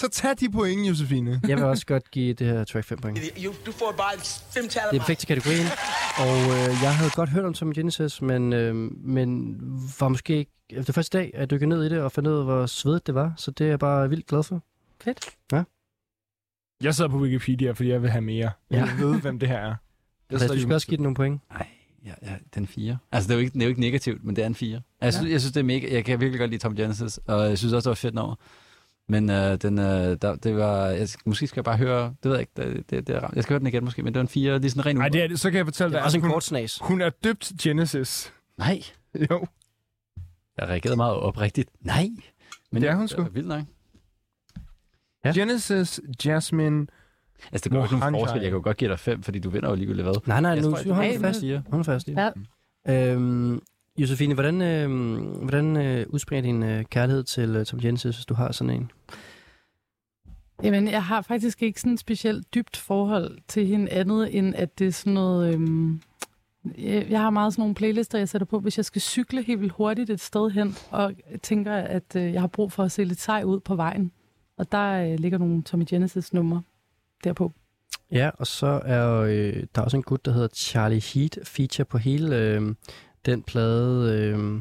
Speaker 5: Så tag de point, Josefine.
Speaker 2: Jeg vil også godt give det her track 5 point.
Speaker 7: You, du får bare et femtal af
Speaker 2: Det
Speaker 7: mig.
Speaker 2: er perfekt til kategorien, og øh, jeg havde godt hørt om Tom Genesis, men, øh, men var måske ikke... Efter første dag, at jeg dykkede ned i det og fandt ud af, hvor svedigt det var, så det er jeg bare vildt glad for.
Speaker 3: Fedt.
Speaker 5: Jeg sidder på Wikipedia, fordi jeg vil have mere. Jeg vil vide, hvem det her er.
Speaker 2: Jeg du skal også give den nogle point.
Speaker 4: Ja, ja, den 4. Altså, det er, jo ikke, det er jo ikke negativt, men det er en 4. Jeg synes, ja. jeg synes det er mega... Jeg kan virkelig godt lide Tom Genesis, og jeg synes også, det var fedt nummer. Men øh, den, øh, der, det var... Jeg, måske skal jeg bare høre... Det ved jeg ikke. Det, det, det er, ramt. jeg skal høre den igen måske, men det var en 4. Det er sådan en ren
Speaker 5: Nej,
Speaker 4: Ej,
Speaker 5: det er det. Så kan jeg fortælle
Speaker 2: Det
Speaker 5: dig,
Speaker 2: er
Speaker 5: at
Speaker 2: også en
Speaker 5: hun,
Speaker 2: kort snas.
Speaker 5: hun er døbt til Genesis.
Speaker 4: Nej.
Speaker 5: Jo.
Speaker 4: Jeg reagerede meget oprigtigt. Nej. Men
Speaker 5: Det er
Speaker 4: jeg-
Speaker 5: hun sgu.
Speaker 4: Det er vildt nok.
Speaker 2: Ja.
Speaker 5: Genesis, Jasmine.
Speaker 4: Altså, det gør jo ikke nogen
Speaker 5: Mohanchai.
Speaker 4: forskel. Jeg kan jo godt give dig 5, fordi du vinder jo alligevel hvad.
Speaker 2: Nej, nej,
Speaker 4: Jeg
Speaker 2: nu
Speaker 4: tror, jeg-
Speaker 2: nu hold nu
Speaker 3: Hey,
Speaker 2: fast.
Speaker 4: Siger.
Speaker 2: Hold nu fast. lige.
Speaker 3: Ja.
Speaker 2: Øhm, Josefine, hvordan, øh, hvordan øh, udspringer din øh, kærlighed til øh, Tom Genesis, hvis du har sådan en?
Speaker 3: Jamen, jeg har faktisk ikke sådan et specielt dybt forhold til hende andet, end at det er sådan noget... Øhm, jeg jeg har meget sådan nogle playlister, jeg sætter på, hvis jeg skal cykle helt vildt hurtigt et sted hen, og tænker, at øh, jeg har brug for at se lidt sej ud på vejen. Og der øh, ligger nogle Tommy Genesis numre derpå.
Speaker 2: Ja, og så er øh, der er også en gut, der hedder Charlie Heat, feature på hele øh, den plade, øh,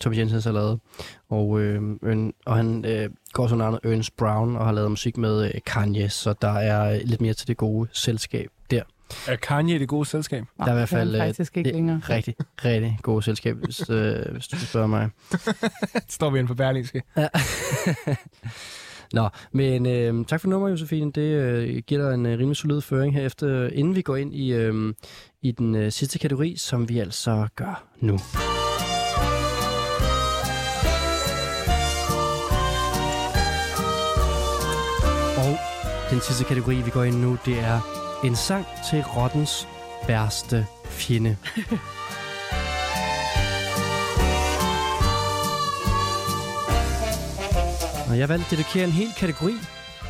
Speaker 2: Tom Jensen har lavet. Og, øh, Ern- og han øh, går som navnet Ernst Brown og har lavet musik med øh, Kanye, så der er øh, lidt mere til det gode selskab der.
Speaker 5: Er Kanye det gode selskab?
Speaker 3: Nej,
Speaker 2: Der er i hvert
Speaker 3: det han
Speaker 2: fald, øh,
Speaker 3: faktisk ikke
Speaker 2: det-
Speaker 3: længere.
Speaker 2: Rigtig, rigtig gode selskab, hvis, øh, hvis du spørger mig.
Speaker 5: Står vi inde på Berlingske.
Speaker 2: Ja. Nå, men øh, tak for nummeret, Josefine. Det øh, giver dig en øh, rimelig solid føring her efter, inden vi går ind i, øh, i den øh, sidste kategori, som vi altså gør nu. Og den sidste kategori, vi går ind nu, det er en sang til rottens værste fjende. Og jeg valgte at dedikere en hel kategori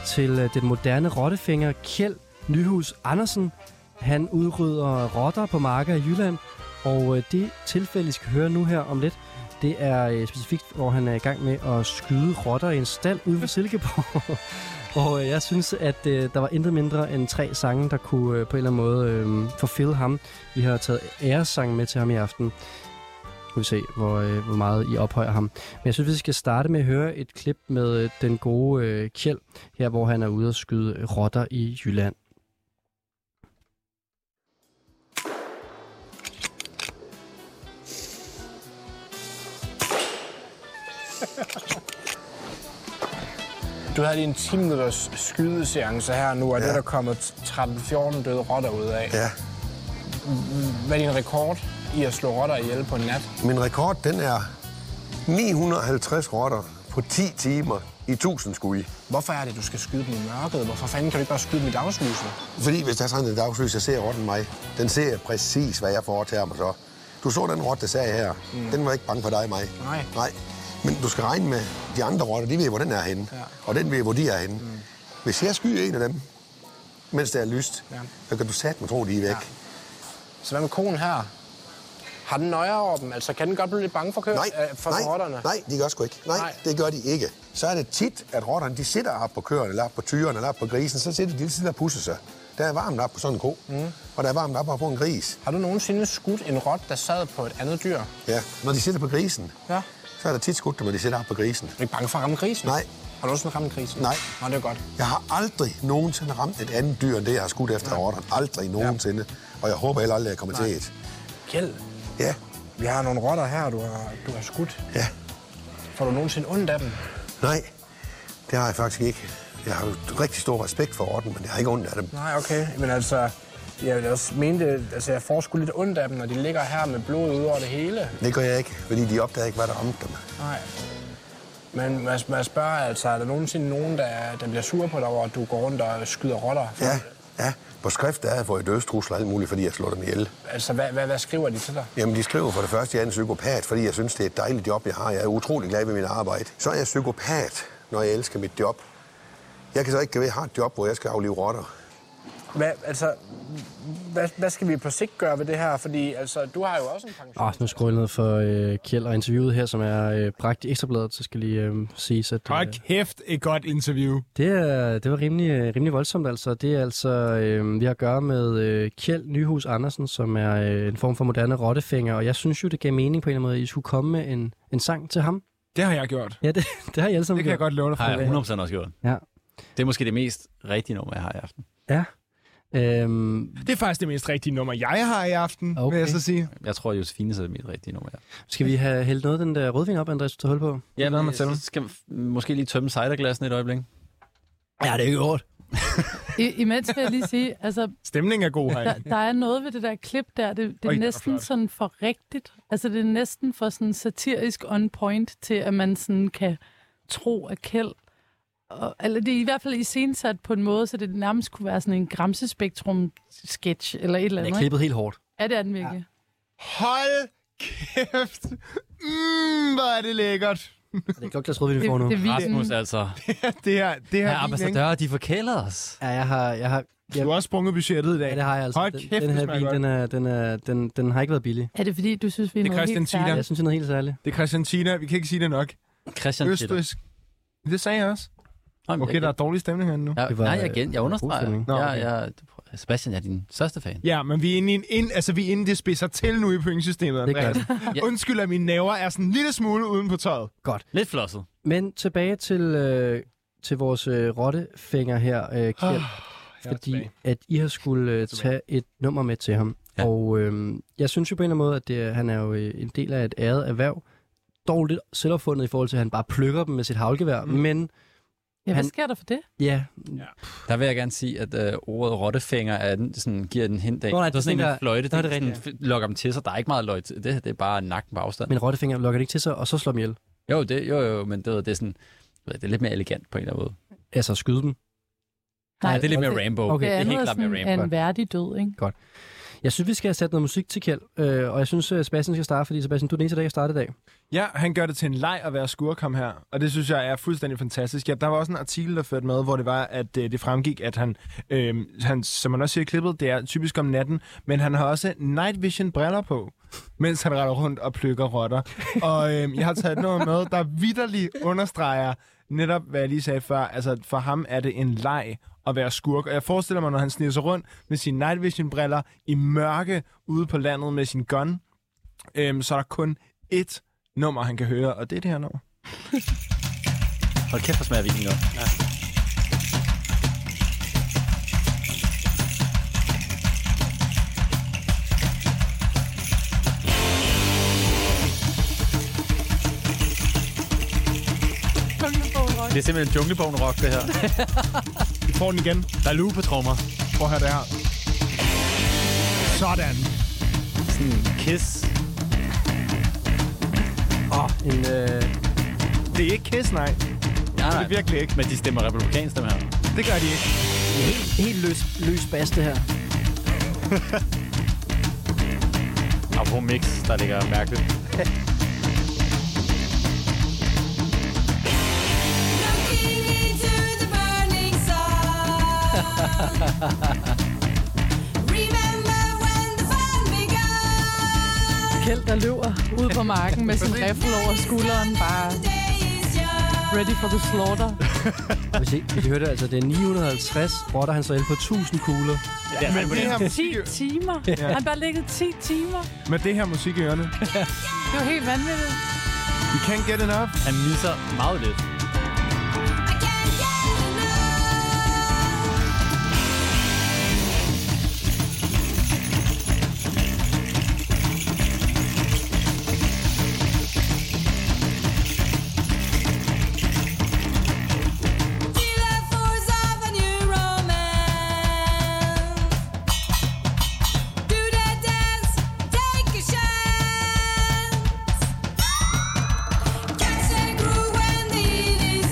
Speaker 2: til øh, den moderne rottefinger Kjeld Nyhus Andersen. Han udrydder rotter på marker i Jylland, og øh, det tilfælde, I skal høre nu her om lidt, det er øh, specifikt, hvor han er i gang med at skyde rotter i en stald ude for Silkeborg. og øh, jeg synes, at øh, der var intet mindre end tre sange, der kunne øh, på en eller anden måde øh, forfælde ham. Vi har taget æresange med til ham i aften. Nu kan vi se, hvor, øh, hvor meget I ophøjer ham. Men jeg synes, vi skal starte med at høre et klip med øh, den gode øh, Kjeld, her hvor han er ude og skyde øh, rotter i Jylland.
Speaker 10: Du havde lige en 10 minutters skydeseance her nu, og ja. det er der kommet 13-14 døde rotter ud af.
Speaker 11: Ja,
Speaker 10: Hvad er din rekord i at slå rotter ihjel på en nat?
Speaker 11: min rekord den er 950 rotter på 10 timer i 1000 skud.
Speaker 10: Hvorfor er det, du skal skyde dem i mørket? Hvorfor fanden kan du ikke bare skyde dem i dagslyset?
Speaker 11: Fordi hvis der er sådan en dagslys, jeg ser rotten mig, den ser præcis, hvad jeg foretager mig så. Du så den rotte, der sagde her. Mm. Den var ikke bange for dig, mig.
Speaker 10: Nej.
Speaker 11: Nej. Men du skal regne med, de andre rotter, de ved, hvor den er henne.
Speaker 10: Ja.
Speaker 11: Og den ved, hvor de er henne. Mm. Hvis jeg skyer en af dem, mens det er lyst, ja. så kan du satme tro, de er væk. Ja.
Speaker 10: Så hvad med konen her? Har den nøjer over dem? Altså, kan den godt blive lidt bange for, kø-
Speaker 11: Nej,
Speaker 10: øh, for
Speaker 11: nej,
Speaker 10: rotterne?
Speaker 11: nej, de gør sgu ikke. Nej,
Speaker 10: Nej.
Speaker 11: nej, det gør de ikke. Så er det tit, at rotterne de sidder op på køerne, eller op på tyrene, eller op på grisen, så sidder de lige sidder og pusser sig. Der er varmt op på sådan en ko, mm. og der er varmt op på en gris.
Speaker 10: Har du nogensinde skudt en rot, der sad på et andet dyr?
Speaker 11: Ja, når de sidder på grisen,
Speaker 10: Ja.
Speaker 11: så er der tit skudt dem, når de sidder op på grisen.
Speaker 10: Er du ikke bange for at ramme grisen?
Speaker 11: Nej.
Speaker 10: Har du nogensinde ramt grisen?
Speaker 11: Nej.
Speaker 10: Nå, det er godt.
Speaker 11: Jeg har aldrig nogensinde ramt et andet dyr, end det, jeg har skudt efter rotterne. Aldrig nogensinde. Og jeg håber heller aldrig, at jeg kommer til et.
Speaker 10: Kjeld,
Speaker 11: Ja,
Speaker 10: vi har nogle rotter her, du har, du har skudt.
Speaker 11: ja.
Speaker 10: Får du nogensinde ondt af dem?
Speaker 11: Nej, det har jeg faktisk ikke. Jeg har jo rigtig stor respekt for rotten, men jeg har ikke ondt af dem.
Speaker 10: Nej, okay. Men altså, jeg vil også mene det, altså jeg får sgu lidt ondt af dem, når de ligger her med blod ud over det hele.
Speaker 11: Det gør jeg ikke, fordi de opdager ikke, hvad der ramte dem.
Speaker 10: Nej. Men man, man spørger altså, er der nogensinde nogen, der, der bliver sur på dig over, at du går rundt og skyder rotter?
Speaker 11: Ja, ja. På skrift der havde jeg fået dødstrusler og alt muligt, fordi jeg slår dem ihjel.
Speaker 10: Altså, hvad, hvad, hvad skriver de til dig?
Speaker 11: Jamen, de skriver for det første, at jeg er en psykopat, fordi jeg synes, det er et dejligt job, jeg har. Jeg er utrolig glad ved mit arbejde. Så er jeg psykopat, når jeg elsker mit job. Jeg kan så ikke have et job, hvor jeg skal aflive rotter.
Speaker 10: Hvad, altså, hvad, hvad skal vi på sigt gøre ved det her? Fordi altså, du har jo også en pension.
Speaker 2: Ah, nu skruer jeg ned for øh, Kjeld og interviewet her, som er øh, bragt i ekstrabladet, så skal lige øh, siges, at...
Speaker 5: Hold kæft, et godt interview.
Speaker 2: Det, er, det var rimelig, øh, rimelig voldsomt, altså. Det er altså, øh, vi har at gøre med øh, Kjeld Nyhus Andersen, som er øh, en form for moderne rottefænger, og jeg synes jo, det gav mening på en eller anden måde, at I skulle komme med en, en sang til ham.
Speaker 5: Det har jeg gjort.
Speaker 2: Ja, det, det har I alle sammen
Speaker 5: Det kan jeg
Speaker 2: gjort.
Speaker 5: godt love dig for.
Speaker 4: Har jeg 100% også gjort.
Speaker 2: Ja.
Speaker 4: Det er måske det mest rigtige nummer, jeg har i aften.
Speaker 2: Ja. Øhm,
Speaker 5: Det er faktisk det mest rigtige nummer, jeg har i aften, okay. vil jeg så sige.
Speaker 4: Jeg tror, Josefine er det mest rigtige nummer, jeg har.
Speaker 2: skal vi have hældt noget af den der rødvin op, Andreas, du tager hul på?
Speaker 4: Ja, men man så skal vi måske lige tømme ciderglassene et øjeblik.
Speaker 2: Ja, det er ikke hårdt.
Speaker 3: I, imens vil jeg lige sige, altså,
Speaker 5: Stemningen er god
Speaker 3: der,
Speaker 5: herinde.
Speaker 3: der er noget ved det der klip der, det, det
Speaker 5: Oj,
Speaker 3: er
Speaker 5: det var
Speaker 3: næsten
Speaker 5: flot.
Speaker 3: sådan for rigtigt. Altså, det er næsten for sådan satirisk on point til, at man sådan kan tro at kæld. Og, eller det er i hvert fald iscenesat på en måde, så det nærmest kunne være sådan en gramsespektrum-sketch eller et eller andet.
Speaker 2: Den er
Speaker 3: ikke?
Speaker 2: klippet helt hårdt.
Speaker 3: Ja, det er den virkelig.
Speaker 5: Hold kæft. Mm, hvor er det lækkert.
Speaker 2: Det er et godt glas rødvin, vi får nu.
Speaker 3: Det, det er vildt.
Speaker 4: Rasmus altså.
Speaker 5: Det her, det her
Speaker 4: Her
Speaker 5: vin, ikke?
Speaker 4: ambassadører, de forkælder os.
Speaker 2: Ja, jeg har, jeg har,
Speaker 5: Du har også sprunget budgettet i
Speaker 2: ja,
Speaker 5: dag.
Speaker 2: det har jeg altså.
Speaker 5: Hold
Speaker 2: Den,
Speaker 5: kæft,
Speaker 2: den
Speaker 5: det
Speaker 2: her
Speaker 5: smager
Speaker 2: vin,
Speaker 5: godt.
Speaker 2: den, er, den, er, den, den har ikke været billig.
Speaker 3: Er det fordi, du synes, vi er,
Speaker 5: Det er
Speaker 3: noget
Speaker 5: Christian
Speaker 3: helt
Speaker 5: Tina.
Speaker 2: Ja. Jeg
Speaker 3: særligt?
Speaker 2: synes, det er noget helt særligt.
Speaker 5: Det er Christian Tina, vi kan ikke sige det nok.
Speaker 4: Christian Peter.
Speaker 5: Østrisk. Det sagde jeg også.
Speaker 4: Nå, men
Speaker 5: Okay, der
Speaker 4: jeg,
Speaker 5: er dårlig stemning herinde nu.
Speaker 4: jeg,
Speaker 2: Det
Speaker 4: jeg,
Speaker 2: var-
Speaker 4: nej, jeg, gen, jeg
Speaker 2: var
Speaker 4: understreger.
Speaker 2: god stemning.
Speaker 5: Nå,
Speaker 4: Jeg,
Speaker 5: okay.
Speaker 4: jeg, Sebastian, jeg er din største fan.
Speaker 5: Ja, men vi er inde, i en, ind, altså, vi er inde det spidser til nu i pointsystemet.
Speaker 2: Det er
Speaker 5: Andreas. Undskyld, at mine næver er sådan en lille smule uden på tøjet.
Speaker 4: Lidt flosset.
Speaker 2: Men tilbage til, øh, til vores øh, rottefinger her, øh, Kjeld. Oh, fordi
Speaker 5: Ah, tilbage.
Speaker 2: at I har skulle øh, tage et nummer med til ham. Ja.
Speaker 4: Ja.
Speaker 2: Og øh, jeg synes jo på en eller anden måde, at det, er- han er jo øh, en del af et æret erhverv. Dog lidt selvopfundet i forhold til, at han bare plukker dem med sit havlgevær. Mm. Men
Speaker 3: Ja, hvad
Speaker 2: Han-
Speaker 3: sker der for det?
Speaker 2: ja,
Speaker 4: Der vil jeg gerne sige, at øh, ordet rottefinger er den, sådan, giver den hint af.
Speaker 2: Nå, nej,
Speaker 4: det er sådan
Speaker 2: det
Speaker 4: en
Speaker 2: der-
Speaker 4: der, fløjte,
Speaker 2: Nå,
Speaker 4: der,
Speaker 2: det er
Speaker 4: det sådan, f- lokker dem til sig. Der er ikke meget løg til det. Det er bare nakken på afstand.
Speaker 2: men rottefinger lokker det ikke til sig, og så slår dem ihjel.
Speaker 4: Jo, det, jo, jo, men det, det, er sådan, ved jeg, det er lidt mere elegant på en eller anden måde.
Speaker 2: Altså skyde dem.
Speaker 4: Nej, det er lidt mere Rambo.
Speaker 2: Okay,
Speaker 4: det er
Speaker 3: andet
Speaker 4: helt klart mere
Speaker 3: sådan
Speaker 4: Rambo.
Speaker 3: en værdig død, ikke?
Speaker 2: Jeg synes, vi skal have sat noget musik til Kjeld, øh, og jeg synes, at Sebastian skal starte, fordi Sebastian, du er den eneste, der kan starte i dag.
Speaker 5: Ja, han gør det til en leg at være skurk ham her, og det synes jeg er fuldstændig fantastisk. Ja, der var også en artikel, der førte med, hvor det var, at øh, det fremgik, at han, øh, han, som man også siger i klippet, det er typisk om natten, men han har også night vision briller på, mens han retter rundt og plukker rotter. og øh, jeg har taget noget med, der vidderligt understreger netop, hvad jeg lige sagde før. Altså, for ham er det en leg at være skurk. Og jeg forestiller mig, når han sniger sig rundt med sine night vision briller i mørke ude på landet med sin gun, øhm, så er der kun ét nummer, han kan høre, og det er det her nummer.
Speaker 4: Hold kæft, hvor smager vinen godt. Det er simpelthen junglebogen rock, det her.
Speaker 5: Vi får den igen.
Speaker 4: Der er lue på trommer.
Speaker 5: Prøv at høre det her. Sådan.
Speaker 4: Sådan kiss.
Speaker 2: Åh, oh, en... Øh,
Speaker 5: Det er ikke Kiss, nej.
Speaker 4: Nej,
Speaker 5: Det er
Speaker 4: nej.
Speaker 5: virkelig ikke.
Speaker 4: Men de stemmer republikansk, dem her.
Speaker 5: Det gør de ikke.
Speaker 2: helt, helt løs, løs bas, det her.
Speaker 4: Og på mix, der ligger mærkeligt.
Speaker 3: Kjeld, der løber ud på marken med sin riffel over skulderen, bare ready for the slaughter.
Speaker 2: Hvis I, hvis I hørte, altså, det er 950 rotter, han så el på 1000 kugler.
Speaker 5: Ja, men, det her
Speaker 3: 10
Speaker 5: musik,
Speaker 3: timer? Han har bare ligget 10 timer.
Speaker 5: med det her musik i ørerne.
Speaker 3: Det var helt vanvittigt.
Speaker 5: You can't get enough.
Speaker 4: Han misser meget lidt.
Speaker 8: Catch a groove when the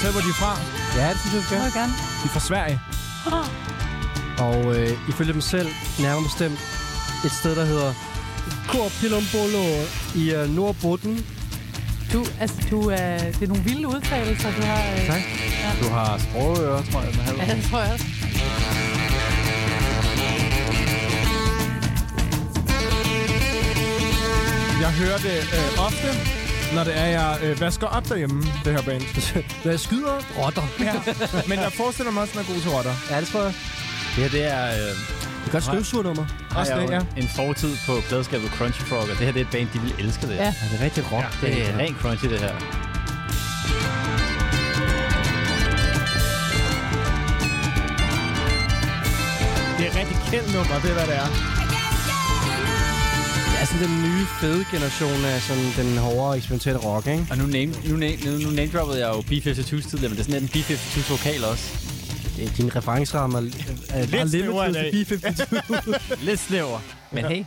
Speaker 5: sted, hvor de er fra?
Speaker 2: Ja, det synes jeg, vi skal.
Speaker 3: Må jeg gerne.
Speaker 5: De er fra Sverige.
Speaker 2: Og øh, ifølge dem selv, nærmere bestemt, et sted, der hedder Korpilombolo i øh, Nordbotten.
Speaker 3: Du, altså, du, øh, det er nogle vilde udtalelser, du har. Øh,
Speaker 2: Tak.
Speaker 3: Ja.
Speaker 4: Du har sprogører, tror jeg. Den
Speaker 3: Ja, det tror jeg også.
Speaker 5: Jeg hører det øh, ofte, når det er, jeg øh, vasker op derhjemme, det her band.
Speaker 2: Når jeg skyder rotter.
Speaker 5: Ja, men jeg forestiller mig også, at man er god til rotter.
Speaker 2: Ja, det tror jeg.
Speaker 12: Ja, det er... Øh,
Speaker 2: Det er godt støvsugernummer.
Speaker 12: har
Speaker 5: Også
Speaker 12: jeg
Speaker 5: det,
Speaker 12: jo en fortid på pladskabet Crunchy Frog, og det her det er et band, de vil elske det.
Speaker 2: Ja, det er rigtig rock.
Speaker 12: Ja, det er rent crunchy, det her.
Speaker 5: Det er et rigtig kendt nummer, det er, hvad det er.
Speaker 2: Det er sådan den nye fede generation af sådan den hårdere eksperimentelle rock, ikke?
Speaker 4: Og nu name, nu name, nu, nu name droppede jeg jo B-52's tidligere, men det er sådan lidt en B-52's vokal også.
Speaker 2: Det er din referenceramme er, er
Speaker 12: Lidt
Speaker 2: bare
Speaker 12: snævrere
Speaker 2: limited
Speaker 12: i
Speaker 2: til 52.
Speaker 12: Lidt snæver. Men hey.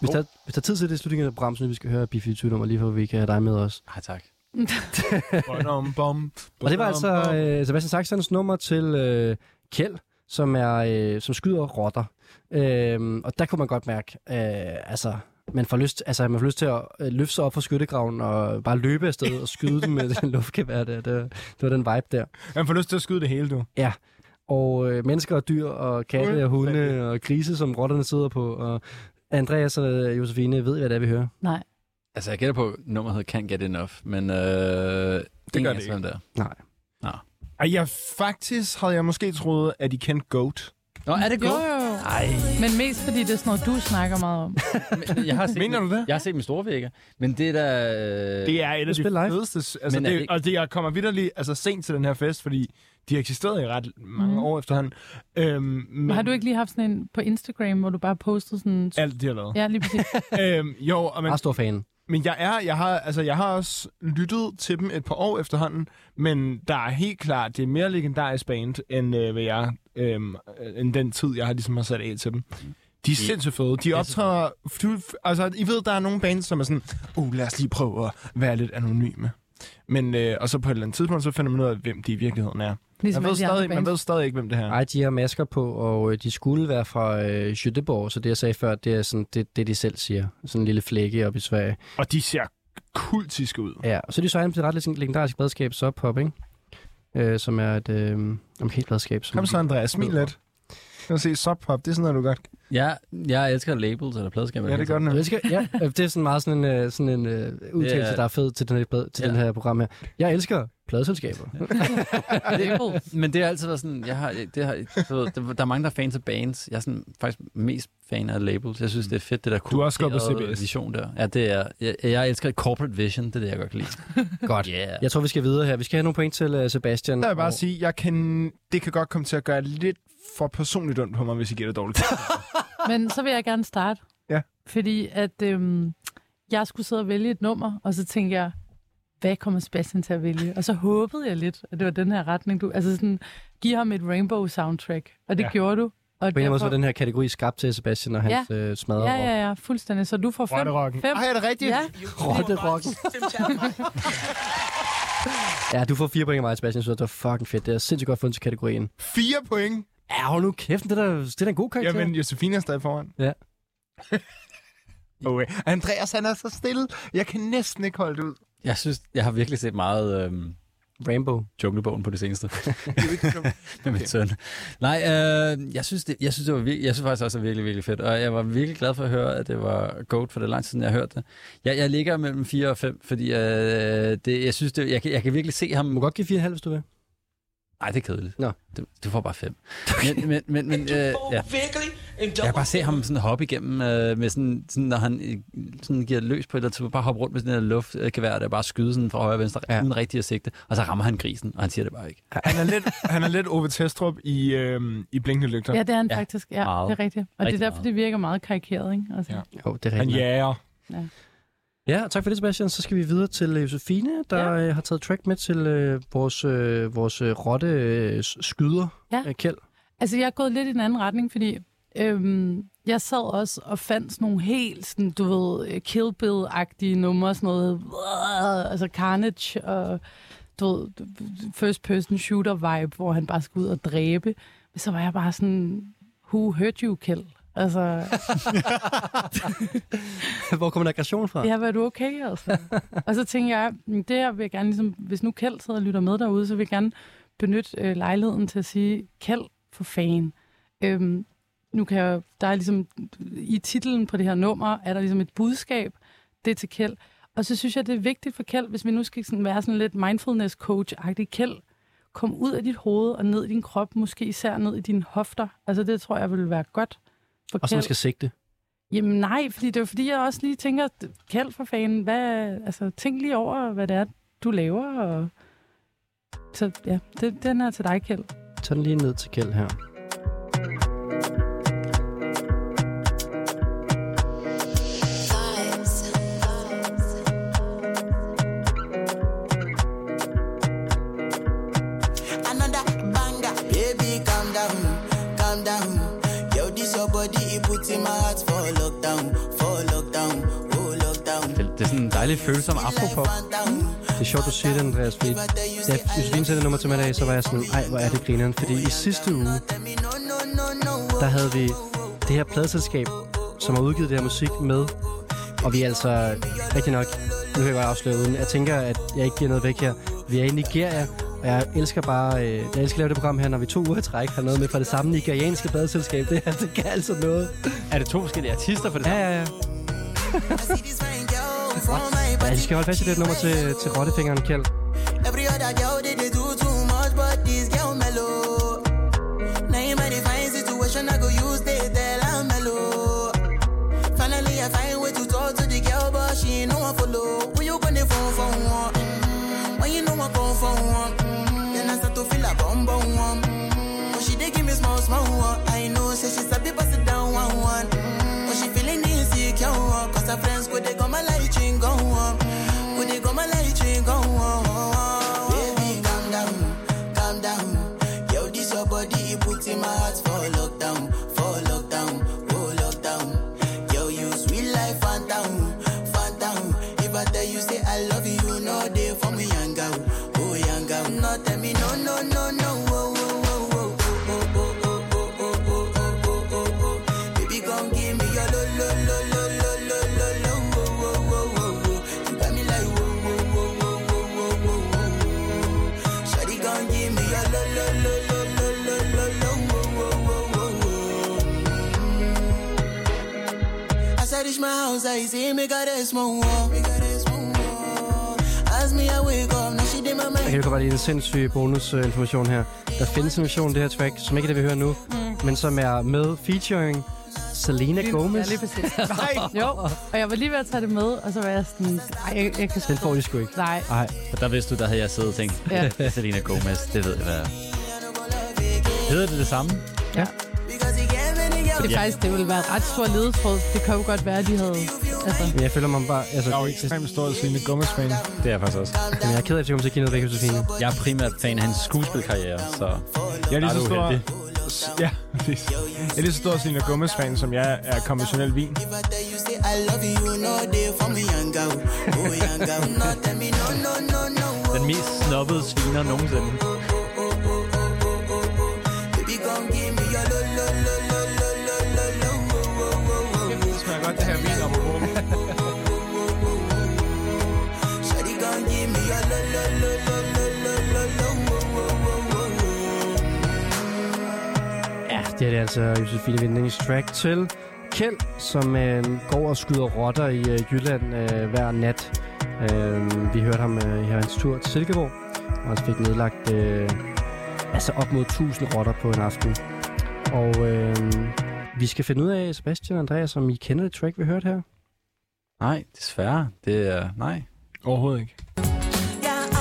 Speaker 2: Hvis der, hvis der er tid til det i slutningen af programmet, så vi skal høre B-52 nummer lige for, at vi kan have dig med os.
Speaker 4: Ej, tak.
Speaker 5: Bom, bom,
Speaker 2: Og det var altså øh, Sebastian Saxons nummer til øh, Kjeld, som, er, øh, som skyder rotter. Øh, og der kunne man godt mærke, øh, altså, man får, lyst, altså, man får lyst til at øh, løfte sig op fra skyttegraven og bare løbe afsted og skyde dem med den luftgevær der. Det, det var den vibe der.
Speaker 5: Man får lyst til at skyde det hele, du.
Speaker 2: Ja, og øh, mennesker og dyr og
Speaker 5: Mm.
Speaker 2: katte og hunde
Speaker 5: Fuldstændig.
Speaker 2: og grise, som rotterne sidder på. Og Andreas og øh, Josefine ved, hvad det er, vi hører.
Speaker 3: Nej.
Speaker 4: Altså, jeg gætter på, at nummeret hedder Can't Get Enough, men øh, det
Speaker 5: det
Speaker 4: gør det
Speaker 5: ikke.
Speaker 4: ikke. Der.
Speaker 2: Nej.
Speaker 5: Ej, jeg faktisk havde jeg måske troet, at I kendte Goat.
Speaker 4: Nå, er det
Speaker 3: Jo,
Speaker 4: godt?
Speaker 3: jo.
Speaker 4: Nej,
Speaker 3: Men mest fordi det er sådan noget, du snakker meget om.
Speaker 4: jeg har set
Speaker 5: Mener
Speaker 4: min,
Speaker 5: du det?
Speaker 4: Jeg har set min store vægge, men det er da... øh,
Speaker 5: Det er et af de
Speaker 2: spille live.
Speaker 5: fedeste... Altså,
Speaker 4: Men er det
Speaker 5: det,
Speaker 4: ikke-
Speaker 5: og det, jeg kommer vidderligt altså, sent til den her fest, fordi de har eksisteret i ret mange
Speaker 3: Mhm.
Speaker 5: år efterhånden. Øhm, men
Speaker 3: Men har du ikke lige haft sådan en på Instagram, hvor du bare postede sådan...
Speaker 5: alt det, jeg lavede?
Speaker 3: Ja, lige præcis.
Speaker 5: øhm, jo, og men,
Speaker 2: Meget stor fan.
Speaker 5: men jeg, er, jeg, har, altså, jeg har også lyttet til dem et par år efterhånden, men der er helt klart, det er mere legendarisk band, end, øh, hvad jeg, øhm, øh, end den tid, jeg har, ligesom har sat af til dem. De er sindssygt fede. De optræder... fly- Altså, I ved, der er nogle bands, som er sådan, uh, lad os lige prøve at være lidt anonyme. Men, øh, og så på et eller andet tidspunkt, så finder man ud af, hvem de i virkeligheden er.
Speaker 3: Ligesom
Speaker 5: Man ved,
Speaker 3: alle de andre
Speaker 5: stadig, man
Speaker 3: bands.
Speaker 5: ved stadig ikke, hvem det her er.
Speaker 2: Ej, de har masker på, og øh, de skulle være fra øh, Göteborg, så det, jeg sagde før, det er sådan, det, det de selv siger. Sådan en lille flække op i Sverige.
Speaker 5: Og de ser kultiske ud.
Speaker 2: Ja, og så er de så inde på det ret lidt legendariske bladskab, Sub Pop, ikke? Øh, som er et øh, omkring bladskab. Som
Speaker 5: Kom så, Andreas. Smil lidt. Lad os se, Sub Pop, det er sådan noget, du godt...
Speaker 4: Jeg, jeg elsker labels eller pladskaber.
Speaker 5: Ja, det gør den.
Speaker 2: Jeg elsker, ja, øh, det er sådan meget sådan en, øh, sådan en øh, udtalelse,
Speaker 4: Det er-
Speaker 2: der er fed til den her, blad, til
Speaker 4: Ja.
Speaker 2: den her program her. Jeg elsker pladeselskaber.
Speaker 3: Labels.
Speaker 4: Men det har altid været sådan, jeg har, det har, du ved, der, der er mange, der er fans af bands. Jeg er sådan, faktisk mest fan af labels. Jeg synes, det er fedt, det der
Speaker 5: Du har også gået på
Speaker 4: korrumperede
Speaker 5: CBS.
Speaker 4: vision der. Ja, det er, jeg, jeg elsker corporate vision, det er det, jeg godt kan lide.
Speaker 2: Godt.
Speaker 4: Yeah.
Speaker 2: Jeg tror, vi skal videre her. Vi skal have nogle point til øh, Sebastian.
Speaker 5: Der vil jeg bare
Speaker 2: og-
Speaker 5: sige, jeg kan... det kan godt komme til at gøre lidt for personligt ondt på mig, hvis I giver det dårligt.
Speaker 3: Men så vil jeg gerne starte.
Speaker 5: Ja.
Speaker 3: Fordi at øhm, jeg skulle sidde og vælge et nummer, og så tænkte jeg, hvad kommer Sebastian til at vælge? Og så håbede jeg lidt, at det var den her retning. Du, altså sådan, give ham et rainbow soundtrack. Og det
Speaker 5: Ja.
Speaker 3: ja. gjorde du. Og
Speaker 2: På en eller anden måde så var den her kategori skabt til Sebastian og hans øh, smadrer.
Speaker 3: Ja, ja, ja, fuldstændig. Så du får fem.
Speaker 5: Rotterocken.
Speaker 3: fem.
Speaker 5: Ej, er det rigtigt?
Speaker 3: Ja,
Speaker 2: Rotterocken. Ja, du får fire point af mig, Sebastian. Jeg synes, det var fucking fedt. Det er sindssygt godt fundet til kategorien.
Speaker 5: Fire point!
Speaker 2: Ja, hold nu kæft. Det er, da- det er da en god karakter.
Speaker 5: Jamen, Josefine er stadig foran.
Speaker 2: Ja.
Speaker 5: okay. Andreas, han er så stille. Jeg kan næsten ikke holde det ud.
Speaker 4: Jeg synes, jeg har virkelig set meget øhm,
Speaker 2: Rainbow.
Speaker 4: junglebogen på det seneste.
Speaker 5: Det er jo ikke dumt.
Speaker 4: med min søn. Nej, øh, jeg, synes, det, jeg, synes, det var virkelig, jeg synes faktisk også, det var virkelig, virkelig fedt. Og jeg var virkelig glad for at høre, at det var Goat, for det er lang tid siden, jeg hørte det. Jeg, jeg ligger mellem 4 og 5, fordi øh, det, jeg synes, det, jeg, kan, jeg kan virkelig se ham.
Speaker 2: Du må godt give 4,5, hvis du vil.
Speaker 4: Nej, det er kedeligt.
Speaker 2: Nå.
Speaker 4: Du, du får bare 5. Men, men, men, men øh, ja. jeg
Speaker 7: Virkelig en
Speaker 4: kan bare se ham sådan hoppe igennem, øh, med sådan, sådan, når han øh, sådan giver løs på et eller andet, bare hoppe rundt med sådan en luftgevær, der bare skyde sådan fra højre og venstre,
Speaker 2: Ja.
Speaker 4: ja. uden rigtig at sigte, og så rammer han grisen, og han siger det bare ikke.
Speaker 5: Han er lidt, han er lidt Ove Testrup i, øhm, i Blinkende Lygter.
Speaker 3: ja det er han
Speaker 4: Ja,
Speaker 3: ja, faktisk. Ja,
Speaker 4: meget.
Speaker 3: det er rigtigt. Og
Speaker 4: Rigtig
Speaker 3: det er derfor,
Speaker 4: meget.
Speaker 3: det virker meget karikeret, ikke? Altså,
Speaker 5: Ja.
Speaker 3: ja.
Speaker 2: Jo, det er
Speaker 5: Han
Speaker 2: rigtigt.
Speaker 5: jager.
Speaker 2: Ja, tak for det, Sebastian. Så skal vi videre til øh, Josefine, der ja. har taget track med til øh, vores, øh, vores øh, rotte øh, s- skyder,
Speaker 3: Ja.
Speaker 2: øh, Kjeld.
Speaker 3: Altså, jeg er gået lidt i den anden retning, fordi øhm, jeg sad også og fandt sådan nogle helt, sådan, du ved, øh, Kill Bill-agtige numre, sådan noget, øh, altså Carnage og du ved, first person shooter vibe, hvor han bare skulle ud og dræbe. Men så var jeg bare sådan, who hurt you, Kjeld? Altså,
Speaker 2: Hvor kommer aggression fra?
Speaker 3: Ja, var du okay? Altså? og så tænker jeg, "Mm, det her vil jeg gerne, ligesom, hvis nu Kjeld sidder og lytter med derude, så vil jeg gerne benytte øh, lejligheden til at sige, Kjeld for fan. Øhm, nu kan jeg, jo- der er ligesom, i titlen på det her nummer, er der ligesom et budskab, det er til Kjeld. Og så synes jeg, det er vigtigt for Kjeld, hvis vi nu skal sådan være sådan lidt mindfulness coach-agtig Kjeld, kom ud af dit hoved og ned i din krop, måske især ned i dine hofter. Altså det tror jeg ville være godt for
Speaker 2: Og så man
Speaker 3: Kjeld.
Speaker 2: skal sigte.
Speaker 3: Jamen nej, fordi det er jo fordi, jeg også lige tænker, kald for fanden, hvad, altså, tænk lige over, hvad det er, du laver. Og... Så ja, det, den er til dig, Kjeld.
Speaker 2: Tag den lige ned til Kjeld her.
Speaker 13: Another banger, baby, calm down, calm down. Yo, this your body, it puts in my heart for lockdown, for lockdown, oh lockdown.
Speaker 4: Det, det er sådan en dejlig følelse om afropop.
Speaker 2: Det er sjovt, du siger det, Andreas, fordi da Josefine sendte nummer til mig i dag, så var jeg sådan, ej, hvor er det grineren, fordi i sidste uge, der havde vi det her pladselskab, som har udgivet det her musik med, og vi er altså rigtig nok, nu kan jeg godt afsløre uden, jeg tænker, at jeg ikke giver noget væk her. Vi er i Nigeria, og jeg elsker bare, øh, jeg elsker at lave det program her, når vi to uger i træk har noget med fra det samme nigerianske pladselskab. Det her, det kan altså noget.
Speaker 4: Er det to forskellige artister for det
Speaker 2: Ja, ja, ja. Ja, de skal holde fast i det nummer til, til rottefingeren, Kjeld.
Speaker 13: Every other girl they, they do too much, but this girl mellow. Now in my divine situation, I go use they tell I'm mellow. Finally, I find way to talk to the girl, but she ain't no one follow. When you on the phone for one, mm, when you know I come for one, mm, then I start to feel a bum bum one. Mm, But she they give me small small one. I know say she's a bit pass it down one one. Mm, But she feeling insecure, one. cause her friends go they go my light ring go on. Go they go my light ring go on. Baby, calm down, calm down. Yo, this your body, it puts in my heart for lockdown, for lockdown, oh lockdown. Yo, you sweet life, phantom, phantom. If I tell you say I love you, no day for me, young girl, oh young girl. No, tell me no, no, no, no, oh, oh, oh, oh, oh, oh, oh, oh, oh, oh, oh, oh, oh, oh, oh. Baby, come give me your lo, lo, lo, lo, lo, lo, lo, lo, oh, oh, oh, oh, oh. You got me like, oh, oh, oh, oh, oh, oh, oh, oh, oh. Shawty, come give me your lo, lo, lo, lo, lo, lo, lo, lo, oh, oh, oh, oh, oh. As I reach my house, I see me got a small wall. As me, I wake up, now she did my
Speaker 2: Jeg kan godt lide en sindssyg bonusinformation her. Der findes en version af det her track, som ikke er det, vi hører nu, mm. men som er med featuring Selena
Speaker 3: Ja,
Speaker 2: Gomez.
Speaker 3: lige præcis. Nej. Jo, og jeg var lige ved at tage det med, og så var jeg sådan, nej, jeg, jeg kan
Speaker 2: Den får de sgu ikke.
Speaker 3: Nej.
Speaker 2: Nej.
Speaker 12: Og der vidste du, der havde jeg siddet og tænkt,
Speaker 3: Ja.
Speaker 12: ja. Selena Gomez, det ved jeg, hvad er." Hedder det det samme?
Speaker 2: Ja.
Speaker 3: Det er faktisk, det ville være ret stor ledetråd. Det kan jo godt være, at de havde... Altså,
Speaker 2: Men jeg føler mig bare... Altså, jeg er jo ekstremt
Speaker 5: stor Selena Gomez-fan.
Speaker 12: Det er jeg faktisk også.
Speaker 2: Men jeg er ked af, at jeg kommer til at give noget væk, Josefine.
Speaker 12: Jeg er primært fan af hans skuespilkarriere, så...
Speaker 5: Jeg er lige
Speaker 12: Der
Speaker 5: så
Speaker 12: du
Speaker 5: stor...
Speaker 12: heldig.
Speaker 5: Ja, præcis. Jeg er lige så stor Selena Gomez-fan, som jeg er konventionel vin.
Speaker 13: Say I love you, no day for me, young girl. Oh, young girl, no, tell me, no, no, no, no.
Speaker 12: Den mest snobbede sviner nogensinde.
Speaker 13: Baby, come give me your lo, lo, lo, lo, lo, lo, lo, lo, oh, oh, oh, oh.
Speaker 5: smager godt, det her vin om
Speaker 13: Shawty, come give me your lo, lo, lo, lo, lo, lo, lo, lo, oh, oh, oh, oh, oh.
Speaker 2: Ja, det er det altså Josefine Vindings track til Kjeld, som øh, går og skyder rotter i øh, Jylland øh, hver nat. Øh, vi hørte ham øh, i hans tur til Silkeborg, og han fik nedlagt øh, altså op mod 1000 rotter på en aften. Og øh, vi skal finde ud af, Sebastian og Andreas, om I kender det track, vi hørte her.
Speaker 4: Nej, desværre. Det er... Nej.
Speaker 5: Overhovedet ikke.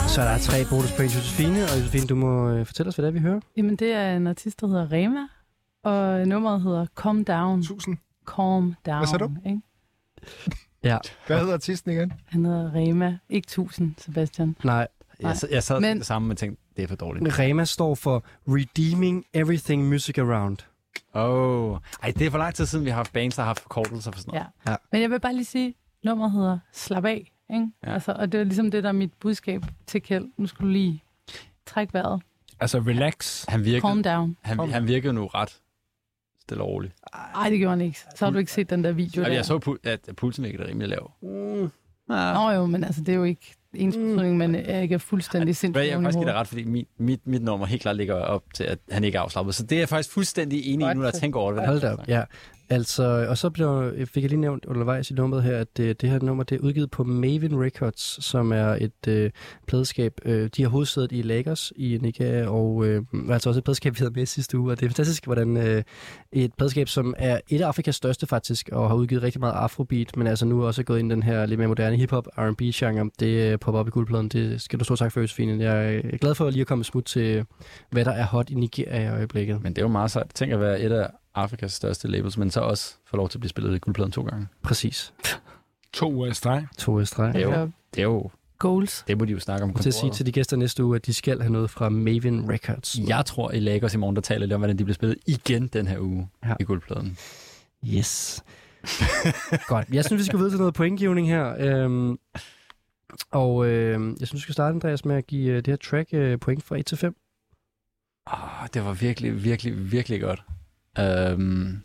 Speaker 2: Så der er tre bonus på Josefine, og Josefine, du må øh, fortælle os, hvad det er, vi hører.
Speaker 3: Jamen, det er en artist, der hedder Rema, og nummeret hedder Calm Down.
Speaker 5: Tusind.
Speaker 3: Calm Down.
Speaker 5: Hvad sagde du?
Speaker 3: Ikke?
Speaker 2: Ja.
Speaker 5: Hvad hedder artisten igen?
Speaker 3: Han hedder Rema. Ikke tusind, Sebastian.
Speaker 2: Nej.
Speaker 3: Nej.
Speaker 12: Jeg, s- jeg sad
Speaker 3: Men-
Speaker 12: men... det samme, men tænkte, det er for dårligt.
Speaker 2: Rema står for Redeeming Everything Music Around.
Speaker 12: Åh, oh. ej, det er for lang tid siden, vi har haft bands, der har haft forkortelser for sådan noget.
Speaker 3: Ja. Men jeg vil bare lige sige, nummeret hedder Slap af Ikke? Ja. Altså, og det er ligesom det, der er mit budskab til Kjeld. Nu skulle du lige trække vejret.
Speaker 5: Altså, relax.
Speaker 4: Han virkede,
Speaker 3: Calm down.
Speaker 4: Han, han virkede nu ret stille og roligt.
Speaker 3: Nej, det gjorde han ikke. Så har du ikke set den der video
Speaker 4: Altså,
Speaker 3: der.
Speaker 4: jeg så, pu- at pulsen ikke er rimelig lav.
Speaker 3: Mm. Nå jo, men altså, det er jo ikke ens betydning, men jeg ikke er fuldstændig
Speaker 4: Hvad
Speaker 3: sindssygt.
Speaker 4: jeg er faktisk giver dig ret, fordi mit, mit, mit nummer helt klart ligger op til, at han ikke er afslappet. Så det er jeg faktisk fuldstændig enig i, nu når jeg tænker over det.
Speaker 2: Hold da op, ja. Altså, og så blev, fik jeg lige nævnt undervejs i nummeret her, at øh, det, det her nummer det er udgivet på Maven Records, som er et øh, pladeskab. Øh, de har hovedsædet i Lagos i Nigeria, og øh, altså også et pladeskab, vi havde med sidste uge. Og det er fantastisk, hvordan øh, et pladeskab, som er et af Afrikas største faktisk, og har udgivet rigtig meget afrobeat, men altså nu også er gået ind i den her lidt mere moderne hiphop, R&B-genre. Det øh, popper op i guldpladen. Det skal du stort tak for, Josefine. Jeg er glad for lige at komme et smut til, hvad der er hot i Nigeria i øjeblikket.
Speaker 4: Men det er jo meget sejt. Tænk at være et af Afrikas største labels, men så også få lov til at blive spillet i guldpladen to gange.
Speaker 2: Præcis.
Speaker 5: To uger i streg.
Speaker 2: To uger i streg.
Speaker 4: Det er jo, det er jo
Speaker 3: Goals.
Speaker 4: Det må de jo snakke om.
Speaker 2: Til at sige
Speaker 4: kontoret.
Speaker 2: til de gæster næste uge, at de skal have noget fra Maven Records.
Speaker 4: Jeg tror, i Lagos i morgen, der taler lidt om, hvordan de bliver spillet igen den her uge ja. i guldpladen.
Speaker 2: Yes. Godt. Jeg synes, vi skal videre til noget pointgivning her. Øhm, og øhm, jeg synes, vi skal starte, Andreas, med at give øh, det her track øh, point fra 1 til 5.
Speaker 4: Oh, det var virkelig, virkelig, virkelig godt. Øhm,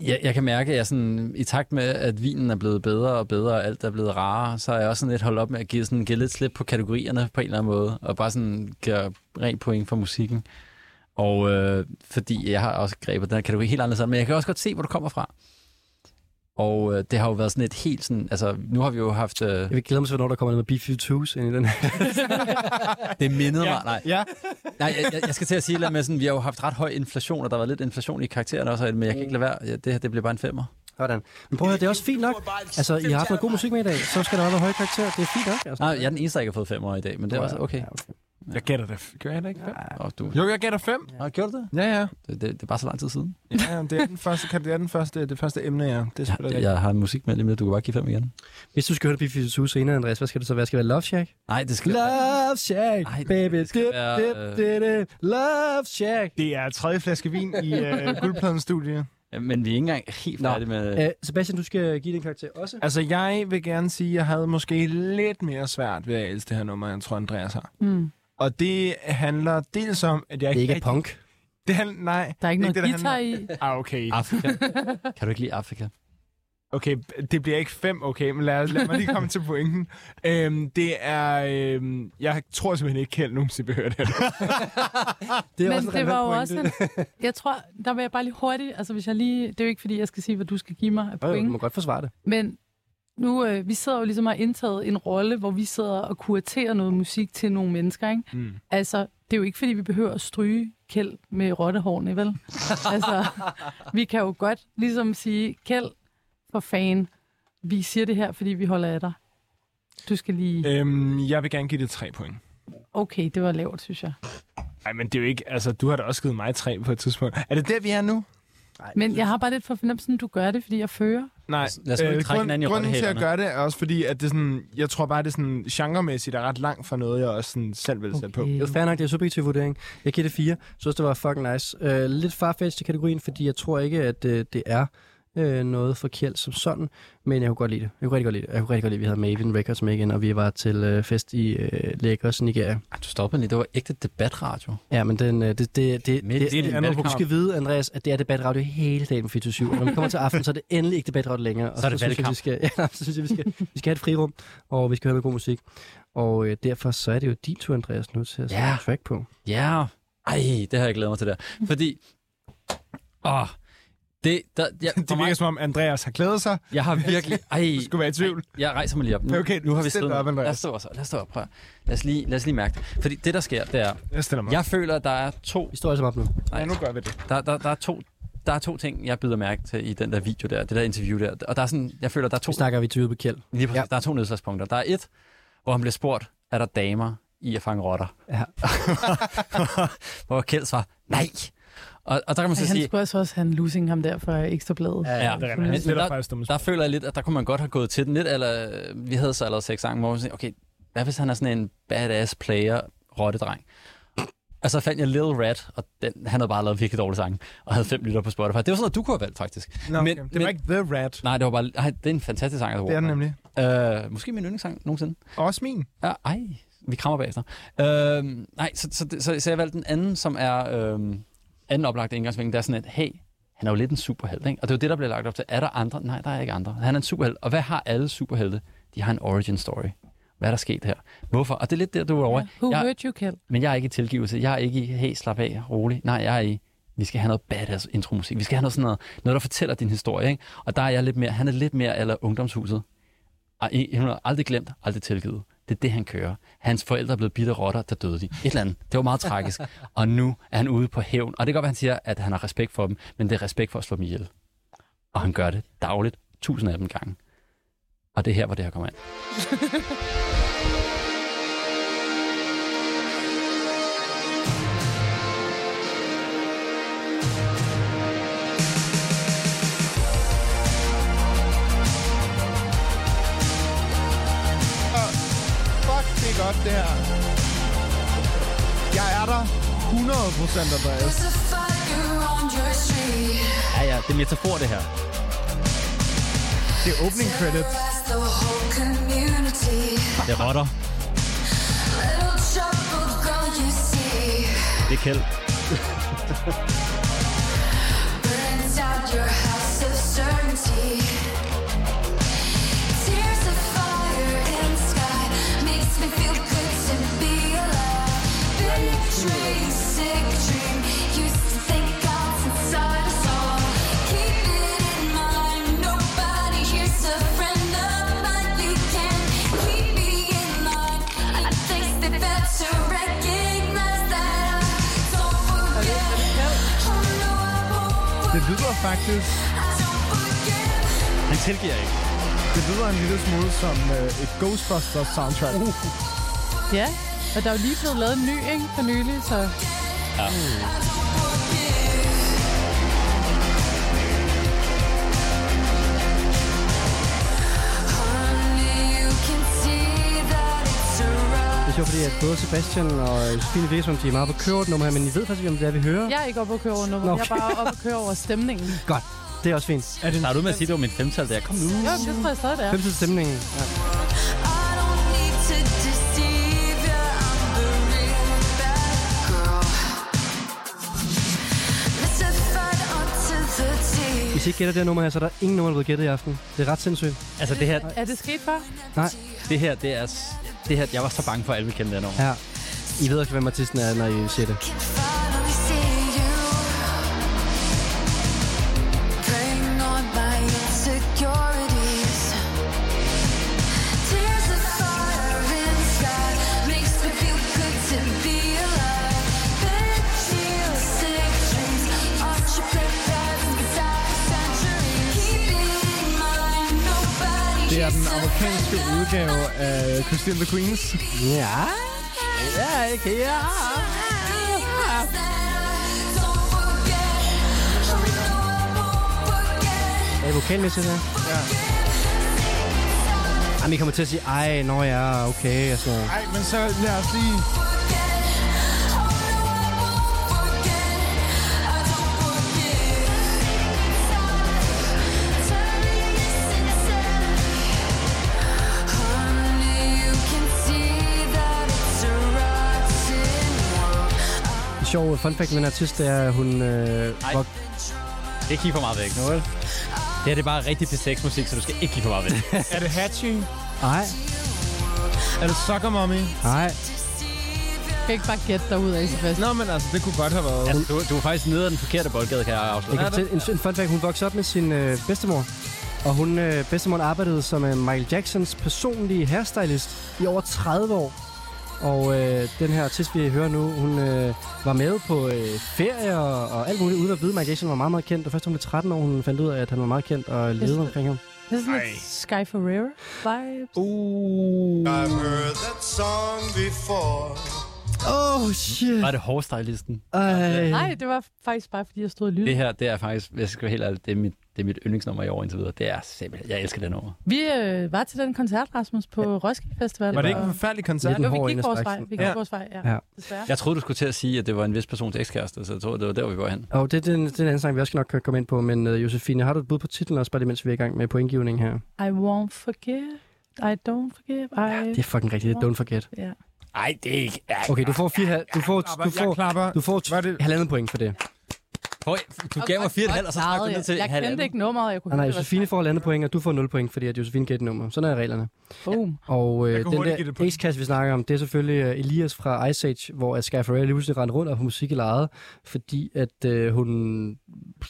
Speaker 4: jeg, jeg kan mærke, at jeg sådan, i takt med, at vinen er blevet bedre og bedre, og alt er blevet rarere, så er jeg også sådan lidt holdt op med at give, sådan, give lidt slip på kategorierne på en eller anden måde, og bare sådan gøre rent point for musikken. Og øh, fordi jeg har også grebet den her kategori helt anderledes, an, men jeg kan også godt se, hvor du kommer fra. Og øh, det har jo været sådan et helt sådan, altså nu har vi jo haft... Øh,
Speaker 2: Jeg vil glæde mig til, hvornår der kommer noget med B-52's ind i den her.
Speaker 4: det mindede ja. mig, nej.
Speaker 5: Ja.
Speaker 4: nej jeg, jeg, jeg, skal til at sige lidt med sådan, vi har jo haft ret høj inflation, og der var lidt inflation i karaktererne også, men jeg kan ikke lade være. Ja, det her, det bliver bare en femmer.
Speaker 2: Sådan. Men prøv at høre, det er også fint nok. Altså, I har haft noget god musik med i dag, så skal der også være høj karakter. Det er fint nok. Altså.
Speaker 4: Nej, jeg er den eneste, der ikke har fået femmer i dag, men det er også okay.
Speaker 5: Jeg gætter det. Gør jeg da ikke fem?
Speaker 4: Nå, du,
Speaker 5: Jo, jeg gætter fem.
Speaker 4: Nå, gjorde du det?
Speaker 5: Ja, ja.
Speaker 4: Det, det, det, er bare så lang tid siden.
Speaker 5: Ja, ja, det er den første, kan det er den første, det første emne, ja. Det er ja,
Speaker 4: Jeg har en musik med lige med, du kan bare give fem igen.
Speaker 2: Hvis du skal høre B-52 senere, Andreas, hvad skal det så være? Skal det være Love Shack?
Speaker 4: Nej, det skal
Speaker 2: Love Shack, Ej, baby. Dip,
Speaker 4: være,
Speaker 2: dip, dip, dip. Love Shack.
Speaker 5: Det er tredje flaske vin i øh, guldpladens studie.
Speaker 4: Ja, Men vi er ikke engang helt færdige med...
Speaker 2: Øh, Sebastian, du skal give din karakter også.
Speaker 5: Altså, jeg vil gerne sige, at jeg havde måske lidt mere svært ved at elske det her nummer, end jeg tror, Andreas har.
Speaker 3: Mm.
Speaker 5: Og det handler dels om, at jeg
Speaker 2: Det er ikke punk.
Speaker 5: Det han, nej.
Speaker 3: Der er ikke
Speaker 5: det
Speaker 3: noget
Speaker 5: det, der
Speaker 3: guitar
Speaker 5: handler-
Speaker 3: i.
Speaker 5: Ah, okay.
Speaker 4: Afrika. kan du ikke lide Afrika?
Speaker 5: Okay, det bliver ikke fem, okay, men lad, lad mig lige komme til pointen. Øhm, det er... Øhm, jeg tror simpelthen ikke, Kjeld nogensinde vil høre det.
Speaker 2: Det er
Speaker 3: Men
Speaker 2: også en
Speaker 3: det var jo
Speaker 2: relevant
Speaker 3: også en... Jeg tror, der vil jeg bare lige hurtigt... Altså, hvis jeg lige... Det er jo ikke, fordi jeg skal sige, hvad du skal give mig af
Speaker 2: Jo, jo,
Speaker 3: point.
Speaker 2: Du må godt forsvare det.
Speaker 3: Men nu, øh, vi sidder jo ligesom og har indtaget en rolle, hvor vi sidder og kuraterer noget musik til nogle mennesker, ikke?
Speaker 5: Mm.
Speaker 3: Altså, det er jo ikke, fordi vi behøver at stryge Kjeld med rottehårene, vel? altså, vi kan jo godt ligesom sige, Kjeld, for fan, vi siger det her, fordi vi holder af dig. Du skal lige...
Speaker 5: øhm, jeg vil gerne give det tre point.
Speaker 3: Okay, det var lavt, synes jeg.
Speaker 5: Nej, men det er jo ikke... Altså, du har da også givet mig tre på et tidspunkt. Er det der, vi er nu?
Speaker 3: Men jeg har bare lidt for fornemmelsen, at du gør det, fordi jeg fører.
Speaker 5: Nej,
Speaker 4: lad os nu ikke trække hinanden i
Speaker 5: Øh, grunden til at
Speaker 4: rottehælerne.
Speaker 5: gøre det er også fordi, at det er sådan, jeg tror bare, det er sådan, genremæssigt er ret langt fra noget, jeg også sådan selv vil sætte på.
Speaker 3: Okay.
Speaker 2: Det er fair nok, det er subjektiv vurdering. Jeg giver det fire. Jeg synes, det var fucking nice. Øh, lidt farfetched i kategorien, fordi jeg tror ikke, at øh, det er øh, noget forkert som sådan, men jeg kunne godt lide det. Jeg kunne rigtig godt lide det. Jeg kunne rigtig godt lide, at vi havde Maven Records med igen, og vi var til øh, fest i øh, Lagos, Nigeria.
Speaker 4: Ej, du stopper lige. Det var ægte debatradio.
Speaker 2: Ja, men den, øh, det, det, det, det,
Speaker 4: Midt i en valgkamp.
Speaker 2: du skal vide, Andreas, at det er debatradio hele dagen på 24 Og når vi kommer til aften, så er det endelig ikke debatradio længere. Og
Speaker 4: Så er det
Speaker 2: synes jeg, vi skal, ja, så synes jeg, vi skal, vi skal have et frirum, og vi skal høre noget god musik. Og øh, derfor så er det jo din tur, Andreas, nu til at sætte
Speaker 4: Ja.
Speaker 2: en track på.
Speaker 4: Ja. Yeah. Ej, det har jeg glædet mig til der. Fordi... Åh, det, der, ja,
Speaker 5: Det
Speaker 4: for
Speaker 5: virker
Speaker 4: mig,
Speaker 5: som om, Andreas har klædet sig.
Speaker 4: jeg har virkelig... Ej,
Speaker 5: Du skulle være i tvivl.
Speaker 4: jeg rejser mig lige op. Nu,
Speaker 5: Okay,
Speaker 4: nu har vi
Speaker 5: stil dig
Speaker 4: siddet
Speaker 5: op, Andreas.
Speaker 4: Lad os stå op, lad os stå op. Prøv. at- Lad os, lige, lad os lige mærke det. Fordi det, der sker, det er...
Speaker 5: Jeg stiller mig.
Speaker 4: Jeg føler, at der er to
Speaker 2: Vi står altså op nu.
Speaker 4: Nej.
Speaker 5: Ja, nu gør vi det.
Speaker 4: Der, der, der, er to, der er to ting, jeg bider mærke til i den der video der, det der interview der. Og der er sådan, jeg føler, der er to,
Speaker 2: Vi snakker vi til på Kjeld.
Speaker 4: lige præcis,
Speaker 2: ja.
Speaker 4: ja. der er to nedslagspunkter. Der er et, hvor han bliver spurgt, er der damer i at fange rotter?
Speaker 2: Ja.
Speaker 4: hvor Kjeld svarer, nej. Og, og der kan man så
Speaker 3: Han
Speaker 4: sige,
Speaker 3: skulle også også have en losing ham der fra Ekstrabladet.
Speaker 2: Ja,
Speaker 4: Ja,
Speaker 5: det er
Speaker 4: men, men
Speaker 5: rigtigt. Det er der
Speaker 4: der,
Speaker 5: faktisk dumme
Speaker 4: der føler jeg lidt, at der kunne man godt have gået til den lidt, eller øh, vi havde så allerede seks sange, hvor man sagde, okay, hvad hvis han er sådan en badass player, rottedreng? Og så fandt jeg Lil Rat, og den, han havde bare lavet virkelig dårlige sange, og havde fem lytter på Spotify. Det var sådan noget, du kunne have valgt, faktisk.
Speaker 5: Nå, okay.
Speaker 4: Men-
Speaker 5: det var
Speaker 4: men-
Speaker 5: ikke The Rat.
Speaker 4: Nej, det var bare... Nej, det er en fantastisk sang, altså, jeg
Speaker 5: Det er den nemlig.
Speaker 4: Uh, måske min yndlingssang nogensinde.
Speaker 5: Også min.
Speaker 4: Ja, ej, vi krammer bagefter. Uh, nej, så, så, så, så, jeg valgte den anden, som er uh, anden oplagte indgangsvinkel. Der er sådan et, hey, han er jo lidt en superhelt, ikke? Og det er jo det, der bliver lagt op til. Er der andre? Nej, der er ikke andre. Han er en superhelt. Og hvad har alle superhelte? De har en origin story. Hvad er der sket her? Hvorfor? Og det er lidt der, du er over. i.
Speaker 3: Who
Speaker 4: jeg,
Speaker 3: hurt you, Kjeld?
Speaker 4: men jeg er ikke i tilgivelse. Jeg er ikke i, hey, slap af, rolig. Nej, jeg er i, vi skal have noget badass intromusik. Vi skal have noget sådan noget, noget der fortæller din historie. Ikke? Og der er jeg lidt mere, han er lidt mere eller ungdomshuset. Og I- Hun har aldrig glemt, aldrig tilgivet. Det er det, han kører. Hans forældre er blevet bitte rotter, der døde de. Et eller andet. Det var meget tragisk. Og nu er han ude på hævn. Og det kan godt være, han siger, at han har respekt for dem, men det er respekt for at slå dem ihjel. Og han gør det dagligt, tusind af dem gange. Og det er her, hvor det her kommer ind.
Speaker 5: Og fuck, det er godt, det her. Jeg er der 100 procent, Andreas.
Speaker 12: Ja, ja, det er metafor, det her.
Speaker 5: Det er opening credits.
Speaker 12: Det er rotter. Det er kæld.
Speaker 8: To recognize that I don't
Speaker 5: Det lyder faktisk...
Speaker 12: Han tilgiver ikke.
Speaker 5: Det lyder en lille smule som øh, et Ghostbusters soundtrack. Uh.
Speaker 3: Ja, og der er jo lige blevet lavet en ny, ikke, for nylig, så...
Speaker 12: Ja.
Speaker 2: Det er sjovt, fordi at både Sebastian og Josefine Vesum, de er meget på køret nummer her, men I ved faktisk ikke, om det er, vi hører.
Speaker 3: Jeg er ikke oppe at køre over nu.
Speaker 2: Nå,
Speaker 3: Jeg er
Speaker 2: okay.
Speaker 3: bare oppe at køre over stemningen.
Speaker 2: Godt, det er også fint. Er det
Speaker 12: Starter du med at sige, at det var min femtal der? Kom nu.
Speaker 3: Jo, men det tror jeg stadig, det er.
Speaker 2: Femtid stemningen. Ja. Hvis I ikke gætter det her nummer her, så er der ingen nummer, der er blevet gættet i aften. Det er ret sindssygt.
Speaker 12: Altså det her,
Speaker 3: Er det sket for?
Speaker 2: Nej.
Speaker 12: det her, det er, s- det her, jeg var så bange for, at alle ville kende det her nummer.
Speaker 2: Ja. I ved også, hvem artisten er, når I siger det.
Speaker 5: Det er den amerikanske udgave af Christian the Queens.
Speaker 2: Ja.
Speaker 12: Ja, ikke? Ja.
Speaker 2: Er I vokalmæssigt her?
Speaker 5: Ja.
Speaker 2: Jamen, I kommer til at sige, ej, nå ja, okay, og sådan noget.
Speaker 5: Ej, men så lad os lige...
Speaker 2: En sjov fun fact med den artist, det er, at hun... Øh,
Speaker 12: Ej.
Speaker 2: var...
Speaker 12: Ikke lige for meget væk.
Speaker 2: Nå, vel?
Speaker 12: Det her det er bare rigtig P6-musik, så du skal ikke lige for meget væk.
Speaker 5: Er det Hatchy?
Speaker 2: Ej,
Speaker 5: Er det Sucker Mommy?
Speaker 2: ej.
Speaker 3: Jeg kan ikke bare gætte dig ud af, Sebastian.
Speaker 5: Nå, men altså, det kunne godt have været...
Speaker 12: Altså, du, du er faktisk nede af den forkerte boldgade, kan jeg
Speaker 2: Jeg
Speaker 12: afsløre.
Speaker 2: kan fortælle, en, en fun fact, hun voksede op med sin øh, bedstemor. Og hun, øh, bedstemoren arbejdede som øh, Michael Jacksons personlige hairstylist i over 30 år. Og øh, den her artist, vi hører nu, hun øh, var med på øh, ferie og, og alt muligt, uden at vide, at Michael Jackson var meget, meget kendt. Og først da hun blev 13 år, hun fandt ud af, at han var meget kendt og levede omkring ham.
Speaker 3: Det er sådan lidt Sky Ferreira vibes.
Speaker 14: I've heard that song before.
Speaker 2: Oh, shit.
Speaker 12: Var det hårstylisten?
Speaker 4: Øh.
Speaker 2: Ej.
Speaker 3: Øh. Nej, det var faktisk bare, fordi jeg stod og lyttede.
Speaker 12: Det her, det er faktisk, hvis jeg skal være helt ærlig, det er mit, det er mit yndlingsnummer i år indtil videre. Det er simpelthen, jeg elsker det nummer.
Speaker 3: Vi øh, var til den koncert, Rasmus, på Roskilde Festival.
Speaker 5: Var det ikke en
Speaker 3: og-
Speaker 5: forfærdelig koncert?
Speaker 3: Jo,
Speaker 2: hård
Speaker 3: vi
Speaker 2: ind
Speaker 3: gik
Speaker 2: ad
Speaker 3: vores vej.
Speaker 2: striksen.
Speaker 3: Vi gik
Speaker 2: Ja.
Speaker 3: vores vej, ja.
Speaker 2: Ja.
Speaker 3: Desværre.
Speaker 12: Jeg troede, du skulle til at sige, at det var en vis persons ekskæreste, så jeg tror, det var der, vi går hen.
Speaker 2: Og det er den, den anden sang, vi også skal nok kan øh, komme ind på. Men øh, Josefine, har du et bud på titlen også, bare lige mens vi er i gang med pointgivningen her?
Speaker 3: I won't forget. I don't forgive. I...
Speaker 2: Det er fucking rigtigt. Don't forget.
Speaker 3: Ja.
Speaker 10: Nej, det er ikke...
Speaker 2: Okay, du får, fire, hal- du får, du får, du får t- halvandet point for det.
Speaker 4: Høj, du gav mig fire og et halvt, og så
Speaker 3: Meget,
Speaker 4: snakkede du ned til
Speaker 3: Jeg
Speaker 4: halvandet.
Speaker 3: kendte ikke nummeret, og jeg kunne
Speaker 2: Nej, nej,
Speaker 3: høre, det
Speaker 2: Josefine får halvandet point, og du får 0 point, fordi at Josefine gætter nummer. Sådan er reglerne.
Speaker 3: Boom.
Speaker 2: Og
Speaker 3: Jeg
Speaker 2: øh,
Speaker 3: kan
Speaker 2: den
Speaker 3: hurtigt give
Speaker 2: der ace vi snakker om, det er selvfølgelig øh, Elias fra Ice Age, hvor at Scarfarelli lige pludselig rendte rundt og på musik i lejet, fordi at øh, hun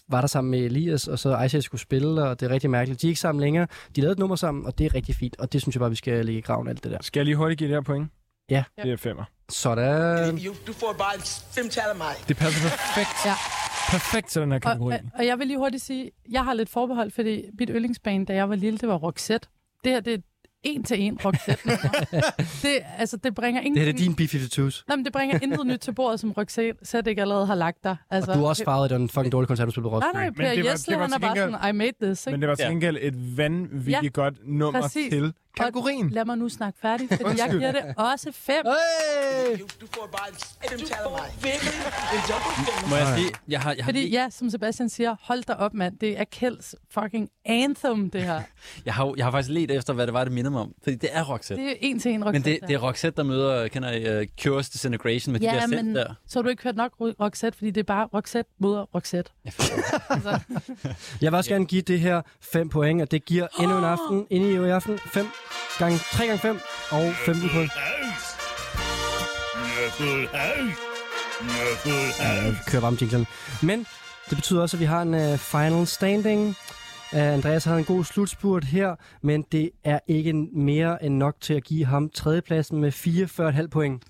Speaker 2: var der sammen med Elias, og så Ice Age skulle spille, og det er rigtig mærkeligt. De er ikke sammen længere. De lavede et nummer sammen, og det er rigtig fint, og det synes jeg bare, vi skal lægge i graven alt det der.
Speaker 5: Skal jeg lige hurtigt give det her point?
Speaker 2: Ja.
Speaker 5: Det er femmer.
Speaker 2: Sådan.
Speaker 7: Jo, Du får bare et femtal af mig.
Speaker 5: Det passer perfekt.
Speaker 3: Ja.
Speaker 5: Perfekt til den her
Speaker 3: Og,
Speaker 5: kategori.
Speaker 3: og- og jeg vil lige hurtigt sige, jeg har lidt forbehold, fordi mit yndlingsbane, da jeg var lille, det var Roxette. Det her, det er en til en Roxette. det, altså, det bringer
Speaker 2: Det her
Speaker 3: ingenting...
Speaker 2: det er din B-52's.
Speaker 3: Nej, men det bringer intet nyt til bordet, som Roxette ikke allerede har lagt dig. Altså,
Speaker 2: Og du har også farvet den fucking dårlige koncert, du spillede på
Speaker 3: Nej,
Speaker 2: Roskilde.
Speaker 3: nej,
Speaker 5: Men det
Speaker 3: Per
Speaker 5: var-
Speaker 3: Jesle,
Speaker 5: det var
Speaker 3: han er
Speaker 5: til
Speaker 3: bare
Speaker 5: gengæld-
Speaker 3: sådan, I made this, ikke?
Speaker 5: Men det var til gengæld et vanvittigt
Speaker 3: Ja.
Speaker 5: godt nummer
Speaker 3: Præcis.
Speaker 5: til.
Speaker 3: kategorien. Og lad mig nu snakke færdigt, fordi jeg
Speaker 5: Undskyld.
Speaker 3: giver det også fem.
Speaker 2: Hey!
Speaker 7: Du får bare et femtal af mig. Virkelig en dobbeltfemmer.
Speaker 4: Må jeg sige, jeg har, jeg har,
Speaker 3: Fordi ja, som Sebastian siger, hold da op, mand. Det er Kjelds fucking anthem, det her.
Speaker 4: jeg har, jo- jeg har faktisk let efter, hvad det var, det mindede mig om. Fordi det er Roxette.
Speaker 3: Det er en til en Roxette.
Speaker 4: Men det, det er Roxette, der møder, kender I, uh, Cures Disintegration med de der
Speaker 3: ja,
Speaker 4: men...
Speaker 3: men
Speaker 4: der.
Speaker 3: så har du ikke hørt nok Ro- Roxette, fordi det er bare Roxette mod Roxette.
Speaker 2: Jeg vil også gerne give det her 5 point, og det giver endnu en aften, endnu i aften, 5 gange, 3 gange 5 og 15 point. Ja, vi kører varme jinglen. Men det betyder også, at vi har en uh, final standing. Uh, Andreas havde en god slutspurt her, men det er ikke mere end nok til at give ham tredjepladsen med 44,5 point.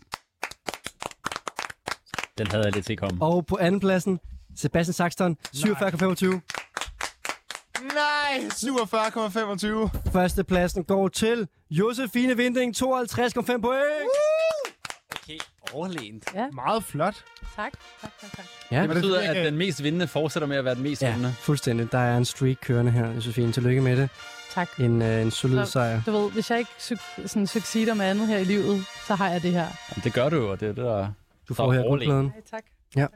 Speaker 12: Den havde jeg lidt til at komme.
Speaker 2: Og på andenpladsen, Sebastian Saxton, 47,25.
Speaker 5: Nej, 47,25.
Speaker 2: Førstepladsen går til Josefine Vinding, 52,5 point.
Speaker 4: Okay, overlænt.
Speaker 3: Ja.
Speaker 5: Meget flot.
Speaker 3: Tak. tak, tak, tak.
Speaker 2: Ja.
Speaker 4: Det betyder, at den mest vindende fortsætter med at være den mest
Speaker 2: Ja,
Speaker 4: vindende.
Speaker 2: fuldstændig. Der er en streak kørende her, Josefine. Tillykke med det.
Speaker 3: Tak.
Speaker 2: En, øh, en solid
Speaker 3: Så,
Speaker 2: sejr.
Speaker 3: Du ved, hvis jeg ikke su- sådan succeder med andet her i livet, så har jeg det her.
Speaker 4: Jamen, det gør du jo, og det er det, der
Speaker 2: Du får her guldpladen.
Speaker 3: Nej, tak.
Speaker 2: Ja.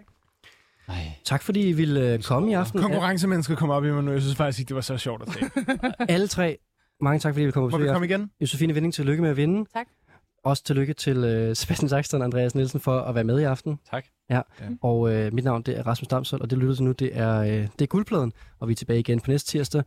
Speaker 2: Tak fordi I ville øh, komme i aften.
Speaker 5: Konkurrencemennesket kom op i mig nu. Jeg synes faktisk ikke, det var så sjovt at tage.
Speaker 2: Alle tre. Mange tak, fordi I ville komme
Speaker 5: Må
Speaker 2: og
Speaker 5: vi
Speaker 2: besøge
Speaker 5: komme
Speaker 2: jer.
Speaker 5: igen?
Speaker 2: Josefine Vinding, tillykke med at vinde.
Speaker 3: Tak.
Speaker 2: Også tillykke til øh, Sebastian Saxton og Andreas Nielsen for at være med i aften.
Speaker 4: Tak.
Speaker 2: Ja. Og øh, mit navn det er Rasmus Damsel, og det lytter til nu, det er, øh, det er Guldpladen. Og vi er tilbage igen på næste tirsdag